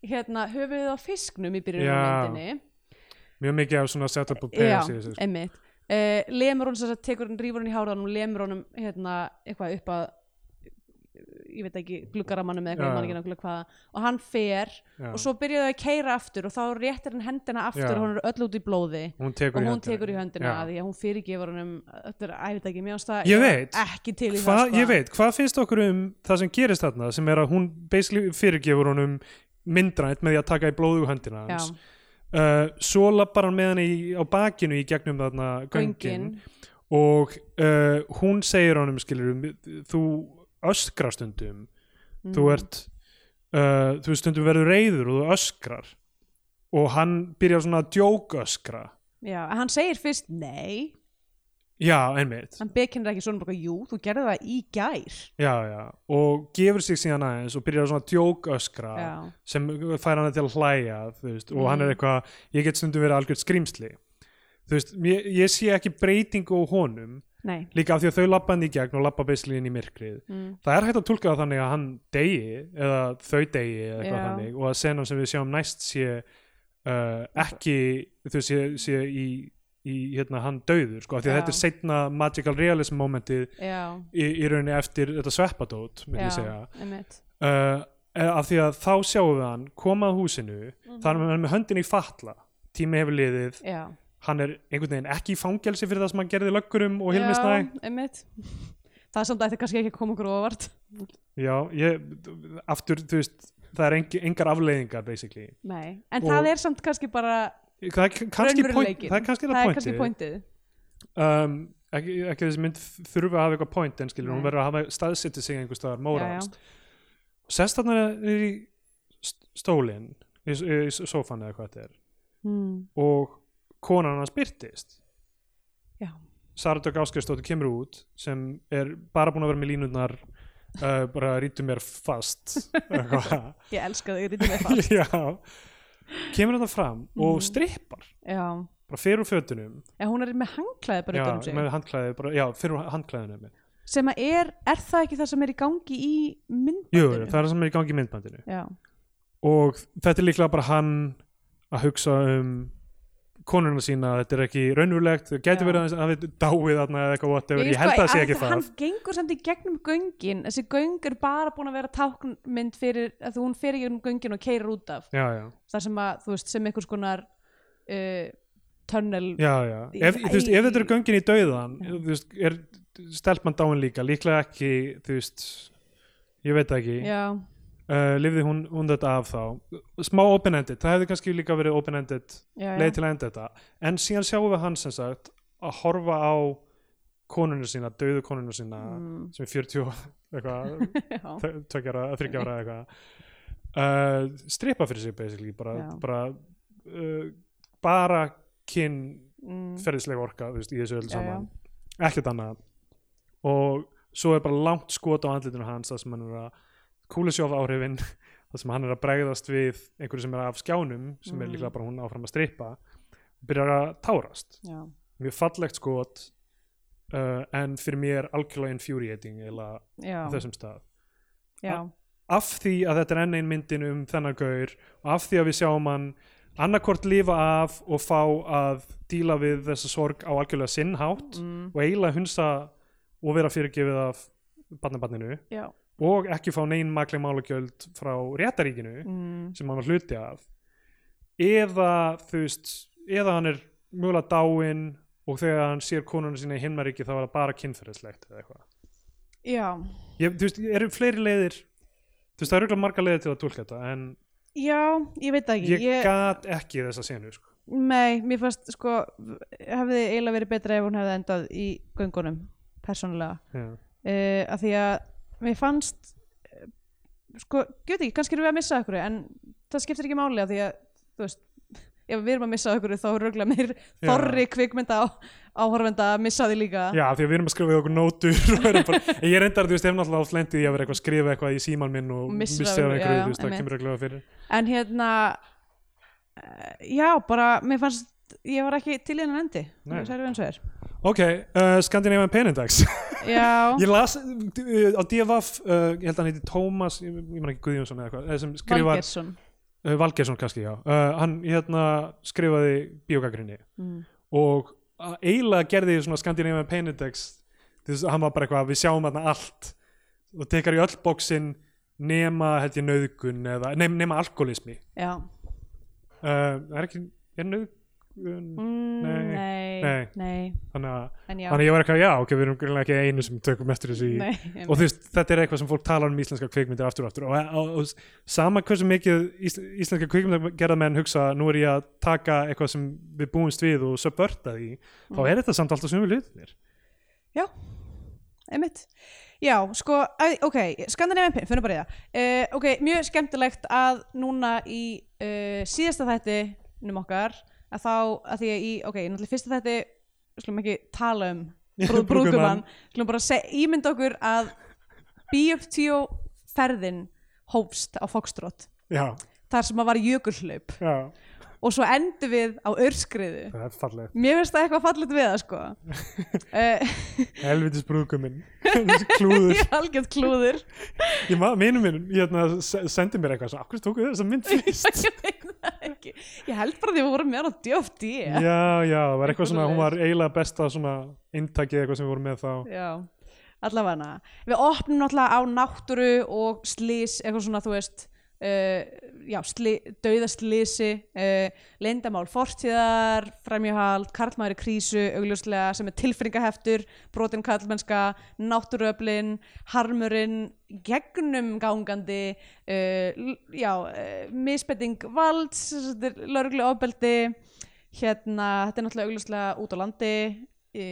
hérna höfuðið á fisknum í byrjunum
Já.
á myndinni
mjög mikið af svona setup og
já,
payoffs í þessu sko.
einmitt uh, lemur hún þess að tekur hún rýfur hún í hárið á honum og lemur honum hérna eitthvað upp að ég veit ekki, gluggaramannum eða eitthvað,
Já.
ég man ekki nákvæmlega hvaða og hann fer
Já.
og svo byrjaði að keira aftur og þá réttir hann hendina aftur
Já.
og hún er öll út í blóði
hún
og
tekur í
hún
höndina.
tekur í höndina
Já.
að því að hún fyrirgefur hann um þetta er æfitt ekki mjög ástæð
Ég veit.
ekki til í
Hva,
það sko.
ég veit, hvað finnst okkur um það sem gerist þarna sem er að hún basically fyrirgefur honum myndrænt með því að taka í blóðu höndina
sko. Já,
hans uh, svo lappar hann með hann í, á bakinu í gegnum þarna göngin
göngin
og uh, hún segir honum skilur þú öskrar stundum þú
Mm.
ert uh, þú veist, stundum verður reyður og þú öskrar og hann byrjar svona að djók öskra
já, en hann segir fyrst nei
já, einmitt
hann bekinnir ekki svona bara jú, þú gerði það í gær
já, já, og gefur sig síðan aðeins og byrjar að svona djók öskra
Já. Mm.
sem fær hann til að hlæja þú veist, og hann er eitthvað, ég get stundum verið algjört skrýmsli þú veist, ég, ég sé ekki breytingu á honum
nei,
líka af því að þau labba hann í gegn og labba beisli inn í myrkrið
Mm.
það er hægt að túlka það þannig að hann degi eða þau degi eða eitthvað
Já.
þannig og að senan sem við sjáum næst sé uh, ekki þú veist, sé, sé í, í hérna, hann dauður sko, af því að
Já.
þetta er seinna magical realism momentið
já,
í, í rauninni eftir þetta sveppadót myndi ég segja
já, einmitt
uh, er- af því að þá sjáum við hann koma að húsinu,
Mhm.
mm -hmm. hann er með höndin í fatla tími hefur liðið,
já,
hann er einhvern veginn ekki í fangelsi fyrir það sem hann gerði löggurum og Hilmi
Já,
Snæ
einmitt það samt ætti kannski ekki að koma okkur á óvart
já, ég, aftur, þú veist það er engi, engar afleiðingar basically
nei, en
Og-
það er samt kannski bara
það er kannski, point,
raunveruleikin
það er kannski
það er kannski
pointið.
pointið
um, ekki, ekki þessi mynd þurfa að hafa eitthvað point en skilur, hún
Nei.
verður að hafa staðsetið sig einhvers staðar
Já, já.
móraðast sest þarna er í st- stólinn í, í, í sófan eða hvað þetta er
mm.
og konan hans byrtist
já,
Saradök Áskjörstóttir kemur út sem er bara búin að vera með línurnar uh, bara rítu mér fast eitthvað.
ég elska þig, rítið með fast
já kemur þetta fram
Mhm.
og strippar
já,
bara fyrir úr fötunum
en hún er með hanglaði bara
já,
utan um sig
með handklæði, bara, já, fyrir úr handklæðinu jú,
sem að er, er það ekki það sem er í gangi í
jú,
myndbandinu?
það er það sem er í gangi í myndbandinu
Já,
og þetta er líklega bara hann að hugsa um konuna sína, þetta er ekki raunverulegt það getur
Já.
verið aðeins að við dáið þarna eða eitthvað whatever, ég held
sko
að það sé
að
ekki það
Hann gengur samt í gegnum göngin þessi göng er bara búin að vera táknmynd fyrir að hún fer í gegnum göngin og keirir út af
já, já,
þar sem að, þú veist, sem einhvers konar uh, tunnel
já, já ef,
Í-
þú veist, ef þetta er göngin í dauðan
Já.
þú veist, er stelpmann dáin líka líklega ekki, þú veist ég veit það ekki
Já,
uh, lifði hún, hún þetta af þá smá open-ended, það hefði kannski líka verið open-ended
já, já.
leið til að enda þetta en síðan sjáum við hann sem sagt að horfa á konuna sína dauðu konuna sína
Mm.
sem er 40 og eitthvað,
Já.
tökjara, þryggjara eitthvað uh, stripa fyrir sig basically, bara,
Já.
bara uh, bara kyn
Mm.
ferðislega orka þú veist, í þessu öll
Já,
saman ekkert annað og svo er bara langt skot á andlitinu hans það sem hann er að kúlusjófa áhrifin það sem hann er að bregðast við einhverju sem er af skjánum sem er
Mm.
líklega bara hún áfram að strippa byrjar að tárast
Já.
mjög fallegt skot uh, en fyrir mér algjörlega infuriating eða
Já.
á þessum stað
já,
af því að þetta er enn ein myndin um þennan gaur og af því að við sjáum hann annarkort lifa af og fá að díla við þessa sorg á algjörlega sinnhátt
mm,
og eiginlega hunsa og vera fyrirgefið af barnabarninu
já
og ekki fá neinn makleg málugjöld frá réttaríkinu
mm,
sem hann var hluti af eða þú veist eða hann er mögulega dáinn og þegar hann sér konuna sína í himnaríki þá er það bara kynferðislegt eða eitthvað
já,
ég, þú veist, eru fleiri leiðir þú veist, það eru örugglega margar leiðir til að tólka þetta en
já, ég veit það ekki
ég, gat ekki þessa senu sko.
Nei, mér fannst sko hefði eiginlega verið betra ef hún hefði endað í göngunum, persónulega
Já.
uh, að því að mér fannst uh, sko, ég veit ekki, kannski erum við að missa okkur en það skiptir ekki máli að því að þú veist, ef við erum að missa okkur þá er röglega meir þorri kvikmynda á, áhorfenda að missa því líka
Já, af því að við erum að skrifa okkur nótur og erum bara, en ég reyndar, þú veist, ef náttúrulega oft lendið ég að vera eitthvað að skrifa eitthvað í síman minn og
Og missir
missið af
af-
einhverju,
já,
þú veist, það
einmitt.
kemur reglulega fyrir
en hérna uh, já, bara, mér fannst ég var ekki til í hennan endi
Nei.
Særu eins og er.
Ok, uh, Skandinavian Penindags
já,
Ég las uh, á DFF, uh, ég held að hann heiti Tómas, ég, ég man ekki Guðjónsson eða eitthvað eh, sem skrifar,
Valgersson
uh, Valgersson kannski, já uh, hann hérna skrifaði bíógagrinni
mm.
og að eiginlega gerði svona Scandinavian Penindex þess að hann var bara eitthvað við sjáum þarna allt og tekar í öll bóksin nema held ég nöðgun eða nema, nema alkoholismi
já
uh, er ekki, er nöðgun
mm,
Nei.
nei,
Nei.
nei,
þannig að,
en já
þannig að ég var eitthvað já ok, við erum greinlega ekki einu sem tökum eftir þessu í
nei,
og þú veist, þetta er eitthvað sem fólk talar um í íslenska kvikmyndir aftur og aftur og, og, og sama hversu mikið ís, íslenska kvikmyndir gerða menn hugsa nú er ég að taka eitthvað sem við búumst við og subverta því,
Mm.
þá er þetta samt alltaf sömu hlutinir
einmitt já, sko, æ, ok, Scandinavian Pin finnum bara í það, uh, ok, mjög skemmtilegt að núna í uh, síðasta þættinum okkar að þá, að því að í, ok, náttúrulega fyrsta þætti slum ekki tala um brú, brúkumann, slum bara seg, ímynda okkur að B.F.T.O. ferðin hófst á Foxtrot,
já,
þar sem að var jökulhlaup
já,
og svo endur við á örskriðu
það er fallegt
mér finnst það eitthvað fallit við það sko uh,
helvitis brúkuminn klúður,
ég er algjörð klúður
ég ma- vinur minn hérna, se- sendi mér eitthvað, svo, akkur tókuð þér þessa mynd fyrst
ég veit það ekki ég held bara því að við vorum með hann á djóft í
já, já, það var eitthvað svona, hún
svoleiðis.
var eiginlega besta svona intakið eitthvað sem við vorum með þá
já, allavega við opnum náttúrulega á náttúru og slís, eitthvað svona þú veist uh, já, sli, dauðaslísi uh, leyndamál fortíðar fræmjuhald, karlmaður í krísu augljóslega sem er tilfinningaheftur brotin karlmennska, náttúruöflin harmurinn gegnum gangandi uh, l- já, uh, misbetting valds, lörglu ofbeldi hérna, þetta er náttúrulega augljóslega út á landi e,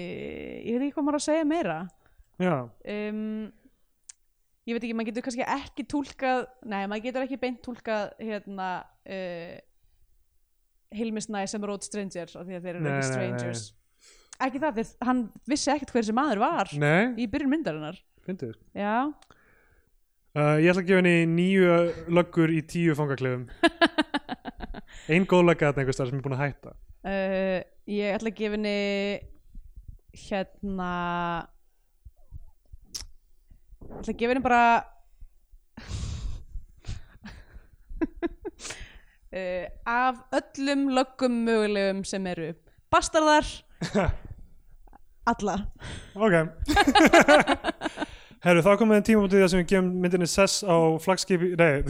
ég veit ekki hvað maður á að segja meira
já,
um, ég veit ekki, maður getur kannski ekki túlkað, nei, maður getur ekki beint túlkað hérna uh, Hilmisnæ sem Road Strangers af því að þeir eru
Nei,
ekki
nei, nei.
strangers ekki það, þeir, hann vissi ekkert hver sem maður var
nei,
í byrjun myndarinnar
fyndið
já,
Uh, ég ætla að gefa henni nýju löggur í tíu fangaklefum Ein góð lögga þarna einhvers þar sem er búin að hætta
uh, ég ætla að gefa henni hérna ég ætla að gefa henni bara uh, af öllum löggum mögulegum sem eru bastardar alla
Ok Herru, þá komum við tíma út í það sem við gefum myndinni sess á flagskipi Nei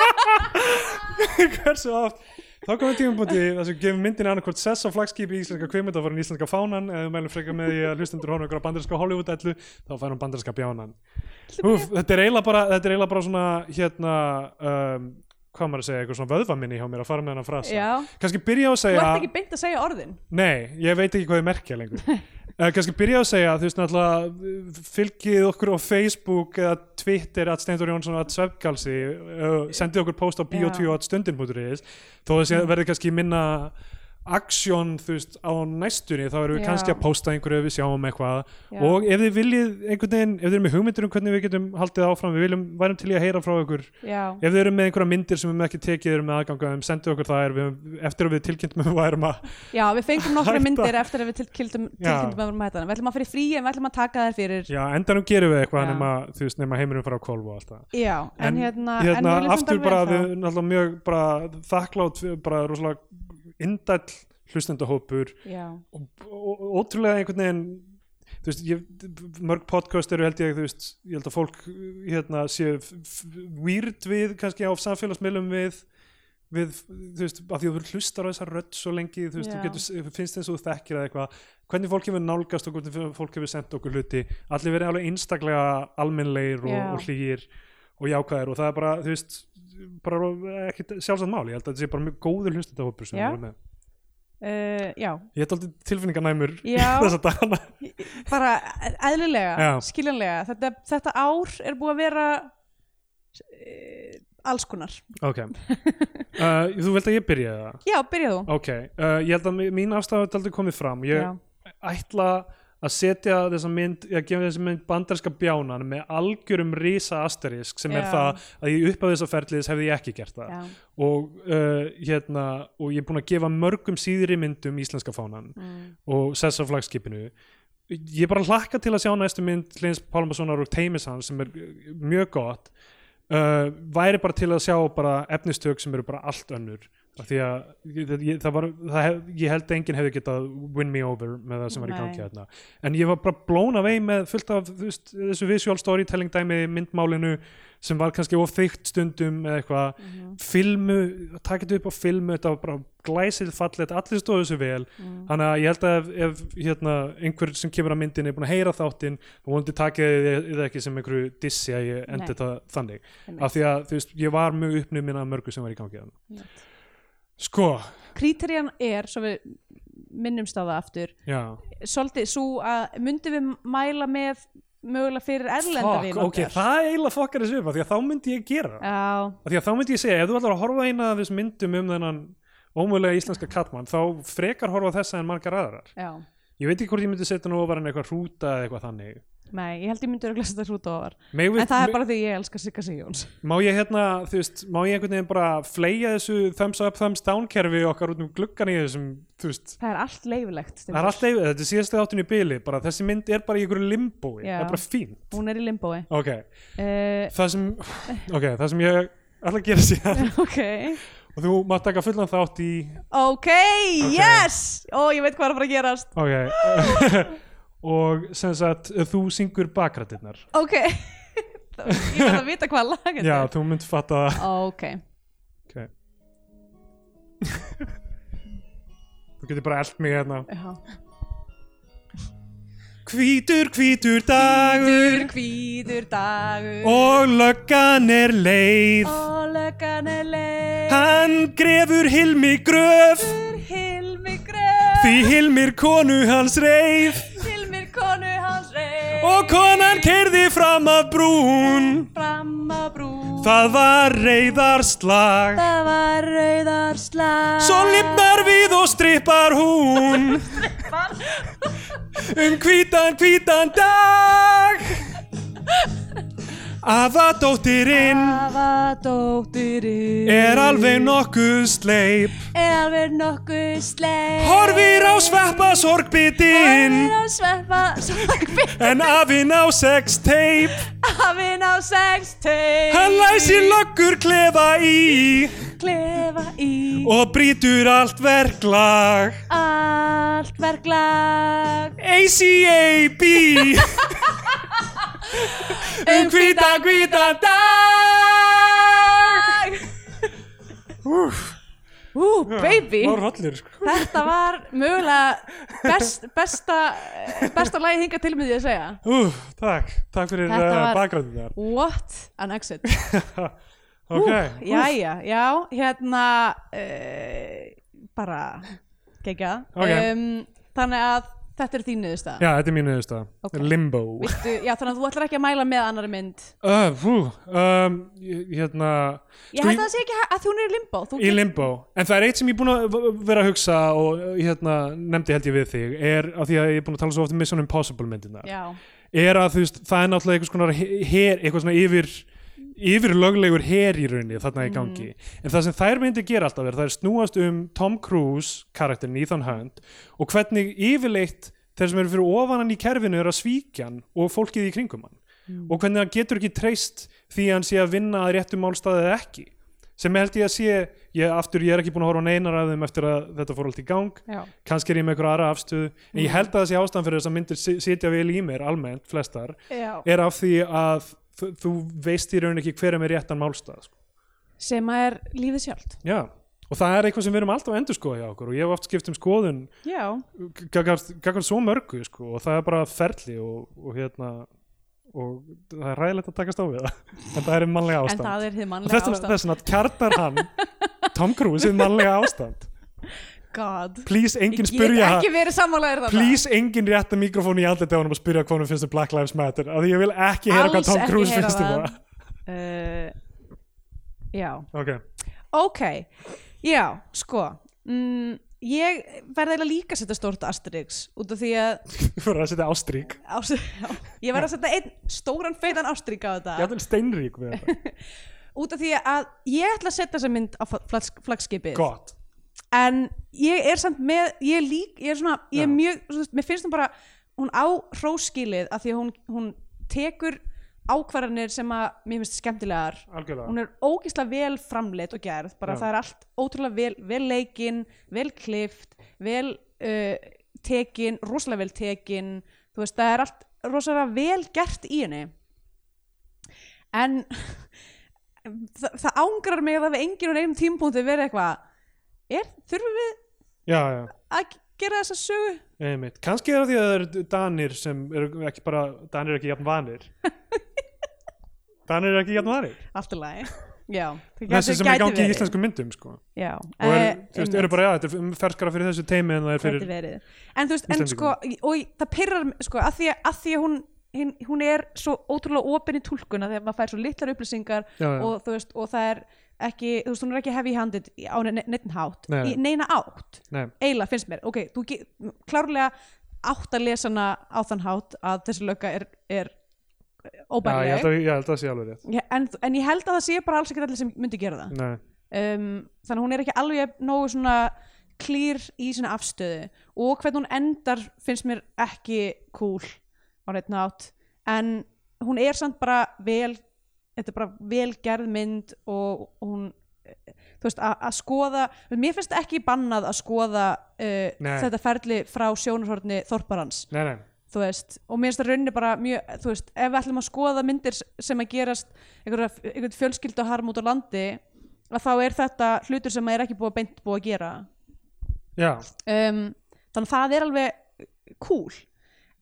Hversu oft Þá komum við tímapunkti þar sem við gefum myndinni annarkvort sess á flagskipi í íslenska kvikmynd og farum íslenska fánan eða við mælum frekar með því að hlustendur horfum ykkur á bandarinska Hollywood-ellu þá færum bandarinska bjánan Úf, þetta er eiginlega bara, þetta er eiginlega bara svona hérna um, hvað maður að segja, eitthvað svona vöðvaminni hjá mér að fara með hennar frasa
Já.
kannski byrja á að
þú
segja
ert ekki beint að segja orðin
Nei, ég veit ekki hvað ég merkja lengur uh, Kannski byrja á að segja, þú veist náttúrulega uh, fylgið okkur á Facebook eða Twitter að Steindur Jónsson að Svefgalsi, uh, sendið okkur post
Já.
á
Mm.
bio2 að stundin.is, þó að það sé- verði kannski minna aksjón þú veist á næstunni þá erum við
Já.
kannski að posta einhverju ef við sjáum eitthvað
Já.
og ef þið viljið einhvern veginn ef þið erum með hugmyndur um hvernig við getum haldið áfram við viljum, værum til í að heyra frá ykkur
já,
ef þið eru með einhverja myndir sem við með ekki tekið erum með aðganga, um, sendið okkur það er við, eftir að við tilkynntum að við værum að
já, við fengum nokkra
Hætta.
myndir eftir að við tilkildum
Já.
tilkildum að vera með þetta við ætlum að fyrir frí en við ætlum að taka þær fyrir já,
já, endanum gerum við eitthvað
Já.
nema, þú veist, nema heimurum fara á kolv og allt það
en, hérna, en við
hérna
lifum
aftur
bara
bara
vel
við náttúrulega mjög bara þakklátt fyrir bara rosalega indæll hlustendahópur
þá. já,
og, og, og ótrúlega einhvern veginn þú veist, ég, mörg podcast eru held ég þú veist, ég held að fólk hérna sé f- f- weird við kannski á samfélagsmiðlum við við, þú veist, af því að þú hlustar á þessa rödd svo lengi, þú veist, þú
Já.
getur finnst eins og þú þekkir eða eitthvað, hvernig fólk hefur nálgast og hvernig fólk hefur sendt okkur hluti allir verið alveg einstaklega almennlegir og,
Já.
og hlýgir og jákvæðir og það er bara, þú veist bara ekki sjálfsagt mál, ég held að þetta sé bara mjög góður hlustendahópur sem
Já.
við erum með
uh, já,
ég held aldrei tilfinninganæmur
Já.
þess að dana
bara eðlilega,
Já.
skiljanlega þetta, þetta ár er búið að vera uh, alls konar
Ok, uh, þú vilt að ég byrja það?
já, byrja þú
Ok, uh, ég held að mi- mín afstæða er aldrei komið fram Ég
já,
ætla að setja þessa mynd, ég gefa þessa mynd bandarska bjánan með algjörum risa asterisk sem er
Já.
það að ég upp af þessa ferliðis hefði ég ekki gert það
já,
og, uh, hérna, og ég er búin að gefa mörgum síðri myndum íslenska fánan
mm,
og sessa flagskipinu ég bara hlakka til að sjá næstu mynd Hlins Pálmarssonar og Teimis hans sem er uh, mjög gott uh, væri bara til að sjá bara efnistök sem eru bara allt önnur af því að ég- ég, það var, það hef, ég held að enginn hefði getað win me over með það sem var í
Nei.
gangi hérna en ég var bara blown away með fullt af þú veist, þessu visual storytelling dæmi myndmálinu sem var kannski of þykkt stundum eða eitthvað
mhm,
filmu, takit upp á filmu þetta var bara glæsil fallet, allir stóðu þessu vel
mm,
þannig að ég held að ef, ef hérna, einhver sem kemur að myndin er búin að heyra þáttinn þá vonandi takið þið þið ekki sem einhverju dissi að ég endi
Nei.
þetta þannig
einmitt,
af því að þú veist, ég var mjög uppnuminn af mörgu sem var í gangi þannig.
einmitt.
sko,
kríterían er, svo við minnumst á það aftur
já
svolítið svo að myndum við mæla með mögulega fyrir erlenda
Fuck,
vin
ok, það eiginlega fokkar þessu upp af því að þá myndi ég gera það.
já,
af því að þá myndi ég segja, ef þú ætlar að horfa á eina af þessum myndum um þennan ómögulega íslenska kattmann þá frekar horfa á þessa en margar aðrar
já,
ég veit ekki hvort ég myndi setja nú ofar en eitthvað hrúta eða eitthvað þannig
nei, ég held ég myndi að glesa þetta hrút ofar
Megum við-
en það
me-
er bara því ég elska Sigga Sigjóns
Má ég hérna, þú veist, má ég einhvern veginn bara fleia þessu thumbs up, thumbs down kerfi okkar út um gluggan í þessum, þú veist,
það er allt leifilegt
það er alltaf, þetta er síðasta þáttun í byli, bara þessi mynd er bara í einhverju limbói,
Já.
það er bara fín.
hún er í limbói
Ok,
uh,
það sem, ok, það sem ég ætla að gera síðan
ok,
og þú mátt taka fullan þátt í,
ok, yes ó, ég veit hvað er að fara að gerast
ok, og sem sagt, þú syngur bakrættirnar.
ok, ég verð að vita hvað lag þetta
Já,
er
þú mynd fatta það.
ok,
Ok. þú getur bara eld mig hérna.
já
Hvítur, hvítur dagur
Hvítur, hvítur dagur
og löggan er leið.
Og löggan er leið
Hann grefur Hilmi gröf
Hilmi gröf
því Hilmir konu hans reið
Hilmir konu hans reið
og konan keirði fram að brún.
Fram að brún
Það var reyðarslag.
Það var rauðarslag
Svo lifnar við og strippar hún um hvítan, hvítan dag. Afa dóttirinn
Það var dóttirinn
er alveg nokkuð sleip.
Er alveg nokkuð sleið
Horfir á sveppa sorgbitinn
Horfir á sveppa Sveppi
En afinn á sex teip
Hafinn á sex teig
Hann læsir löggur klefa í
Klefa í
Og brýtur allt verklag
Allt verklag
ACAB Um hvítan, hvítan dag Úf,
Ú, baby
var hollur sko
Þetta var mögulega best, besta, besta lagi hingað til með því að segja
Úf, takk, takk fyrir
Þetta
uh,
var-
bakgrændinar
What an exit Ú,
Ok,
Jæja, já, hérna uh, bara gegja
Ok.
um, Þannig að þetta er þín niðurstaða
Já, þetta er mín niðurstaða.
Ok.
Limbo.
Viltu, já, þannig að þú ætlar ekki að mæla með annari mynd
Uh, fú, um, ég- hérna,
ég
sko,
held að það sé ekki hæ- að þú er í limbo þú
í limbo en það er eitt sem ég er búin að v- vera að hugsa og uh, hérna, nefndi held ég við þig er á því að ég er búin að tala svo oft um Mission Impossible myndina
já,
er að þú veist, það er náttúrulega einhvers konar he- her, eitthvað svona yfir yfir löglegur her í rauninni þarna í gangi en það sem þær myndi gera alltaf er það er snúast um Tom Cruise karakterin Ethan Hunt og hvernig yfirleitt þeir sem eru fyrir ofan hann í kerfinu er að svíkja hann og fólkið í kringum hann og hvernig hann getur ekki treyst því að hann sé að vinna að réttum málstaði eða ekki sem held ég að sé ég, aftur ég er ekki búin að horfa á neinar af þeim eftir að þetta fór allt í gang
já,
kannski er ég með einhverja aðra afstöðu en ég held að það sé ástæðan fyrir þess að myndir si- sitja vel í mér almennt, flestar,
já.
er af því að þú- þú veist í raun ekki hver er með réttan málstað sko.
sem að er lífið sjálft
Já, og það er eitthvað sem við erum alltaf að endurskoða hjá okkur og ég hef oft skipt um skoðun
já,
gaggar svo mörgu sko, og það er bara ferli og, og hérna og það er ræðilegt að takast á við það en það er mannlega
en
ástand
það er þið
og
mannlega
þess vegna-
ástand
þess vegna kjarnar hann Tom Cruise í mannlega ástand
God,
please
ég
enginn
get
spyrja hann-
ekki verið sammálaður það
please enginn rétta mikrofón í andlitið á honum og spyrja hvað hann finnst um Black Lives Matter af því ég vil ekki heyra hvað
Alls
Tom
ekki
Cruise
heyra
finnst um
það.
það
uh, já,
ok,
ok já, sko mm, ég verði eiginlega líka að setja stórt Asterix út af því að
þú fyrir að setja ástrík
ás, já, ég verði að setja einn stóran feitan Asterix á þetta
ég ætlum steinrík við þetta,
út af því að ég ætla að setja þessa mynd á flags, flagskipið
gott
en ég er samt með ég er lík, ég er svona, ég er
Já.
mjög svona, mér finnst hún bara, hún á hróskilið af því að hún, hún tekur ákvarðanir sem að mér finnst skemmtilegar
algjörlega,
hún er ógeðslega vel framleitt og gerð bara
Já.
það er allt ótrúlega vel, vel leikinn vel klift, vel uh, tekin, rosalega vel tekin þú veist, það er allt rosalega vel gert í henni en það, það ángrar mig að það við enginn og einum tímpúnti verið eitthvað er, þurfum við
já, já,
að gera þessa sögu
einmitt kannski er það því að það eru danir sem eru ekki bara, danir eru ekki jafn vanir danir eru ekki jafn vanir
allt í lagi, já það gæti-
þessi sem er í
gæti
gangi í
verið.
íslenskum myndum sko.
já,
og er,
eh,
þú veist,
einmitt.
eru bara, já, þetta er um ferskara fyrir þessu teimi en það er
fyrir
fyrir
verið. en þú veist, en sko
Íslendingum.
og ég- það pyrrar, mig, sko, að því að, að, því að hún, hin, hún er svo ótrúlega opin í tólkuna þegar maður fær svo litlar upplýsingar
já, já,
og þú veist, og það er ekki þú veist, hún er ekki heavy handed á ne- ne- neinn hátt
Nei, nei.
í neina átt,
nei,
eiginlega finnst mér ok, þú ge- klárlega átt að lesa hana á þann hátt að þessi lögga er, er
já, ég held
óbærileg
að- ég held að það sé alveg rétt
Ég- en, en ég held að það sé bara alls ekki allir sem myndi gera það
nei,
um, þannig að hún er ekki alveg nógu svona klýr í sinna afstöðu og hvernig hún endar finnst mér ekki cool á neitt nátt en hún er samt bara vel þetta er bara velgerð mynd og, og hún eh, þú veist, að að skoða, mér finnst ekki bannað að skoða uh,
Nei.
þetta ferli frá sjónarhorni þorparans
nei, nei
þú veist, og mér finnst það rauninni bara mjög, þú veist, ef við ætlum að skoða myndir s- sem að gerast einhverja- einhvern fjölskyldaharm út á landi að þá er þetta hlutur sem er ekki búið að beint búið að gera
já,
um, þannig að það er alveg cool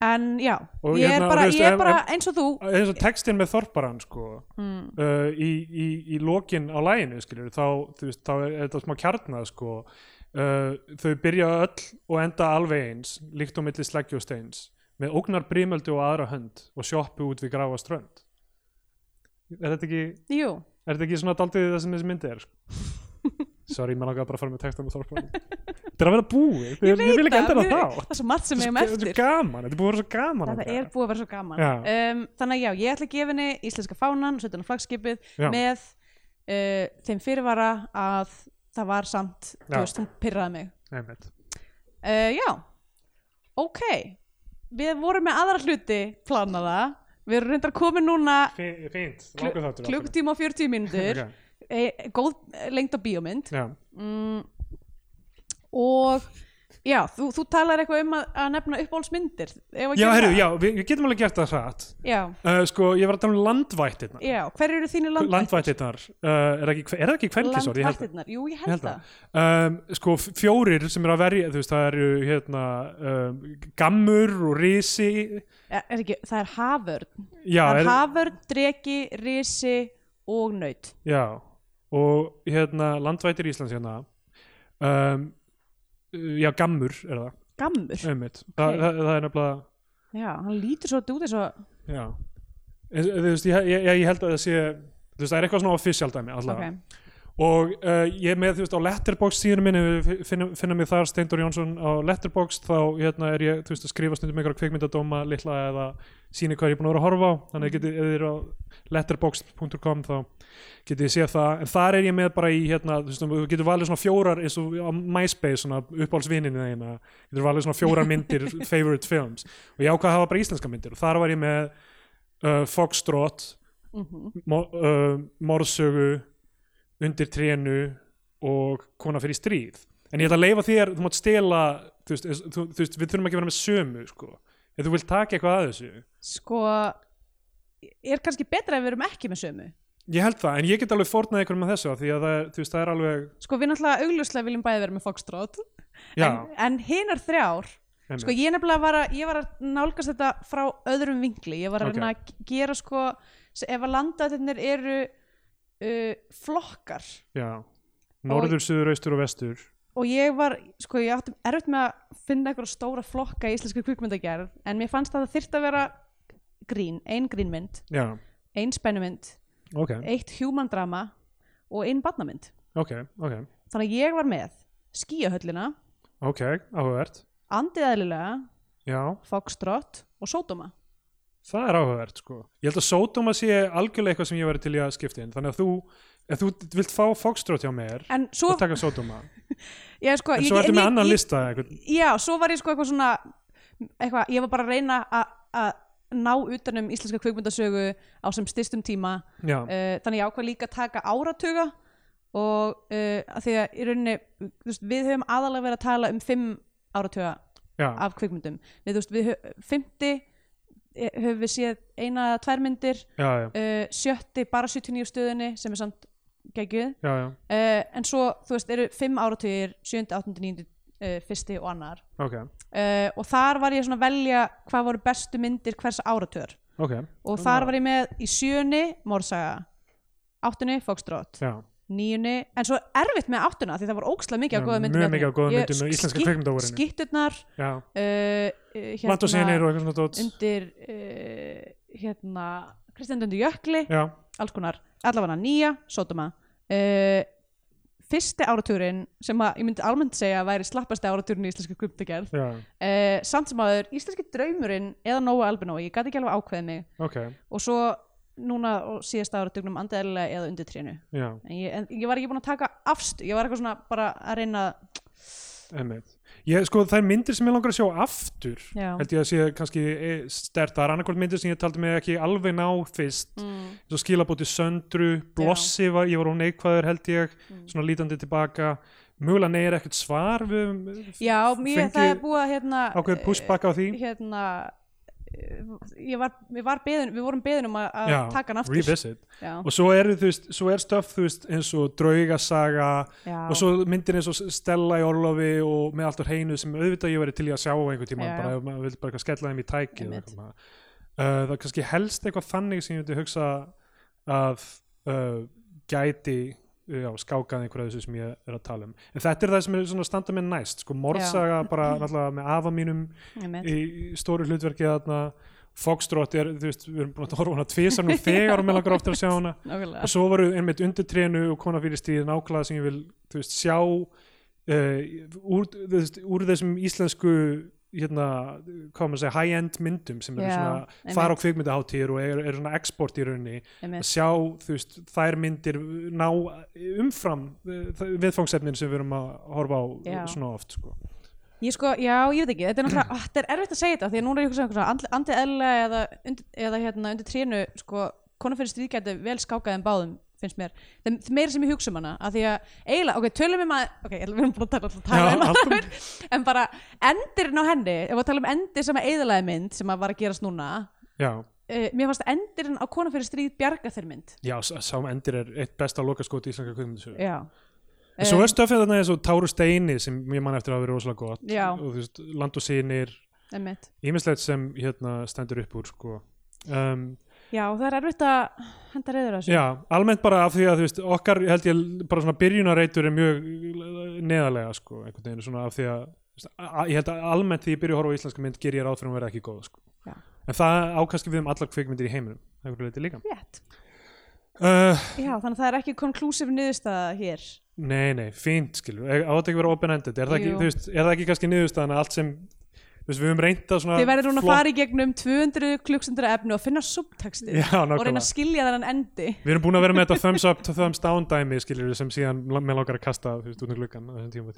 en já,
Og
ég er,
hérna,
bara,
þú veist,
ég er
ef-
bara eins og þú
eins og textin með þorparan sko,
Hmm.
uh, í, í, í lokin á læginu skilur, þá, þú veist, þá er þetta smá kjarnað sko. uh, þau byrja öll og enda alveg eins líkt á milli sleggju og steins með ógnar brímöldu og aðra hönd og sjoppu út við gráa strönd er þetta ekki
jú,
er þetta ekki svona daldið það sem þessi myndi er sko? sorry, maður langaði bara að fara með textan með þorparan þetta er að vera búið, ég, ég, vil ekki
það,
enda það þá
það er svo margt sem við
Þetta
hefum
er svo
eftir
gaman, þetta er búið að vera svo gaman
þetta er búið að vera svo gaman
Já.
um, þannig að já, ég ætla að gefa henni íslenska fánan og setja hann á flagskipið
Já.
með uh, þeim fyrirvara að það var samt, þú
Já.
veist, hún pyrraði mig
Einmitt.
uh, já, ok við vorum með aðra hluti planaða, við erum reyndar komin núna
Fí- fínt,
klu-
langur þáttur áfram.
klukkutíma og 40 mínútur
Ok,
okay. góð eh, lengd á bíómynd
já.
mm, og já, þú, þú talar eitthvað um að, að nefna uppáhaldsmyndir eigum við að
já,
gera
herru,
það?
já, við, við getum alveg gert það hratt
já,
uh, sko, ég var að tala um landvættirnar
já, hver eru þínir landvættir?
landvættirnar, uh, er, það ekki, er það ekki kvenkisor, ég held það
Landvættirnar, jú ég held það
um, sko f- fjórir sem eru að verja þú veist, það eru hérna um, gammur og risi
Er, er ekki, það er haförn
já,
það er
er,
haförn, dregi, risi og naut
já og hérna landvættir Íslands hérna um, já, gammur er það
skammur
einmitt, Þa,
Ok.
það, það er nefnilega
já, hann lítur svolítið út eins og
Já En, Þú veist, ég, ég, ég held að það sé þú veist, það er eitthvað svona official dæmi
ok,
allavega og uh, ég er með, þú veist, á Letterboxd síðan minni, ef við finna, finna mig þar Steindor Jónsson á Letterboxd, þá hérna er ég, þú veist, að skrifa stundum einhverja kvikmyndadóma litla eða síni hvað ég er búin að vera að horfa á þannig að getið, ef þið eru á letterboxd.com þá getið þið séð það en þar er ég með bara í, hérna, þú veist, þú getur valið svona fjórar, eins og á MySpace svona uppáhalsvinninni þeina, getur valið svona fjórar myndir, favorite films og ég ákvað að hafa bara íslenska myndir og þar var ég með uh, Foxtrot
Mhm.
mor- uh, morðsögu undir trénu og kona fyrir stríð en ég ætla að leifa þér, þú mátt stela þú veist, eins- þú, þú veist, við þurfum ekki að vera með sömu sko. ef þú vilt taka eitthvað að þessu
sko er kannski betra ef við erum ekki með sömu
ég held það, en ég get alveg fornað einhverjum að þessu af því að það, er- þú veist, það er alveg
sko við náttúrulega augljóslega viljum bæði vera með Foxtrot
já,
en, en hinar þrjár
einmitt.
sko ég nefnilega var að, ég var að nálgast þetta frá öðrum vinkli, ég var að
Ok.
reyna að gera sko, s- ef að landaðirnir eru uh, flokkar
já. norður, suður, austur og vestur
og ég var, sko ég átti erfitt með að finna eitthvað stóra flokka í íslenskri kvikmyndagerð, en mér fannst að það þyrfti að vera grín, ein grínmynd
já,
ein spennumynd,
ok,
eitt human drama og ein barnamynd,
ok, ok
þannig að ég var með skíahöllina,
ok, áhugavert
andið eðlilega
já,
Foxtrot og Sódóma
Það er áhugavert sko. Ég held að sódóma sé algjörlega eitthvað sem ég væri til í að skipta inn. Þannig að þú, ef þú vilt fá Foxtrot hjá mér
en svo,
og taka sódóma,
já, sko,
en
ég-
svo ertu
en
með
ég-
annan
ég-
lista eitthvað.
já, svo var ég sko eitthvað svona eitthvað, ég var bara að reyna að- að ná utanum íslenska kvikmyndasögu á sem styrstum tíma
Já,
uh, þannig ég ákvað líka að taka áratuga og uh, að því að í rauninni, þú veist, við höfum aðalega verið að tala um fimm áratuga
já,
af kvikmyndum við, þú veist, við höfum, fymti höfum við séð eina eða tvær myndir
já, já,
uh, sjötti bara 79 stöðunni sem er samt geggjuð
já, já,
uh, en svo, þú veist, eru fimm áratugir 7. 8. 9. Uh, fyrsti og annar
ok,
uh, og þar var ég svona að velja hvað voru bestu myndir hvers áratugur
ok,
og þar var ég með í sjöunni Morsaga, áttunni Foxtrot,
já.
níunni en svo erfitt með áttuna því það var ókslega mikið
Já,
af góða myndum
mjög
þarna.
mikið af góðum
Ég-
myndum með íslenska
skik-
kvikmyndavorinu.
skitturnar uh,
já.
uh, hérna,
Land og sinir og eitthvað svona dót.
undir uh, hérna Kristján Döndur Jökli
Já,
alls konar, allavega nýja sótuma uh, fyrsti áratúrin sem að ég myndi almennt segja að væri slappasti áratúrin í íslenska kviptagerð
já,
uh, samt sem aður íslenski draumurinn eða Nóa Albinói, ég gæti ekki alveg ákveðið mig
ok,
og svo núna og síðasta áratugnum andaðilega eða undir trénu
já,
en ég, en ég var ekki búin að taka afstu ég var eitthvað svona bara að reyna
emmitt. Ég, sko, það er myndir sem ég langar að sjá aftur.
Já.
Held ég að sé kannski eh, stert. Það er annarkvöld myndir sem ég taldi mig ekki alveg ná fyrst.
mm,
svo skilabóti söndru, blossi var, ég var hún neikvæður held ég
Mm.
svona lítandi tilbaka, mögulega neyir ekkert svar við
já, mér,
Fengið
það er búið að hérna,
ákveðið pushbacka á því
eh, hérna eh, ég var, ég var beðin, við vorum beðin um að- að
Já,
taka hann aftur
revisit.
já,
og svo er, þú veist, svo er stöf veist, eins og draugasaga
já.
og svo myndir eins og Stella í Orlofi og með allt á hreinu sem auðvitað ég væri til í að sjá á einhvern
Já,
tíma,
já.
bara ef maður vil bara eitthvað skella þeim í tæki eða
Einmitt.
eitthvað svona. uh, það er kannski helst eitthvað þannig sem ég myndi hugsa að uh, gæti já, skákað einhverja þessu sem ég er að tala um en þetta er það sem er svona að standa með næst sko morsaga bara náttúrulega með afa mínum
Einmitt.
í stóru hlutverki þarna Foxtrot er, þú veist, við erum búin að horfa á hana tvisar nú þegar og með langar oftar að sjá hana
Nákvæmlega.
og svo voru einmitt undir trénu og kona fyrir stíð nákvæmlega sem ég vil þú veist, sjá uh, úr, þú veist, úr þessum íslensku hérna, hvað maður að segja, high-end myndum sem eru
Já,
svona
einmitt.
fara á kvikmyndaháttíðir og eru er svona export í rauninni að
Einmitt.
sjá, þú veist, þær myndir ná umfram eh, þau- viðfangsefnin sem við erum að horfa á eh,
Já.
svona oft, sko
Ég sko, já, ég veit ekki, þetta er náttúrulega, ah, þetta er erfitt að segja þetta, því að núna er ég hugsa um eitthvað svona, andið eðlilega eða, undir, eða hérna undir trénu, sko, konar fyrir stríð gæti vel skákað en báðum, finnst mér, það er meira sem ég hugsa um hana, að því að, eiginlega, ok, tölum við maður, ok, ég ætla- við erum búin að tala alltaf
Já,
tala um
allt um-
hana, en bara endirinn á henni, ef við tala um endir sem að eðlaði mynd, sem að var að gerast núna,
Já,
uh, mér fannst endirinn á konar fyrir stríð bjarga þeir mynd,
já sá sá endir er eitt besta lokaskot í íslenska kvikmyndasögu
já,
En
eh.
svo er stöfið þarna eins og Táru Steini sem ég man eftir að hafa verið rosalega gott
Já.
og þú veist, land og sýnir
emmitt.
ímislegt sem hérna stendur upp úr sko. um,
Já, það er erfitt að henda reyður að þessu.
já, almennt bara af því að þú veist, okkar held ég bara svona byrjunareitur er mjög neðarlega sko, einhvern veginn svona af því að Þú veist, a- ég held að almennt því ég byrja að horfa á íslenska mynd ger ég ráð fyrir að hún verða ekki góð sko.
Já.
en það ákast við um allar kvikmyndir í heiminum það er leiti líka
rétt
uh,
já, þannig að það er ekki konklusiv niðurstaða hér
nei, nei, fínt skilur á þetta ekki að vera open-ended er, það ekki,
Jú.
þú veist, er það ekki kannski niðurstaðan að allt sem þú veist, við höfum reynda svona
þið verður núna að
flott-
fara í gegnum 200 klukkstundra efni og finna subtextið
Já,
og reyna
nákvæmlega.
að skilja þennan endi
Við erum búin að vera með þetta thumbs up to thumbs down dæmi skilur sem síðan með langar að kasta þú veist, út um gluggan á þessum tíma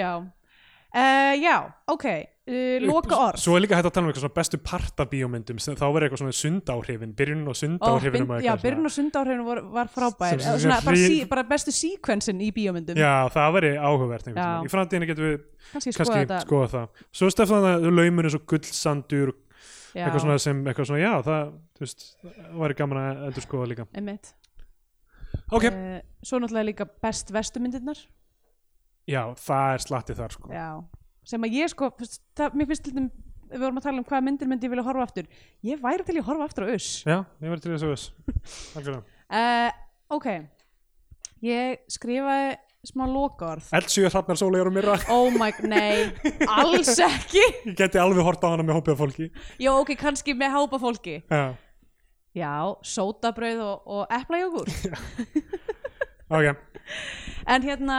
já, uh, já ok uh, loka orð
Svo er líka hægt að tala um eitthvað svona bestu parta bíómyndum sem þá verður eitthvað svona sundáhrifin byrjun og
Ó,
sundáhrifin
bind- já, byrjun og sundáhrifinu var, var frábær
Sem- sem-
Eða
sem
svona, bara,
frí-
sí, bara bestu síkvensin í bíómyndum
Já, það verður áhugavert einhvern
Já.
tímann. Í framtíðinu getum við
kannski skoða
kannski sko,
þetta
skoða það Svo er stefnum að laumur eins og gullsandur
já,
eitthvað svona sem, eitthvað svona, já, það þú veist, væri gaman að endur skoða líka
einmitt.
Ok,
Eh, svo náttúrulega líka best vestumyndirnar
já, það er slattið þar sko
já. sem að ég sko fyrst, það, mér finnst til þeim við vorum að tala um hvaða myndir myndi ég vilja horfa aftur ég væri til ég horfa aftur á us
Já, ég verður til þess að þess Algjörlega.
uh, ok ég skrifaði smá lokaorð
Eldsjö hrafnar sólegar og myrra
oh my, nei, alls ekki
Ég geti alveg hort á hana með hópið af fólki
já ok, kannski með hápa fólki
Já,
já, sótabrauð og, og eplajógur
ok
en hérna,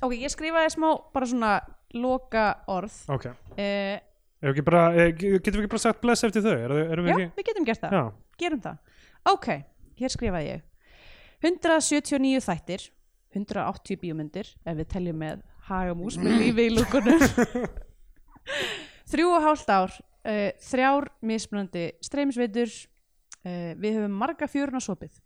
ok, ég skrifaði smá bara svona loka orð
Ok,
uh,
Ef ekki bara, eh, ge- getum við ekki bara sagt bless eftir þau? Er, erum við
já,
ekki?
við getum gert það
Já,
gerum það. Ok, hér skrifaði ég 179 þættir 180 bíómyndir ef við teljum með hagamús með lífi í lúkunum þrjú og hálft ár uh, þrjár mismunandi streymisveitur uh, við höfum marga fjöruna sopið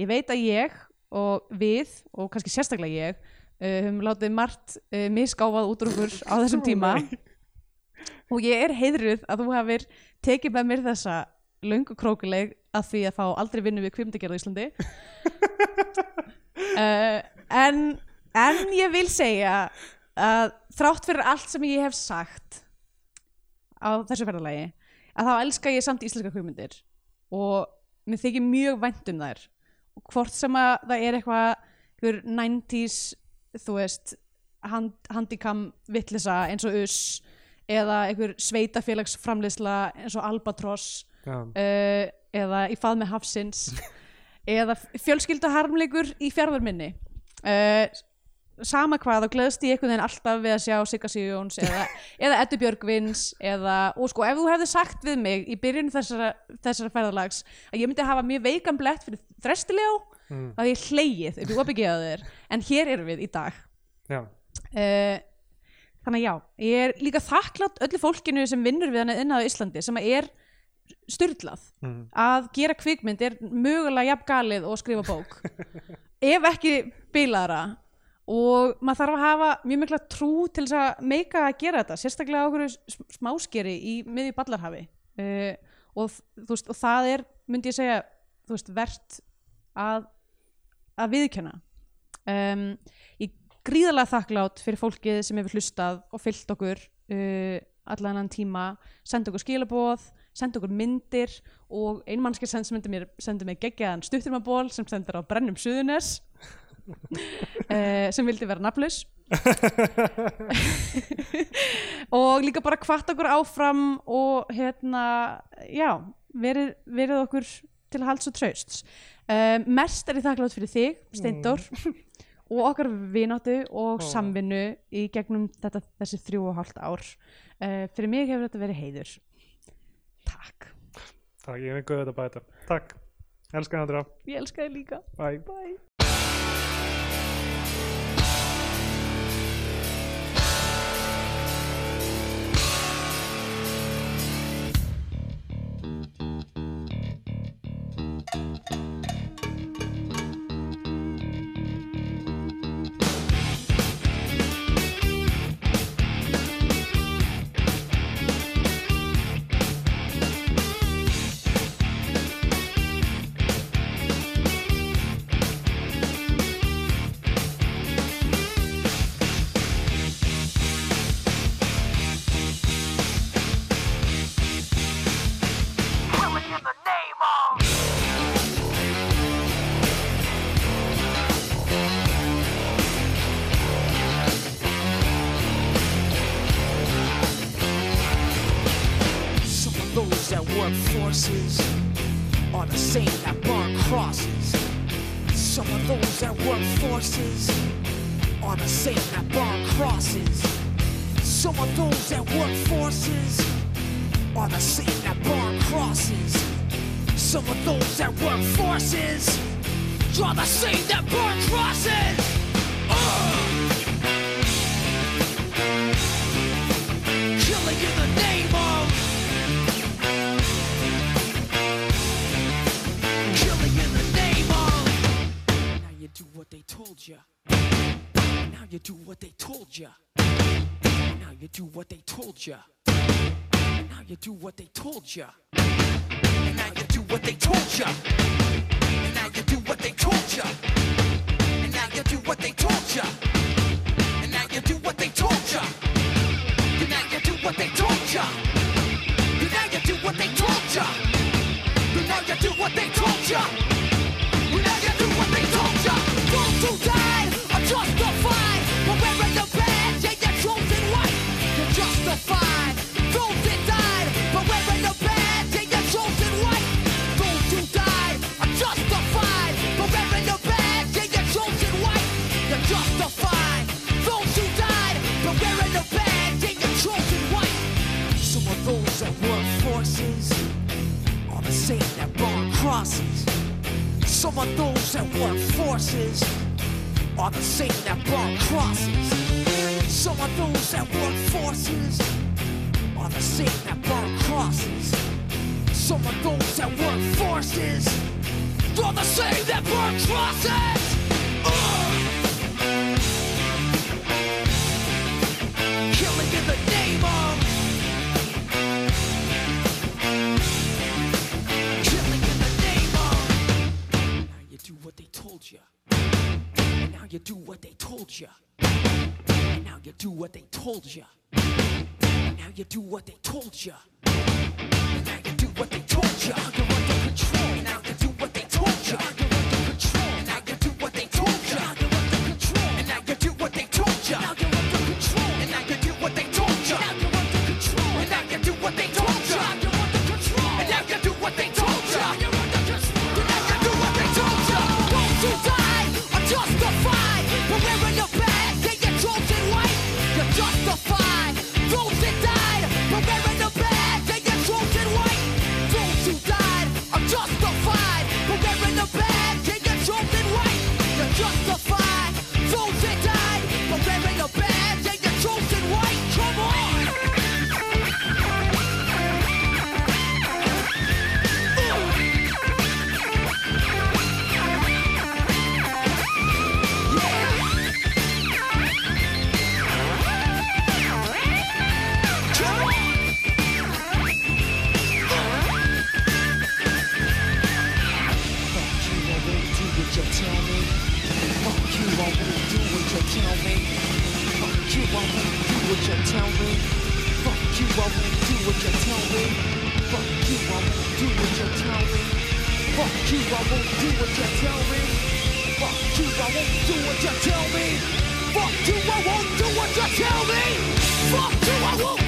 ég veit að ég og við og kannski sérstaklega ég uh, höfum látið margt uh, misgáfað út úr okkur á þessum tíma og ég er heiðruð að þú hafir tekið með mér þessa löngu krókuleg að því að fá aldrei vinnu við kvimdagerð í Íslandi uh, en, en ég vil segja að þrátt fyrir allt sem ég hef sagt á þessu ferðalagi að þá elska ég samt íslenska kvimyndir og mér þykir mjög vænt um þær og hvort sem að það er eitthvað einhver 90s þú veist hand, handikam vittlisa eins og us eða einhver sveitafélagsframleysla eins og albatross
já,
uh, eða í fað með hafsins eða fjölskylda harmleikur í fjárðarminni uh, sama hvað þá gleðst ég einhvern veginn alltaf við að sjá Sigga Sigjóns eða, eða Eddu Björgvins eða, og sko ef þú hefði sagt við mig í byrjun þessara, þessara ferðalags að ég myndi hafa mjög veikan blett fyrir þrestiljó
Mm.
þá að ég hlegið upp í opbyggiðaðir en hér erum við í dag
já.
Eh, þannig að já, ég er líka þakklátt öllu fólkinu sem vinnur við hana innað á Íslandi sem að er styrlað
Mm.
að gera kvikmynd er mögulega jafn galið og skrifa bók ef ekki bilaðra og maður þarf að hafa mjög mikla trú til þess að meika að gera þetta sérstaklega á okkur smáskeri í miðju ballarhafi uh, og, þ- þú veist, og það er, myndi ég segja þú veist, vert að, að viðkjöna um, ég er gríðarlega þakklátt fyrir fólkið sem hefur hlustað og fyllt okkur uh, allan hann tíma senda okkur skilaboð, senda okkur myndir og einmannski sem sendi mér, sendi mér geggjaðan stuttirmaból sem sendur á brennum suðunes uh, sem vildi vera nafnlaus og líka bara hvart okkur áfram og hérna, já verið, verið okkur til halds og trausts um, mest er ég þakklátt fyrir þig, Steindór og okkar vináttu og
Ó.
samvinnu í gegnum þetta, þessi þrjú og hálft ár uh, fyrir mig hefur þetta verið heiður takk,
Takk, ég hef einhverju þetta bæta. Takk. Elskar Andra.
ég elska þig líka
Bye.
bye
those that work forces are the same that burn crosses. Some of those that work forces are the same that burn crosses. Some of those that work forces are the same that burn crosses. Some of those that work forces are the same that burn crosses. Uh! killing in the name of killing in the name of now you do what they told ya now you do what they told ya now you do what they told ya now you do what they told ya and now you do what they told ya and now you do what they told ya and now you do what they told ya and now you do what they told ya you now you do what they told ya. You now you do what they told ya. You now you do what they told ya. You now you do what they told ya. Those who died are justified for wearing the badge and your chosen white. You're justified. Those that died for wearing the badge and your chosen white. Those who died are justified for wearing the badge and your chosen white. You're justified. Those who died for wearing the badge and your chosen white. Some of those that work forces are the same that burn crosses. Some of those that work forces are the same that burn crosses. Some of those that work forces are the same that burn crosses. Some of those that work forces are the same that burn crosses. killing in the name of killing in the name of now you do what they told you and now you do what they told you and now you do what they told you and now you do what they told you and now you do what they told you now you're under control and now you do what they told you now you're under control and now you do what they told you now you're under control and now you do what they told you now you're under control and now you do what they told you now you're under control and now you do what they told you now you're under control and now you do what they told you now you're under control and now you do what they told you those who die are justified for wearing the badge they get chosen white you're justified those that died for wearing the badge they get chosen white those who died are justified for wearing the badge they get chosen white you're justified those that died for wearing the badge they get chosen white come on come on Fuck you, I won't do what you tell me. Fuck you, I won't do what you tell me. Fuck you, I won't do what you tell me. Fuck you, I won't do what you tell me. Fuck you, I won't do what you tell me. Fuck you, I won't do what you tell me. Fuck you, I won't do what you tell me. Fuck you, I won't do what you tell me. Fuck you, I won't Uh,